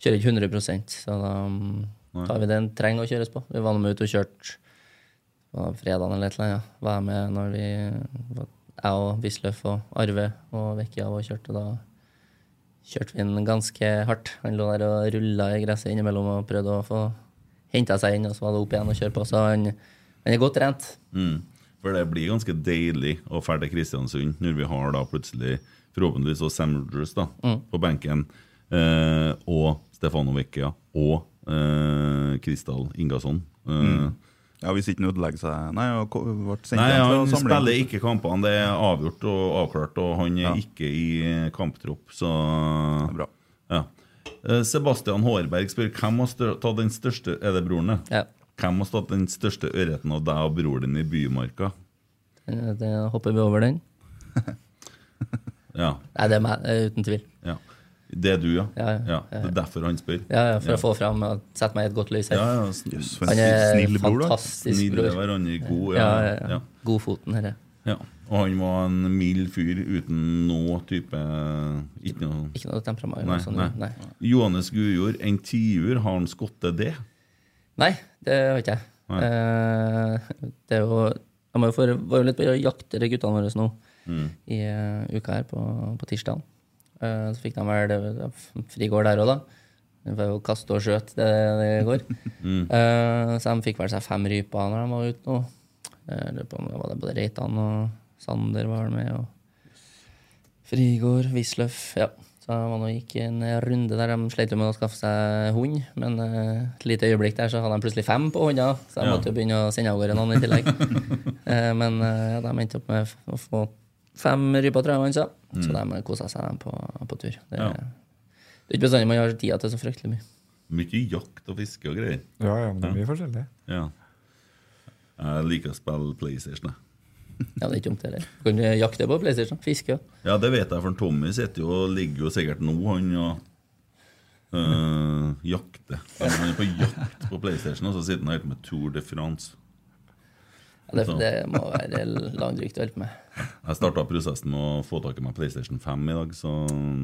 S4: kjører ikke 100 så da mm,
S2: Nei.
S4: tar vi det han trenger å kjøres på. Vi var nå ute og kjørte på fredagen eller et eller annet. Ja. Var med når vi Jeg og Wisløff og Arve og Vekkia var og kjørte da kjørte vi den ganske hardt. Han lå der og rulla i gresset innimellom og prøvde å få henta seg inn, og så var det opp igjen og kjøre på. Så han, han er godt trent.
S2: Mm. For det blir ganske deilig å dra til Kristiansund når vi har da plutselig forhåpentligvis og Sam Rogers da,
S4: Mm.
S2: på benken. eh, og Stefano Vecchia og eh, Kristal Ingasson. Eh,
S3: Mm. Ja, Hvis ikke han ødelegger seg Nei, han ko- ble sendt
S2: Nei,
S3: hjem fra
S2: han
S3: samlingen.
S2: spiller ikke kampene. Det er avgjort og avklart, og han er ikke i kamptropp, så
S3: Bra.
S2: Ja. Eh, Sebastian Hårberg spør hvem har stør- tatt den største Er det broren, det? Hvem har tatt den største ørreten av deg og broren din i Bymarka?
S4: Eh, Det hopper vi over den.
S2: Ja.
S4: Nei, det er meg, eh, uten tvil.
S2: ja. Det er du, ja?
S4: Ja, ja.
S2: Det er derfor han spør.
S4: Ja, ja, for å få fram og sette meg i et godt lys her.
S2: Ja, ja, sn- Jøss, for en
S4: Han er
S2: snill bror, da.
S4: fantastisk
S2: Snille
S4: bror.
S2: hverandre, god,
S4: ja.
S2: ja,
S4: Ja, ja,
S2: ja.
S4: God foten, herre.
S2: Ja. Og han var en mild fyr uten noe type Ikke noe,
S4: Ikke noe temperament eller noe
S2: Nei,
S4: sånt,
S2: nei.
S4: nei.
S2: Johannes Gujord, en tiur, har han skottet det?
S4: Nei, det har ikke jeg.
S2: Nei.
S4: Eh, det er jo Jeg må jo få var jo litt på jakt etter guttene våre nå
S2: Mm.
S4: i eh, uka her på, på tirsdag. så fikk de vel det var frigård der òg, da. De får jo kaste og skjøte det det går.
S2: Mm.
S4: Eh, så de fikk vel seg fem ryper når de var ute nå. Eh, Jeg lurer på om det var det både Reitan og Sander var med, og Frigård, Wisløff. Ja. Så jeg var nå gikk en runde der de slet jo med å skaffe seg hund, men eh, et lite øyeblikk der så hadde de plutselig fem på hånda, så jeg
S2: Ja.
S4: måtte jo begynne å sende av gårde noen i tillegg. Eh, men eh, ja, de endte opp med f- å få fem ryper, tror jeg man sa. altså. Så de kosa seg dem på, på tur. Det,
S2: Ja.
S4: det er ikke bestandig man har tida til så fryktelig mye.
S2: Mye jakt og fiske og greier.
S5: Ja, ja, men det er mye forskjellig.
S2: Ja. Jeg liker å spille PlayStation. jeg.
S4: Ja, det er ikke dumt, det heller. Du kan eh, jakte på PlayStation. Fiske.
S2: Ja, det vet jeg, for Tommy sitter jo og ligger jo sikkert nå, han og øh, jakter. Han er på jakt på PlayStation, og så sitter han helt med Tour de France.
S4: Ja, det,
S2: Så.
S4: det må være langdrygt å holde på med.
S2: Jeg starta prosessen med å få tak i meg PlayStation 5 i dag, så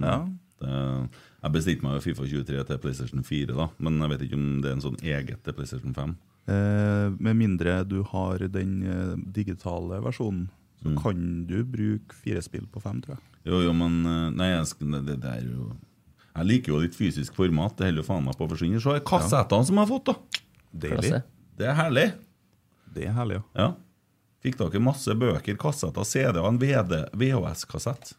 S3: Ja.
S2: det, Jeg bestilte meg jo Fifa 23 til PlayStation 4, da, men jeg vet ikke om det er en sånn eget til PlayStation 5.
S3: Eh, med mindre du har den eh, digitale versjonen, så
S2: Mm.
S3: kan du bruke fire spill på fem, tror jeg.
S2: Jo, jo, men øh, Nei, jeg, sk- det, det er jo Jeg liker jo litt fysisk format, det holder jo faen meg på å forsvinne. Så har jeg kassettene som jeg har fått, da!
S3: Deilig.
S4: Klasse.
S2: Det er herlig.
S3: Det er herlig, ja.
S2: Ja. Fikk dere masse bøker, kassetter, CD og en VD VHS-kassett.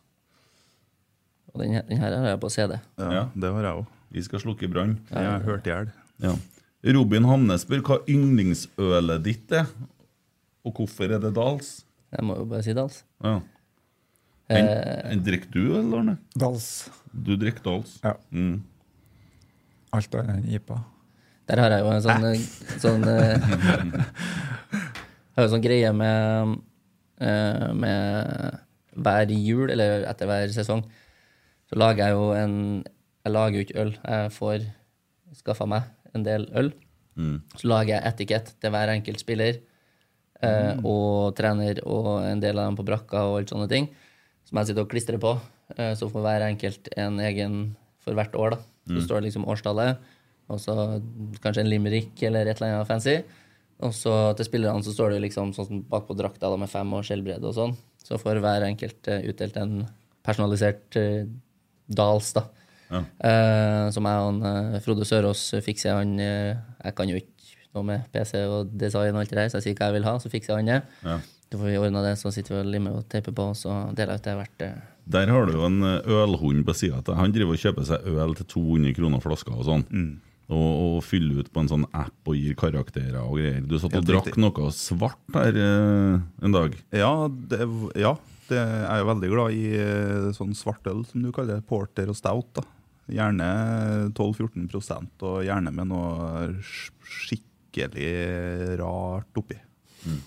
S4: Og den, her- den her har jeg på CD.
S3: ja,
S2: Ja.
S3: Det har jeg òg.
S2: Vi skal slukke brann.
S3: Jeg har hørt i hjel.
S2: Ja. Robin Hamne spør hva yndlingsølet ditt er, og hvorfor er det Dals?
S4: Jeg må jo bare si det, altså.
S2: Ja. En, en drikker du, eller Arne?
S5: Dals.
S2: Du drikker Dals.
S5: Ja.
S2: Mm.
S5: Alt annet enn IPA.
S4: Der har jeg jo en sånn, eh, sånn eh, Har jo en sånn greie med eh, Med hver jul, eller etter hver sesong, så lager jeg jo en Jeg lager jo ikke øl. Jeg får skaffa meg en del øl.
S2: Mm.
S4: Så lager jeg etikett til hver enkelt spiller eh, og trener og en del av dem på brakka og alt sånne ting, som jeg sitter og klistrer på. Eh, så får hver enkelt en egen for hvert år. da. Så står det liksom årstallet, og så kanskje en limerick eller et eller annet fancy. Og sånn. så til spillerne så står det liksom sånn som bakpå drakta da, med fem og skjellbredde og sånn. Så får hver enkelt eh, utdelt en personalisert eh, dals, da.
S2: Ja.
S4: Eh, som jeg og han, eh, Frode Sørås fikser han eh, Jeg kan jo ikke noe med PC og design og alt det der, så jeg sier hva jeg vil ha, så fikser han det.
S2: Ja.
S4: Da får vi ordna det, så sitter vi og limer og teiper på, og så deler jeg ut det hvert eh,
S2: Der har du jo en eh, ølhund på sida av deg. Han driver og kjøper seg øl til 200 kroner flaska og sånn.
S3: Mm.
S2: Og, og fyller ut på en sånn app og gir karakterer og greier. Du satt og
S3: Helt
S2: drakk
S3: riktig.
S2: noe svart her eh, en dag.
S3: Ja, det, ja det, jeg er jo veldig glad i eh, sånn svartøl, som du kaller det. Porter og stout. da. Gjerne 12-14 prosent, og gjerne med noe sk- skikkelig rart oppi.
S2: Mm.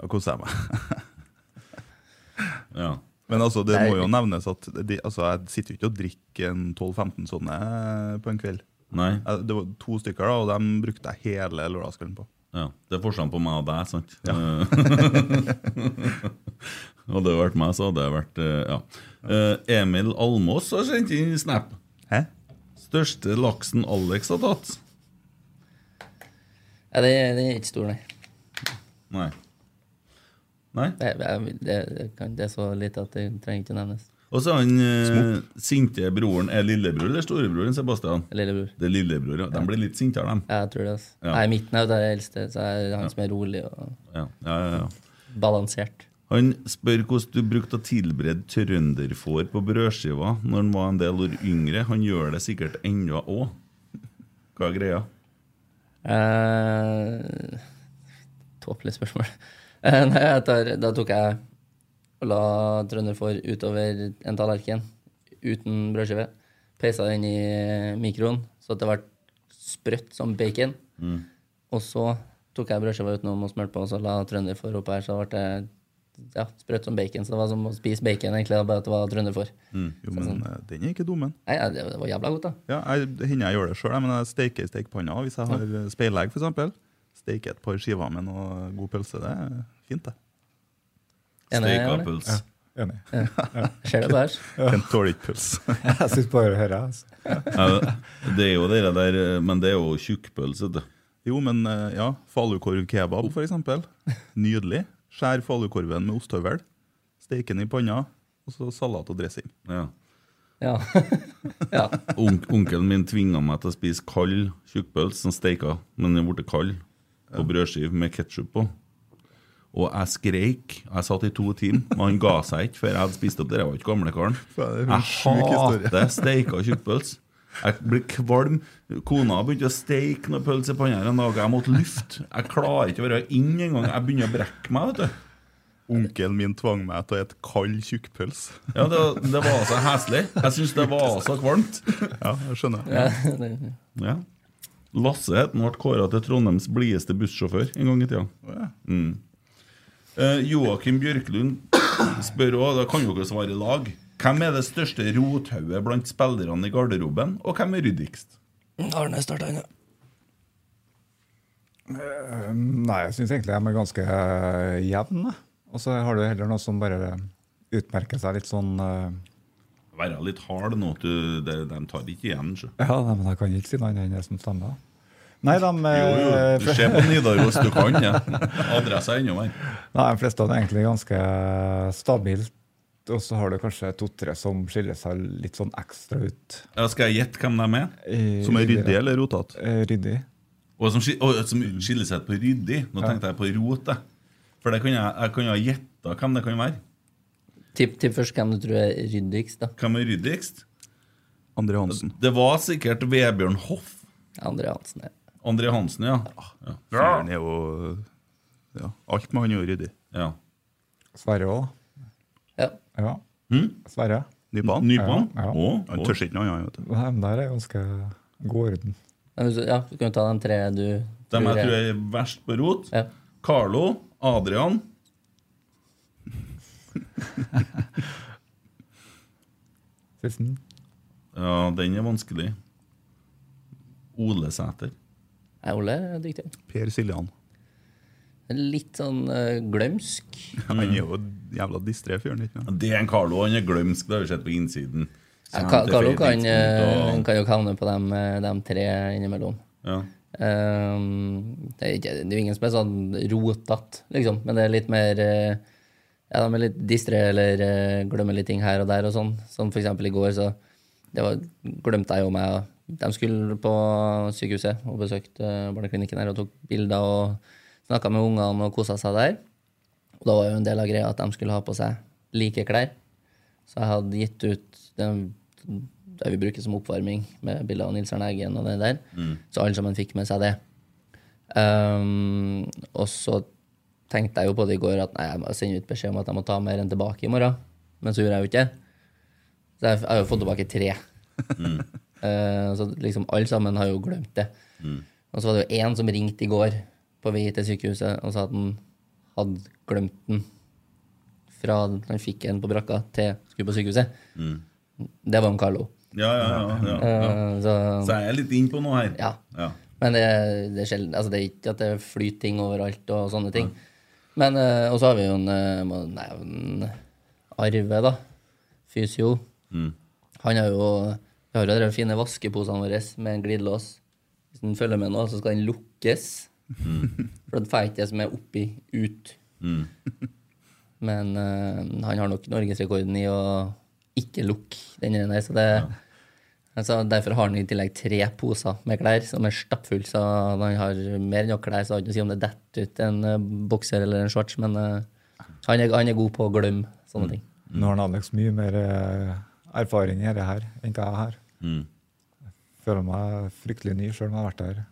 S3: Da koser jeg meg.
S2: Ja.
S3: Men altså, det
S4: Nei.
S3: må jo nevnes at de, altså, jeg sitter jo ikke og drikker en 12-15 sånne på en kveld.
S2: Nei.
S3: Jeg- Det var to stykker, da, og dem brukte jeg hele lørdagskvelden på.
S2: Ja. Det er forskjellen på meg og deg, sant? Eh, hadde det vært meg, så hadde det vært eh, Ja. Eh, Emil Almås har sendt inn snap.
S3: Hæ?
S2: Største laksen Alex har tatt.
S4: Nei, den den er ikke stor, nei.
S2: Nei. Nei.
S4: Det, jeg, det, det, kan, det er så lite at det trenger ikke nevnes.
S2: Og så er han eh, sinte broren Er lillebror eller storebroren Sebastian?
S4: Lillebror.
S2: Det er lillebror, ja. De blir litt sintere, de.
S4: Ja, Jeg tror det. altså.
S2: Ja.
S4: Jeg er i midten av det eldste, så jeg er han som er rolig og
S2: Ja, ja, ja, ja.
S4: balansert.
S2: Han spør hvordan du brukte å tilberede trønderfår på brødskiva når han var en del år yngre. Han gjør det sikkert ennå òg. Hva er greia?
S4: Eh, Tåpelig spørsmål. Eh, nei, jeg tar, da tok jeg og la trønderfår utover en tallerken uten brødskive. Peisa den i mikroen så at det ble sprøtt som bacon.
S2: Mm.
S4: Og så tok jeg brødskiva utenom og smurte på, og så la trønderfår oppå her. Så ble det ja, sprøtt som bacon. Så det var som å spise bacon, egentlig, bare at det var trønderfår.
S3: Jo, men
S4: Sånn.
S3: eh, den er ikke dum, den.
S4: Nei, ja, det var jævla godt, da.
S3: Ja, jeg, det hender jeg gjør det sjøl, men jeg steiker i stekepanna hvis jeg har eh, speilegg, f.eks. Steiker et par skiver med noe god pølse. Det er fint, det.
S4: Enig, Steik av Arne?
S2: pølse.
S5: Enig.
S4: Ja. Ser det på her.
S3: En tåler ikke pølse.
S5: Jeg sitter bare og hører. Altså.
S2: Ja, det er jo det der, eh, men det er jo tjukkpølse. vet du.
S3: Jo, men eh, ja, falukorv kebab, f.eks. Nydelig. Skjær falukorven med ostehøvel, steik den i panna, og så salat og dressing.
S2: Ja.
S4: Ja. ja.
S2: Onk, onkelen min tvinga meg til å spise kald tjukkpølse som steika, men den ble kald, på brødskive med ketsjup på. Og jeg skreik. Jeg satt i to timer, og han ga seg ikke før jeg hadde spist opp det. Jeg var ikke gamlekaren.
S3: Faen, det er en sjuk
S2: Jeg
S3: historie.
S2: hater steika tjukkpølse. Jeg blir kvalm. Kona begynte å steike noe pølse i panna her en dag. Jeg måtte lufte. Jeg klarer ikke å være inn engang. Jeg begynner å brekke meg. vet du
S3: Onkelen min tvang meg til å spise kald tjukkpølse.
S2: ja, det, det var så heslig. Jeg syns det var så kvalmt.
S3: Ja, jeg skjønner.
S4: det-
S2: Ja. Lasse het han ble kåra til Trondheims blideste bussjåfør en gang i tida. Mm. Eh, Joakim Bjørklund spør òg, da kan jo dere svare i lag. Hvem er det største rothauget blant spillerne i garderoben, og hvem er ryddigst?
S4: Arne starta ennå.
S5: Eh, Nei, jeg syns egentlig de er ganske eh, jevne. Og så har du heller noe som bare utmerker seg litt sånn eh,
S2: Være litt hard nå, du, de, de tar ikke igjen. Så.
S5: Ja, nei, men jeg kan ikke si noe annet enn det som stemmer. Nei, de,
S2: Jo, jo,
S5: eh,
S2: du ser på Nidaros, du kan det. Adressa er enda verre.
S5: nei, de fleste er egentlig ganske stabilt. Og så har du kanskje to-tre som skiller seg litt sånn ekstra ut.
S2: Ja, Skal jeg gjette hvem de er?
S5: i-
S3: Som er ryddig eller rotete?
S5: Eh, Ryddig.
S2: Og som, skil- og som skiller seg ut på ryddig. Nå tenkte jeg på rot. jeg. For det kunne jeg, jeg kunne ha gjetta hvem det kan være.
S4: Tipp, tipp først hvem du tror er ryddigst, da.
S2: Hvem er ryddigst?
S3: André Hansen.
S2: Det var sikkert Vebjørn Hoff.
S4: André Hansen. ja.
S2: André Hansen, ja. ja.
S3: Ah, Fyren er jo ja, Alt med han er jo ryddig.
S2: ja.
S5: Sverre òg.
S4: Ja.
S5: Ja.
S2: Hm?
S5: Sverre.
S3: Nypan.
S2: Nypan?
S5: Ja, ja.
S2: Å,
S3: Han
S2: å.
S3: tør ikke noe annet. vet du.
S5: Nei, men der er ganske god orden.
S4: Men hvis du- ja, du kan jo ta de tre du
S2: Dem jeg tror er verst på rot.
S4: Ja.
S2: Carlo. Adrian.
S5: Sisten.
S2: Hm. Ja, den er vanskelig. Ole Sæter.
S4: Er Ole er dyktig.
S3: Per Siljan.
S4: Litt sånn eh, glømsk.
S3: Han er jo jævla distré fyren. ikke sant?
S2: Det er en Carlo. Han er glømsk, det har vi sett på innsiden.
S4: Ja, Ka- Carlo kan, eh,
S2: Og-
S4: kan jo havne på dem, eh, dem tre innimellom.
S2: ja.
S4: Ehm, det, er ikke, det er jo ingen som er sånn rotete, liksom. Men det er litt mer eh, Ja, de er litt distré eller eh, glemmer litt ting her og der og sånn. Som for eksempel i går, så det var, glemte jeg jo meg. og De skulle på sykehuset og besøkte eh, barneklinikken her og tok bilder og snakka med ungene og kosa seg der. Og da var jo en del av greia at de skulle ha på seg like klær. Så jeg hadde gitt ut den, det vi bruker som oppvarming, med bilder av Nils Arne Eggen og det der. Så alle sammen fikk med seg det. Ehm, og så tenkte jeg jo på det i går at nei, jeg må sende ut beskjed om at jeg må ta mer enn tilbake i morgen. Men så gjorde jeg jo ikke det. Så jeg, jeg har jo fått tilbake tre. Eh, så liksom alle sammen har jo glemt det. Og så var det jo én som ringte i går på vei til sykehuset og sa at han hadde glemt den fra han fikk en på brakka til skulle på sykehuset. Det var om Carlo.
S2: Ja, ja, ja, ja, ja.
S4: Eh, så-
S2: Så jeg er litt innpå noe her.
S4: Ja.
S2: Ja.
S4: Men det, det, er sjelden, altså det er ikke at det flyter ting overalt og sånne ting. Men, eh, og så har vi jo en, eh, må nevne Arve, da. Fysio. Han har jo Vi har jo de fine vaskeposene våre med en glidelås. Hvis den følger med nå, så skal den lukkes. For den får ikke det som er oppi, ut. Men eh, han har nok norgesrekorden i å ikke lukke den der, så det Altså, derfor har han i tillegg tre poser med klær som er stappfulle. Så når han har mer enn nok klær, så har han ikke noe å si om det detter ut en eh, bokser eller en shorts, men eh, Han er, han er god på å glemme
S3: Mm.
S4: sånne ting.
S5: Nå har han Alex mye mer eh, erfaring i dette her enn hva jeg har.
S2: Mm.
S5: Føler meg fryktelig ny, sjøl om jeg har vært der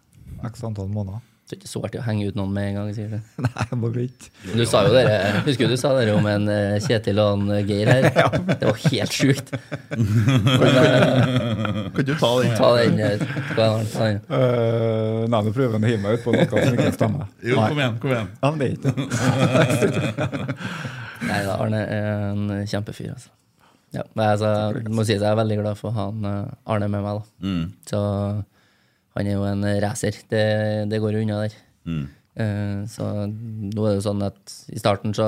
S5: x antall måneder.
S4: Så det er ikke så artig å henge ut noen med en gang. sier du.
S5: Nei, jeg må vente.
S4: Du sa jo dere, Husker du du sa dere om en eh, Kjetil og en Geir her? Det var helt sjukt. eh,
S3: Kan du ta den?
S4: Ta den. eh, hva er den? Ta den.
S5: Eh, nei, nå prøver han å hive meg ut på noe som ikke stemmer.
S2: Jo,
S5: Nei.
S2: kom igjen. kom igjen.
S5: Ja, men det er ikke det.
S4: Nei da, Arne er en kjempefyr, altså. Ja, men altså, jeg må si at jeg er veldig glad for han eh, Arne med meg, da. Så han er jo en racer. Det, det går jo unna der. Eh, så nå er det jo sånn at i starten så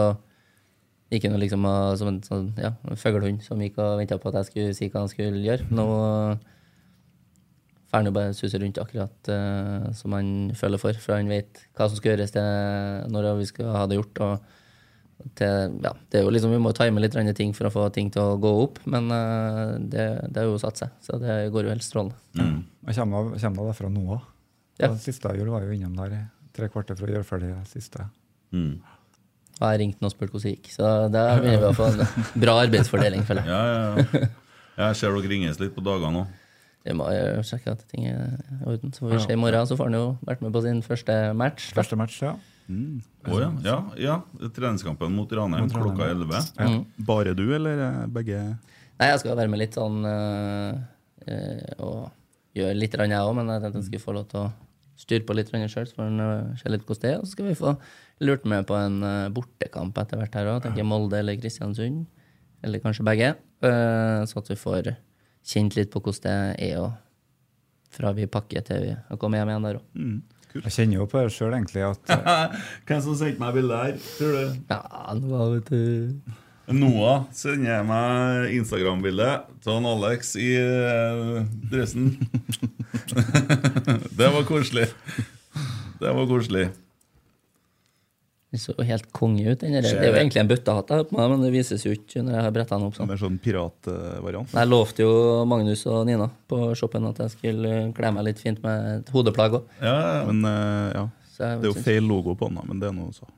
S4: gikk han jo liksom eh, som en sånn, ja, en fuglehund som gikk og venta på at jeg skulle si hva han skulle gjøre. Nå får han jo bare suse rundt akkurat eh, som han føler for, for han vet hva som skal gjøres til når vi skal ha det gjort. og til, ja, det er jo liksom, vi må time litt andre ting for å få ting til å gå opp, men eh, det, det har jo satt seg. Så det går jo helt strålende.
S2: Mm,
S5: Jeg kommer, jeg kommer da derfra nå òg.
S4: Ja.
S5: Det siste jeg gjorde, var jo innom der i tre kvarter for å gjøre ferdig det siste.
S2: Mm.
S4: Og jeg ringte han og spurte hvordan det gikk, så da begynner vi å få en bra arbeidsfordeling, føler jeg.
S2: Ja, ja, ja. Jeg ser dere ringes litt på dagene òg.
S4: Vi må jo sjekke at ting er i orden. Så får vi se i morgen, så får han jo vært med på sin første match. da.
S5: Første match, ja.
S2: Å ja. ja, ja. Treningskampen mot Ranheim
S5: Mot Ranheim.
S2: klokka 11.
S3: Bare du, eller eh, begge?
S4: Nei, jeg skal være med litt sånn eh, eh, og gjøre litt, rann jeg òg, men jeg tenkte jeg skulle få lov til å styre på litt sjøl, så får han eh, se litt hvordan det er. Og så skal vi få lurt med på en eh, bortekamp etter hvert her òg. Tenker Molde eller Kristiansund, eller kanskje begge. eh, så at vi får kjent litt på hvordan det er, og fra vi pakker til vi har kommet hjem igjen der òg.
S5: Jeg kjenner jo på det sjøl, egentlig, at eh,
S2: Hvem som sendte meg bildet her? Tror du?
S4: Ja, nå var det til
S2: Noah sender meg Instagram-bilde av han Alex i eh, dressen. det var koselig. Det var koselig.
S4: Den så jo helt konge ut, den der. Det er jo egentlig en bøttehatt jeg har på meg, men det vises jo ikke når jeg har bretta den opp sånn.
S3: Mer sånn piratvariant?
S4: Jeg lovte jo Magnus og Nina på shoppen at jeg skulle eh, kle meg litt fint med et hodeplagg òg.
S2: Ja, ja, ja.
S3: Men eh, ja, det er jo feil logo på den, da, men det er noe så.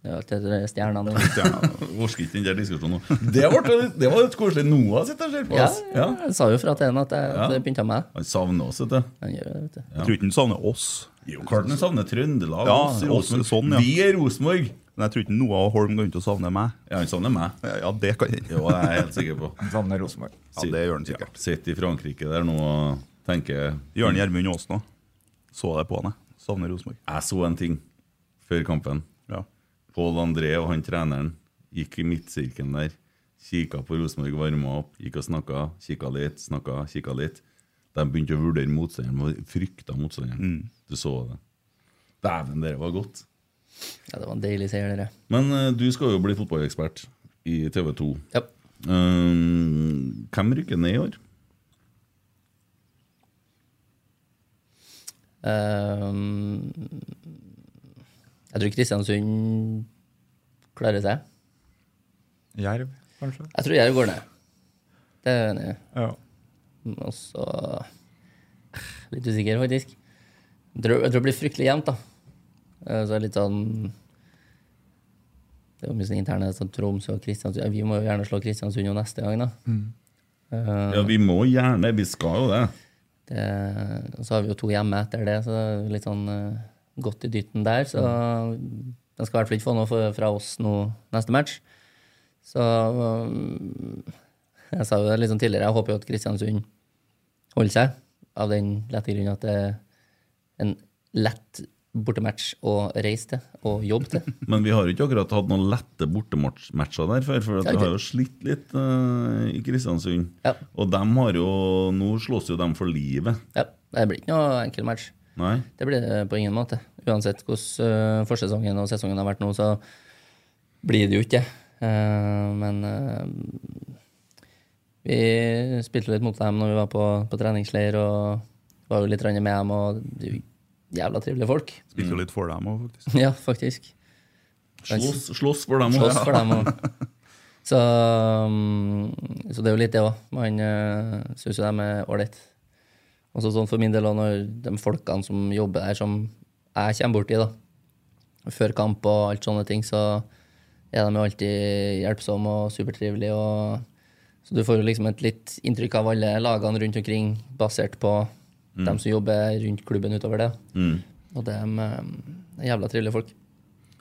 S4: Det er alltid de stjernene.
S2: Jeg Orker ikke den der diskusjonen nå. Det var litt, det var litt koselig. Noah sitter og ser på
S4: Ja,
S2: oss. Ja.
S4: jeg sa jo fra til henne at jeg at det begynte med meg.
S2: Han savner oss, vet du.
S4: Han gjør det, vet du.
S3: Jeg tror ikke den savner oss.
S2: Jo, klart han savner Trøndelag.
S3: Ja,
S2: oss,
S3: oss,
S2: Rosenborg.
S3: sånn, ja.
S2: Vi er Rosenborg.
S3: Men jeg tror ikke Noah og Holm går rundt og savner meg.
S2: Ja, han savner meg.
S3: Ja, ja, det kan jeg.
S2: Jo, det er jeg helt sikker på.
S5: han savner sånn Rosenborg.
S3: Ja, det gjør han
S2: Ja,
S3: sikkert.
S2: Sitter i Frankrike der nå og tenker
S3: Gjør han Gjermund Aasen òg? Så det på han, jeg. Savner Rosenborg.
S2: Jeg så en ting før kampen.
S3: Ja.
S2: Pål André og han treneren gikk i midtsirkelen der. Kikka på Rosenborg, varma opp, gikk og snakka. Kikka litt, snakka, kikka litt. De begynte å vurdere motstanderen, og frykta motstanderen.
S3: Mm.
S2: Du så det. Dæven, det var godt.
S4: Ja, det var en deilig seier, dere.
S2: Men eh, du skal jo bli fotballekspert i TV 2.
S4: Ja.
S2: Um, hvem rykker ned i år?
S4: Ehm, jeg tror Kristiansund klarer seg.
S5: Jerv, kanskje?
S4: Jeg tror Jerv går ned. Det er jeg enig i.
S5: Ja.
S4: Og så Litt usikker, faktisk. Jeg tror, jeg tror det blir fryktelig jevnt, da. Eh, Så er det litt sånn Det er jo mye sånn interne så Tromsø og Kristiansund Vi må jo gjerne slå Kristiansund jo neste gang, da. Eh,
S2: Ja, vi må gjerne. Vi skal jo det.
S4: det, og så har vi jo to hjemme etter det, så det er jo litt sånn eh, godt i dytten der. Så de skal i hvert fall ikke få noe for- fra oss nå neste match. Så um, Jeg sa jo det litt sånn tidligere, jeg håper jo at Kristiansund holder seg. Av den lette grunn at det er en lett bortematch å reise til og jobbe til.
S2: Men vi har jo ikke akkurat hatt noen lette bortematcher der før, for at
S4: Ja,
S2: vi
S4: det-
S2: har jo slitt litt eh, i Kristiansund.
S4: Ja.
S2: Og dem har jo Nå slåss jo dem for livet.
S4: Ja, det blir ikke noe enkel match.
S2: Nei?
S4: Det blir det på ingen måte. Uansett hvordan eh, forsesongen og sesongen har vært nå, så blir det jo ikke det. Eh, men eh, vi spilte litt mot dem når vi var på, på treningsleir, og var jo litt rande med dem. Og de er jo jævla trivelige folk.
S3: Spilte jo litt for dem òg, faktisk.
S4: ja, faktisk.
S2: Slåss, slåss for dem
S4: Slåss
S2: også.
S4: for dem. Og, så, mm, så det er jo litt det òg. Man uh, syns jo de er ålreit. Og så sånn for min del òg, når de folkene som jobber der, som jeg kommer borti da, før kamp og alt sånne ting, så er de jo alltid hjelpsomme og supertrivelige. og- Så du får jo liksom et litt inntrykk av alle lagene rundt omkring, basert på
S2: Mm.
S4: dem som jobber rundt klubben utover det.
S2: Mm.
S4: Og de eh, er jævla trivelige folk.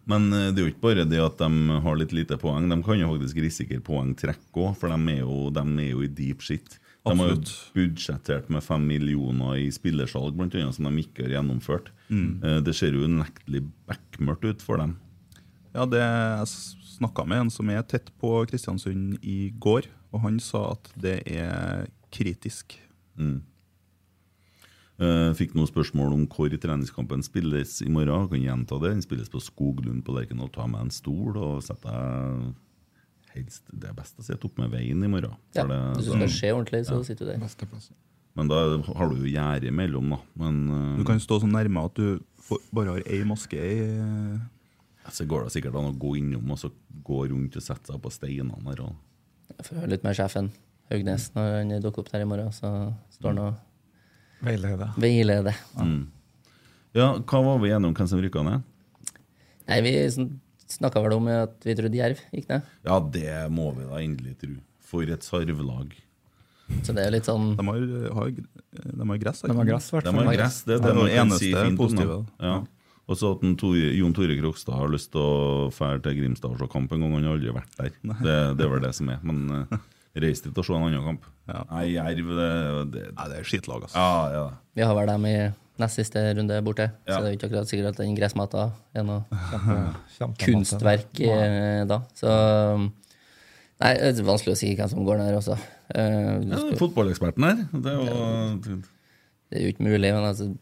S2: Men eh, det er jo ikke bare det at de har litt lite poeng. De kan jo faktisk risikere poengtrekk òg, for de er, jo, de er jo i deep shit. De har jo
S3: Absolutt.
S2: budsjettert med fem millioner i spillersalg, blant annet, som de ikke har gjennomført.
S3: Mm.
S2: Eh, Det ser jo unektelig bekmørkt ut for dem.
S3: Ja, det Jeg snakka med en som er tett på Kristiansund i går, og han sa at det er kritisk.
S2: Mm. Eh, Fikk noen spørsmål om hvor treningskampen spilles i morgen. Jeg kan gjenta det. Den spilles på Skoglund på Lerkendal. Ta med en stol og sett deg helst Det er best å sitte opp med veien i morgen.
S4: Ja,
S2: For det-
S4: hvis du
S2: da-
S4: skal se ordentlig, så
S2: Ja.
S4: sitter du der.
S2: Men da har du jo gjerde imellom, da. Men, eh,
S3: Du kan stå så nærme at du får- bare har ei maske i eh,
S2: så går det sikkert an å gå innom og så gå rundt og sette seg på steinene her. Og
S4: Jeg får høre litt med sjefen, Haugnes, når han dukker opp der i morgen. Så står han og
S5: Veileder.
S4: veileder.
S2: Mm. Ja, hva var vi enige om hvem som rykka ned?
S4: Nei, vi snakka vel om at vi trodde Jerv gikk ned.
S2: Ja, det må vi da endelig tro. For et sarvlag.
S4: Så det er jo litt sånn
S3: De har, har, de har gress,
S5: De har gress, i hvert
S2: De
S5: fall.
S2: har gress, det, er det,
S3: Det er
S2: man
S3: det
S2: kan
S3: eneste
S2: si fint om
S3: positive,
S2: dem. Ja. Og så at en Tore, Jon Tore Krokstad har lyst til å fære til Grimstad og se kamp en gang. Han har aldri vært der. Det, det er vel det som er. Men uh, reis dit og se en annen kamp. Nei, Jerv, det, det,
S3: Nei, det er skitlag, altså.
S2: Ja, ja.
S4: Vi har vel dem i nest siste runde borte,
S2: Ja.
S4: så det er jo ikke akkurat sikkert at den gressmata er noe
S5: Kjempe-
S4: kunstverk eh, da. Så um, Nei, det er vanskelig å si hvem som går ned også. Eh, du
S2: ja
S4: skal-
S2: Fotballeksperten her. Det, er jo-
S4: Det er jo ikke mulig, men altså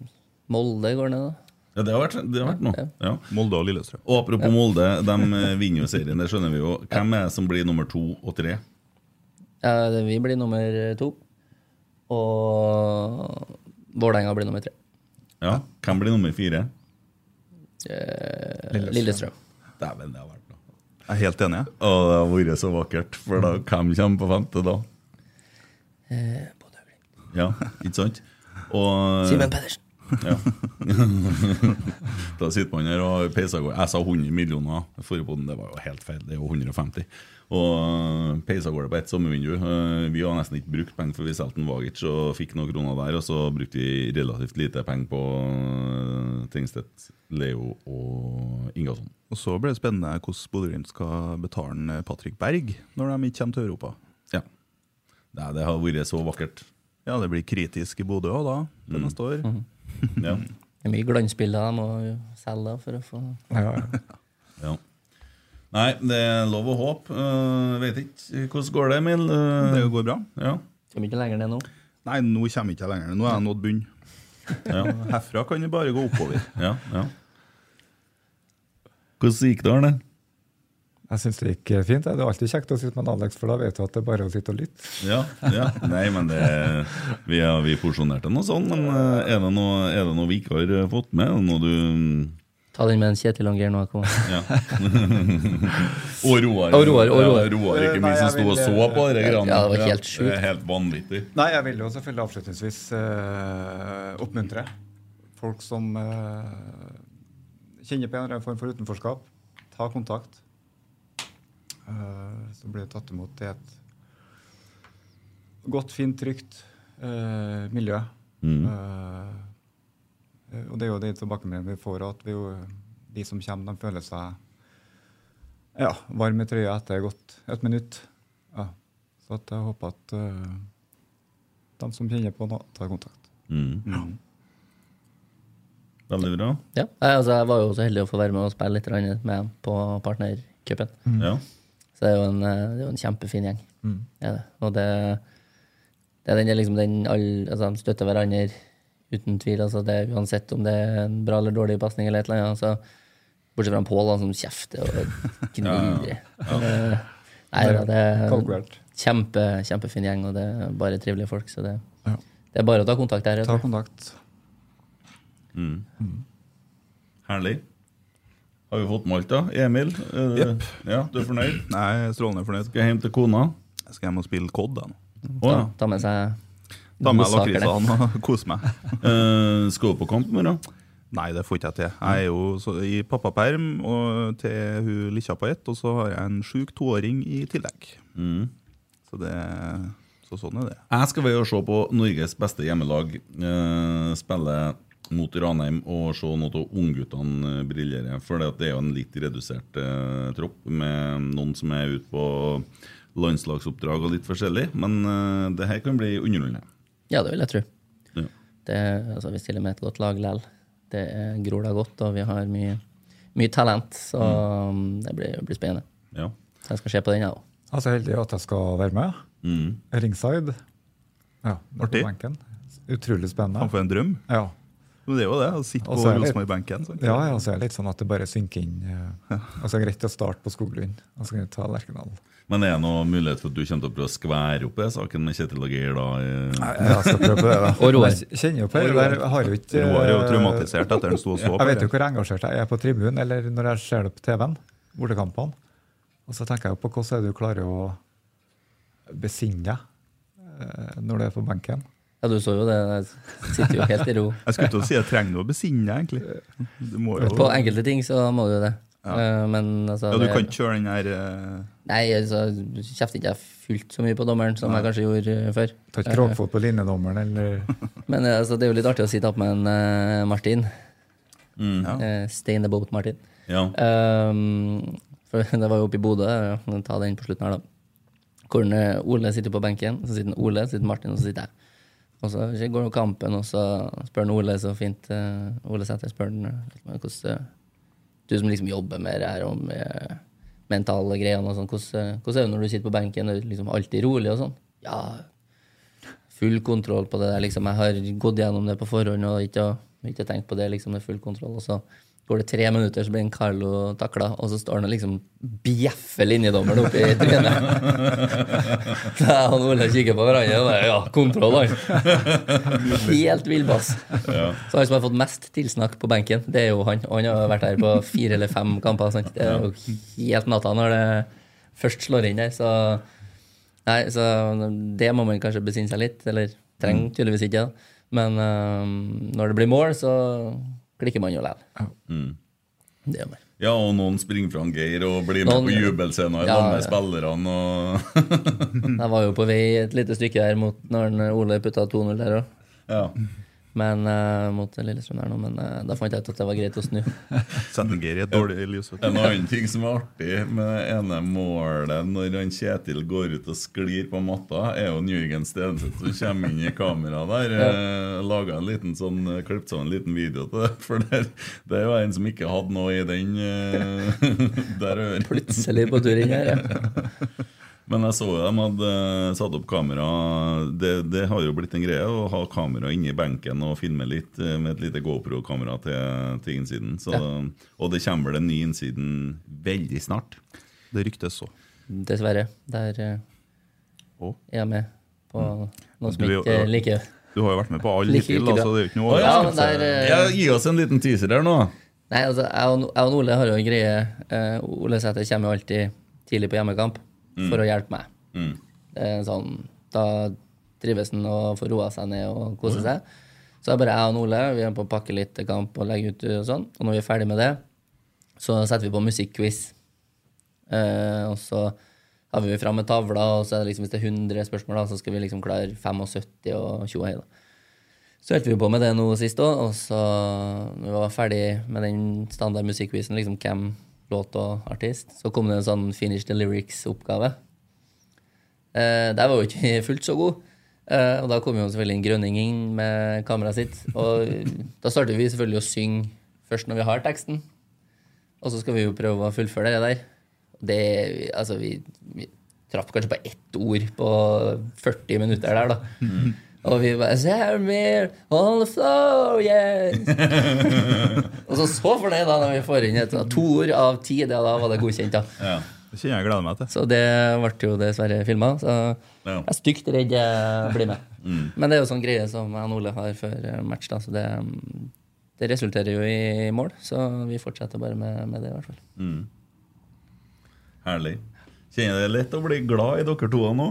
S4: Molde går ned, da.
S2: ja, det har vært, det har vært noe. Ja.
S3: Molde og Lillestrøm.
S2: Og apropos Molde, de eh, vinner jo serien. Det skjønner vi jo. Hvem er det som blir nummer to og tre?
S4: Ja, det- vi blir nummer to. Og Vålerenga blir nummer tre.
S2: Ja, Hvem blir nummer fire?
S4: Eh,
S5: Lillestrøm.
S4: Lillestrøm.
S2: Dæven, det har vært noe.
S3: Jeg er helt enig. jeg.
S2: Å, det har vært så vakkert. For da, hvem kommer på femte da?
S4: Eh, Bodø Glimt.
S2: Ja, ikke sant? Og
S4: Simen Pedersen.
S2: Ja. da sitter man her og peiser av gårde. Jeg sa 100 millioner forrige podden, det var jo helt feil. Det er jo 150. Og eh, peiser av gårde på ett sommervindu. Eh, Vi har nesten ikke brukt penger, for vi solgte en Vagic og fikk noen kroner der. Og så brukte vi relativt lite penger på eh, Tingstedt, Leo og Ingasson.
S3: Og så blir det spennende hvordan Bodø-Glimt skal betale en Patrick Berg når de ikke kommer til Europa.
S2: Ja. Nei, det har vært så vakkert. Mm.
S3: Ja, det blir kritisk i Bodø òg, da, det neste år.
S2: Ja.
S4: Det er mye glansbilder de må selge da, for å få
S5: Ja, ja.
S2: Ja. Nei, det er lov å håpe. Eh, vet ikke hvordan går det, Emil? Eh,
S3: Det går bra.
S2: ja.
S4: Kommer ikke lenger ned nå.
S3: Nei, nå kommer jeg ikke lenger. Nå er jeg nådd bunnen. Herfra kan det bare gå oppover.
S2: Ja, ja. Hvordan gikk det, Arne?
S5: Jeg syns det gikk fint. jeg. Det er alltid kjekt å sitte med en Alex, for da vet du at det er bare å sitte og lytte.
S2: Ja, ja. Nei, men det, vi, har- vi porsjonerte noe sånn, men eh, er det noe, er det noe vi ikke har eh, fått med? Er det Noe du
S4: Ta den med en Kjetil Anger nå. Kom.
S2: ja. Og Roar.
S4: Og Roar, og Roar.
S2: Roar, ikke
S5: Nei,
S2: minst, som
S5: jeg
S2: sto og
S5: vil-
S2: så på de greiene.
S4: Ja, det var helt sjukt.
S2: det er helt vanvittig.
S5: Nei, jeg vil jo selvfølgelig avslutningsvis eh, oppmuntre folk som eh, kjenner på en eller annen form for utenforskap. Ta kontakt. Eh, så blir du tatt imot i et godt, fint, trygt eh, miljø. Eh, og det er jo de tilbakemeldingene vi får, at vi jo, de som kommer, de føler seg ja, varme i trøya etter godt et minutt. Ja. Så at jeg håper at eh, de som kjenner på noe, tar kontakt.
S2: Mm. Veldig bra.
S4: Ja. Nei, altså, jeg var jo så heldig å få være med og spille litt grann med dem på partnercupen.
S3: Mm.
S2: Ja.
S4: Så det er jo en, eh, det er jo en kjempefin gjeng. Er det. Og det, det er den, det er liksom den all, altså, De støtter hverandre uten tvil. Altså, det, er uansett om det er en bra eller dårlig pasning eller et eller annet. Altså, bortsett fra Pål, da, som kjefter og gnir. Eh, Nei, da, det er
S5: Kalkbert.
S4: kjempe, kjempefin gjeng, og det er bare trivelige folk. Så det,
S5: Ja.
S4: det er bare å ta kontakt der.
S5: Ta kontakt.
S2: Herlig. Har vi fått med alt, da? Emil, eh,
S3: Jepp.
S2: ja, du er fornøyd?
S3: Nei, jeg er strålende fornøyd.
S2: Skal jeg hjem til kona?
S3: Jeg skal hjem og spille COD. Da. nå.
S2: Å,
S4: Ta,
S2: ja.
S4: ta med seg
S3: Ta med
S4: godsaker der.
S3: lakrisene og kose meg.
S2: Eh, skal du på kamp i morgen?
S3: Nei, det får ikke jeg til. Jeg er jo så, i pappaperm og til hun lille på ett, og så har jeg en sjuk toåring i tillegg. Så, det, så sånn er det.
S2: Mm. Jeg skal være og se på Norges beste hjemmelag eh, spille mot Ranheim og se noe av ungguttene eh, briljere. For det at det er jo en litt redusert eh, tropp med noen som er ute på landslagsoppdrag og litt forskjellig. Men eh, det her kan bli underholdende.
S4: Ja, det vil jeg tro.
S2: Ja.
S4: Det, altså, vi stiller med et godt lag lell. Det er- gror da godt, og vi har mye, mye talent. Så
S3: Mm.
S4: um, det blir, blir spennende.
S2: Ja.
S4: Så jeg skal se på den, jeg òg.
S5: Jeg er så heldig at jeg skal være med.
S2: Mm.
S5: Ringside. Ja, på
S3: Artig.
S5: benken. Utrolig spennende.
S3: Han får en drøm.
S5: Ja.
S3: Men det er jo det, å sitte
S5: Og
S3: på
S5: så er det-
S3: Rosenborg-benken. sant?
S5: Ja, ja, så er det litt sånn at det bare synker inn. eh, Og så er det greit å starte på Skoglund, og så kan du ta Lerkendal.
S2: Men er det noen mulighet for at du kommer til å prøve å skvære opp i saken med Kjetil og Geir da?
S5: Nei, jeg skal prøve på det, da.
S4: Og Roar.
S5: Jeg kjenner jo på det. Der har jo ikke
S3: Roar er jo traumatisert etter han sto og så på
S5: Jeg vet
S3: det.
S5: jo hvor engasjert jeg er på tribunen, eller når jeg ser det på TV-en, bortekampene. Og så tenker jeg jo på hvordan er det du klarer å besinne deg eh, når du er på benken.
S4: Ja, du så jo det. Jeg sitter jo helt i ro.
S3: Jeg skulle til å si jeg trenger noe å besinne, deg, egentlig. Du må jo...
S4: På enkelte ting så må du jo det. Eh, Men altså
S3: Ja, du
S4: det-
S3: kan ikke kjøre den her eh,
S4: Nei, altså, kjefter ikke jeg fullt så mye på dommeren som jeg kanskje gjorde eh, før.
S5: Ta ikke krogfot på linjedommeren, eller
S4: Men eh, altså, det er jo litt artig å sitte opp med en eh, Martin. Eh, stay in the boat, Martin.
S2: Mm. Ja.
S4: Ehm, for det var jo oppe i Bodø, ja, men ta den på slutten her, da. Hvor eh, Ole sitter på benken, så sitter Ole, så sitter Martin, og så sitter jeg. Og så går jo kampen, og så spør han Ole så fint eh, Ole Sæther spør han eh, hvordan eh, Du som liksom jobber med det her og med mentale greiene og sånn, hvordan, eh, hvordan er det når du sitter på benken? Er du liksom alltid rolig og sånn? Ja, full kontroll på det der. Liksom. Jeg har gått gjennom det på forhånd og ikke, ikke tenkt på det. Liksom, det er full kontroll. Og så går det tre minutter, så blir en Carlo takla, og så står han og liksom bjeffer linjedommeren opp i trynet. Da er han og Ole kikker på hverandre og bare Ja, kontroll, han! Helt villbass. Så han som har fått mest tilsnakk på benken, det er jo han. Og han har vært her på fire eller fem kamper. Sant? Det er jo helt natta når det først slår inn der. så... Nei, så det må man kanskje besinne seg litt, eller trenger tydeligvis ikke. Da. Men øhm, når det blir mål, så klikker man jo likevel.
S3: Mm.
S4: Det gjør man.
S2: ja, og noen springer fra han Geir og blir med
S4: Noen-
S2: på jubelscenen og
S4: Ja,
S2: sammen med
S4: ja.
S2: spillerne og
S4: Jeg var jo på vei et lite stykke der mot når han eh, Ole putta 2-0 der òg.
S2: Ja.
S4: Men øh, mot Lillestrøm der nå, men øh, da fant jeg ut at det var greit å snu.
S3: Sette Geir i et dårlig lys. vet du.
S2: En annen ting som er artig med det ene målet når han Kjetil går ut og sklir på matta, er jo en Jørgen Stenseth som kommer inn i kameraet der. eh, Laget en liten sånn, eh, Klippet sammen en liten video til det. For der, det er jo en som ikke hadde noe i den eh, der øret.
S4: Plutselig på tur inn her. Ja.
S2: Men jeg så jo de hadde eh, satt opp kamera det, det har jo blitt en greie å ha kamera inni benken og filme litt eh, med et lite GoPro-kamera til, til innsiden. Så, Og det kommer vel en ny innsiden veldig snart.
S3: Det ryktes så.
S4: Dessverre. Der øh,
S3: Å?
S4: er jeg med på noe som
S3: Du er jo-
S4: ikke øh, liker
S3: Du har jo vært med på alle
S4: Liker
S3: hittil,
S4: ikke
S3: da,
S4: det.
S3: så det er jo ikke noe
S4: Ja, men
S3: overraskelse.
S4: der, øh,
S2: Ja, gi oss en liten teaser her nå.
S4: Nei, altså, jeg og, jeg og Ole har jo en greie. Eh, Ole Sæther kommer jo alltid tidlig på hjemmekamp for å hjelpe meg. Det er sånn, da trives han og får roa seg ned og kose seg. Så er bare jeg og Ole vi er på pakkelittekamp og legger ut og sånn. Og når vi er ferdig med det, så setter vi på musikkquiz. Eh, og så har vi fram med tavla, og så er det liksom, hvis det er 100 spørsmål, da, så skal vi liksom klare 75 og 20 hei, da. Så holdt vi på med det nå sist òg, og så når vi var ferdig med den standard musikkvisen, liksom hvem låt og artist, så kom det en sånn finish the lyrics-oppgave. Eh, der var jo ikke fullt så god. Eh, og da kom jo selvfølgelig en grønning inn med kameraet sitt. Og da starter vi selvfølgelig å synge først når vi har teksten, og så skal vi jo prøve å fullføre det der. Det, altså, vi, vi traff kanskje på ett ord på 40 minutter der, da. Og vi bare Samir, on the floor, yeah! og så så fornøyd da når vi får inn et sånt to ord av ti. det Da var det godkjent, da.
S3: Det kjenner jeg gleder meg til.
S4: Så det ble jo dessverre filma. Så
S2: Ja.
S4: jeg er stygt redd jeg blir med. Men det er jo sånn greie som jeg og Ole har før match, da, så det, det resulterer jo i mål. Så vi fortsetter bare med, med det, i hvert fall.
S2: Herlig. Kjenner det er lett å bli glad i dere to nå.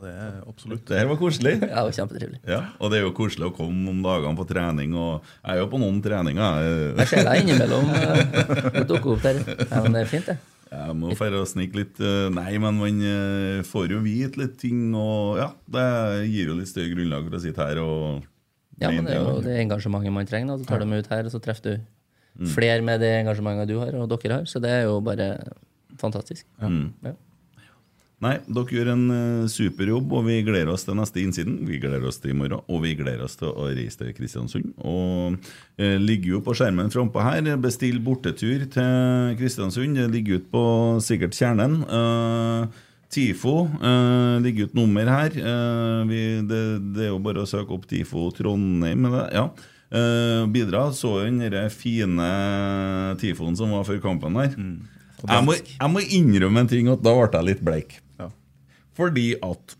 S3: det er absolutt.
S2: Det her var koselig.
S4: Ja, det var kjempetrivelig.
S2: Ja, og det er jo koselig å komme om dagene på trening. og Jeg er jo på noen treninger.
S4: Jeg ser deg innimellom. eh, Du dukker opp der. Ja, men det er fint, det.
S2: Jeg må fære og snike litt eh, Nei, men man eh, får jo vite litt ting, og ja, det gir jo litt større grunnlag for å sitte her og
S4: Ja, men det er jo
S2: Ja.
S4: det engasjementet man trenger. Da. Du tar dem ut her, og så treffer du flere med det engasjementet du har, og dere har. Så det er jo bare fantastisk.
S2: Mm.
S4: Ja.
S2: Nei, dere gjør en eh, super jobb, og vi gleder oss til neste innsiden. Vi gleder oss til i morgen, og vi gleder oss til å reise til Kristiansund. Og eh, ligger jo på skjermen frampå her. Bestill bortetur til Kristiansund. Det ligger ut på sikkert kjernen. Eh, TIFO eh, ligger ut nummer her. Eh, vi, det, det er jo bare å søke opp TIFO Trondheim. eller- Ja. Eh, bidra. Så jo den der fine TIFOen som var før kampen her. Jeg må, jeg må innrømme en ting, at da ble jeg litt bleik. Fordi at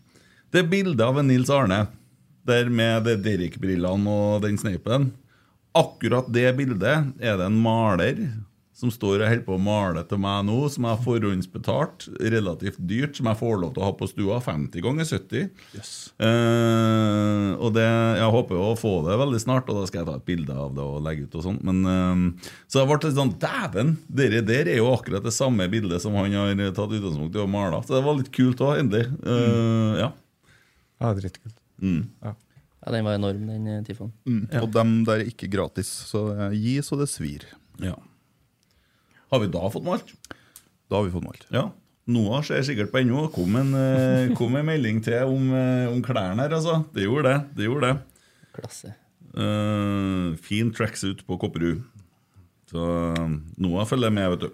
S2: det bildet av en Nils Arne, der med det Derek-brillene og den sneipen Akkurat det bildet er det en maler som står og holder på å male til meg nå, som jeg har forhåndsbetalt, relativt dyrt, som jeg får lov til å ha på stua 50 ganger 70. Eh, og det, jeg håper jo å få det veldig snart, og da skal jeg ta et bilde av det og legge ut. og sånt. Men, eh, Så jeg ble litt sånn Dæven! Dere der er jo akkurat det samme bildet som han har tatt utgangspunkt i og mala. Så det var litt kult òg, endelig. Eh, Ja.
S5: Ja, dritkult.
S2: Mm.
S4: Ja, den var enorm, den eh, tifoen.
S3: Mm. Og dem der er ikke gratis, så eh, gi så det svir.
S2: Ja. Har vi da fått malt?
S3: Da har vi fått malt.
S2: ja. Noah ser sikkert på ennå. Kom en, eh, kom en melding til om, eh, om klærne her, altså. Det gjorde det. det, gjorde det.
S4: Klasse.
S2: Eh, fin tracksuit på Kopperud. Så eh, Noah følger med, vet du.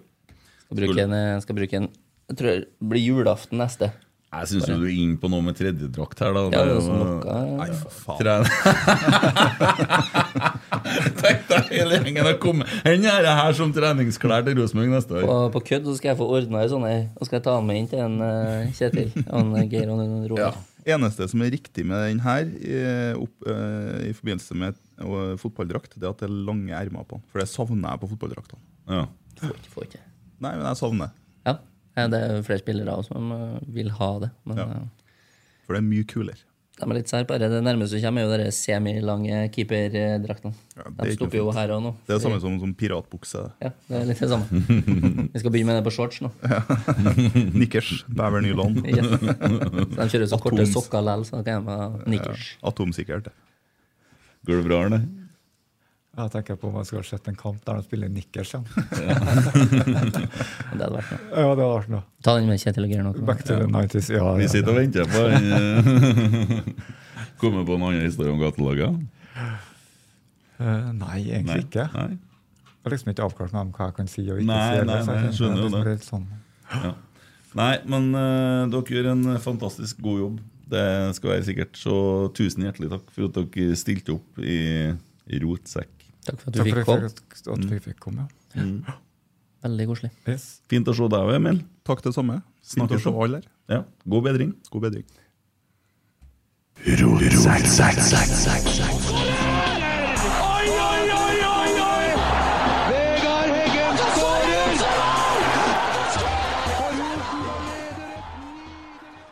S4: Skal bruke en, eh, skal bruke en Jeg tror det blir julaften neste.
S2: Jeg syns jo du er inne på noe med tredjedrakt her, da.
S4: Ja, det er
S2: jo-
S4: også noe-
S2: Nei, for
S3: faen.
S2: Tre- Tenk deg hele gjengen har kommet Hvor er det her som treningsklær til Rosenborg neste år?
S4: På, på kødd så skal jeg få ordna ei sånn ei, og skal jeg ta den med inn til en eh, Kjetil. Han eh, Geir og en Roar.
S3: Eneste som er riktig med den her i, opp, eh, i forbindelse med eh, fotballdrakt, det er at det er lange ermer på den. For det savner jeg på fotballdraktene.
S2: Ja.
S4: Får ikke, får ikke.
S3: Nei, men jeg savner
S4: Ja. ja, det er jo flere spillere også som eh, vil ha det. Men
S3: Ja.
S4: eh,
S3: For det er mye kulere.
S4: de er litt sære på det. Det nærmeste du kommer, er jo de semilange keeperdraktene.
S3: Ja, det er
S4: de
S3: ikke noe
S4: stopper jo
S3: fint.
S4: her og nå.
S3: Det er det samme som, som piratbukse.
S4: Ja, det er litt det samme. Vi skal begynne med det på shorts nå.
S3: Nikkers. Bæver nylon.
S4: Yes. Så de kjører så korte
S3: Atoms.
S4: sokker likevel, så da kan jeg ha nikkers.
S3: Atomsikkert. det.
S2: Går det bra, Arne?
S5: Jeg tenker på om jeg skulle ha sett en kamp der de spiller nikkers igjen.
S4: Det hadde vært noe.
S5: Ja, det hadde vært noe.
S4: Ta den med Kjetil og Geir nå.
S5: Back to the 90s. Ja,
S2: Vi
S5: ja.
S2: sitter og venter på han, eh, Kommer på en annen historie om gatelaget?
S5: Eh, nei, egentlig ikke. Jeg
S2: Nei.
S5: har liksom ikke avklart meg om hva jeg kan si og ikke
S2: Nei,
S5: si. eller
S2: nei,
S5: så
S2: nei, jeg skjønner jo
S5: liksom
S2: det.
S5: litt Sånn.
S2: Ja. Nei, men eh, dere gjør en fantastisk god jobb. Det skal være sikkert. Så tusen hjertelig takk for at dere stilte opp i, i rotsekk.
S4: Takk for at du
S5: Takk
S4: fikk
S5: for at
S4: komme.
S5: jeg fikk- at vi fikk komme.
S2: Mm.
S5: ja.
S4: Veldig koselig.
S5: Yes.
S2: Fint å se deg, Emil.
S3: Takk, det samme.
S2: Snakkes
S3: Snakkes om
S2: om.
S3: alle her.
S2: Ja, God bedring.
S3: God bedring.
S1: Oi, oi, oi, oi, oi! Vegard Heggen skårer! Og Rosenborg leder et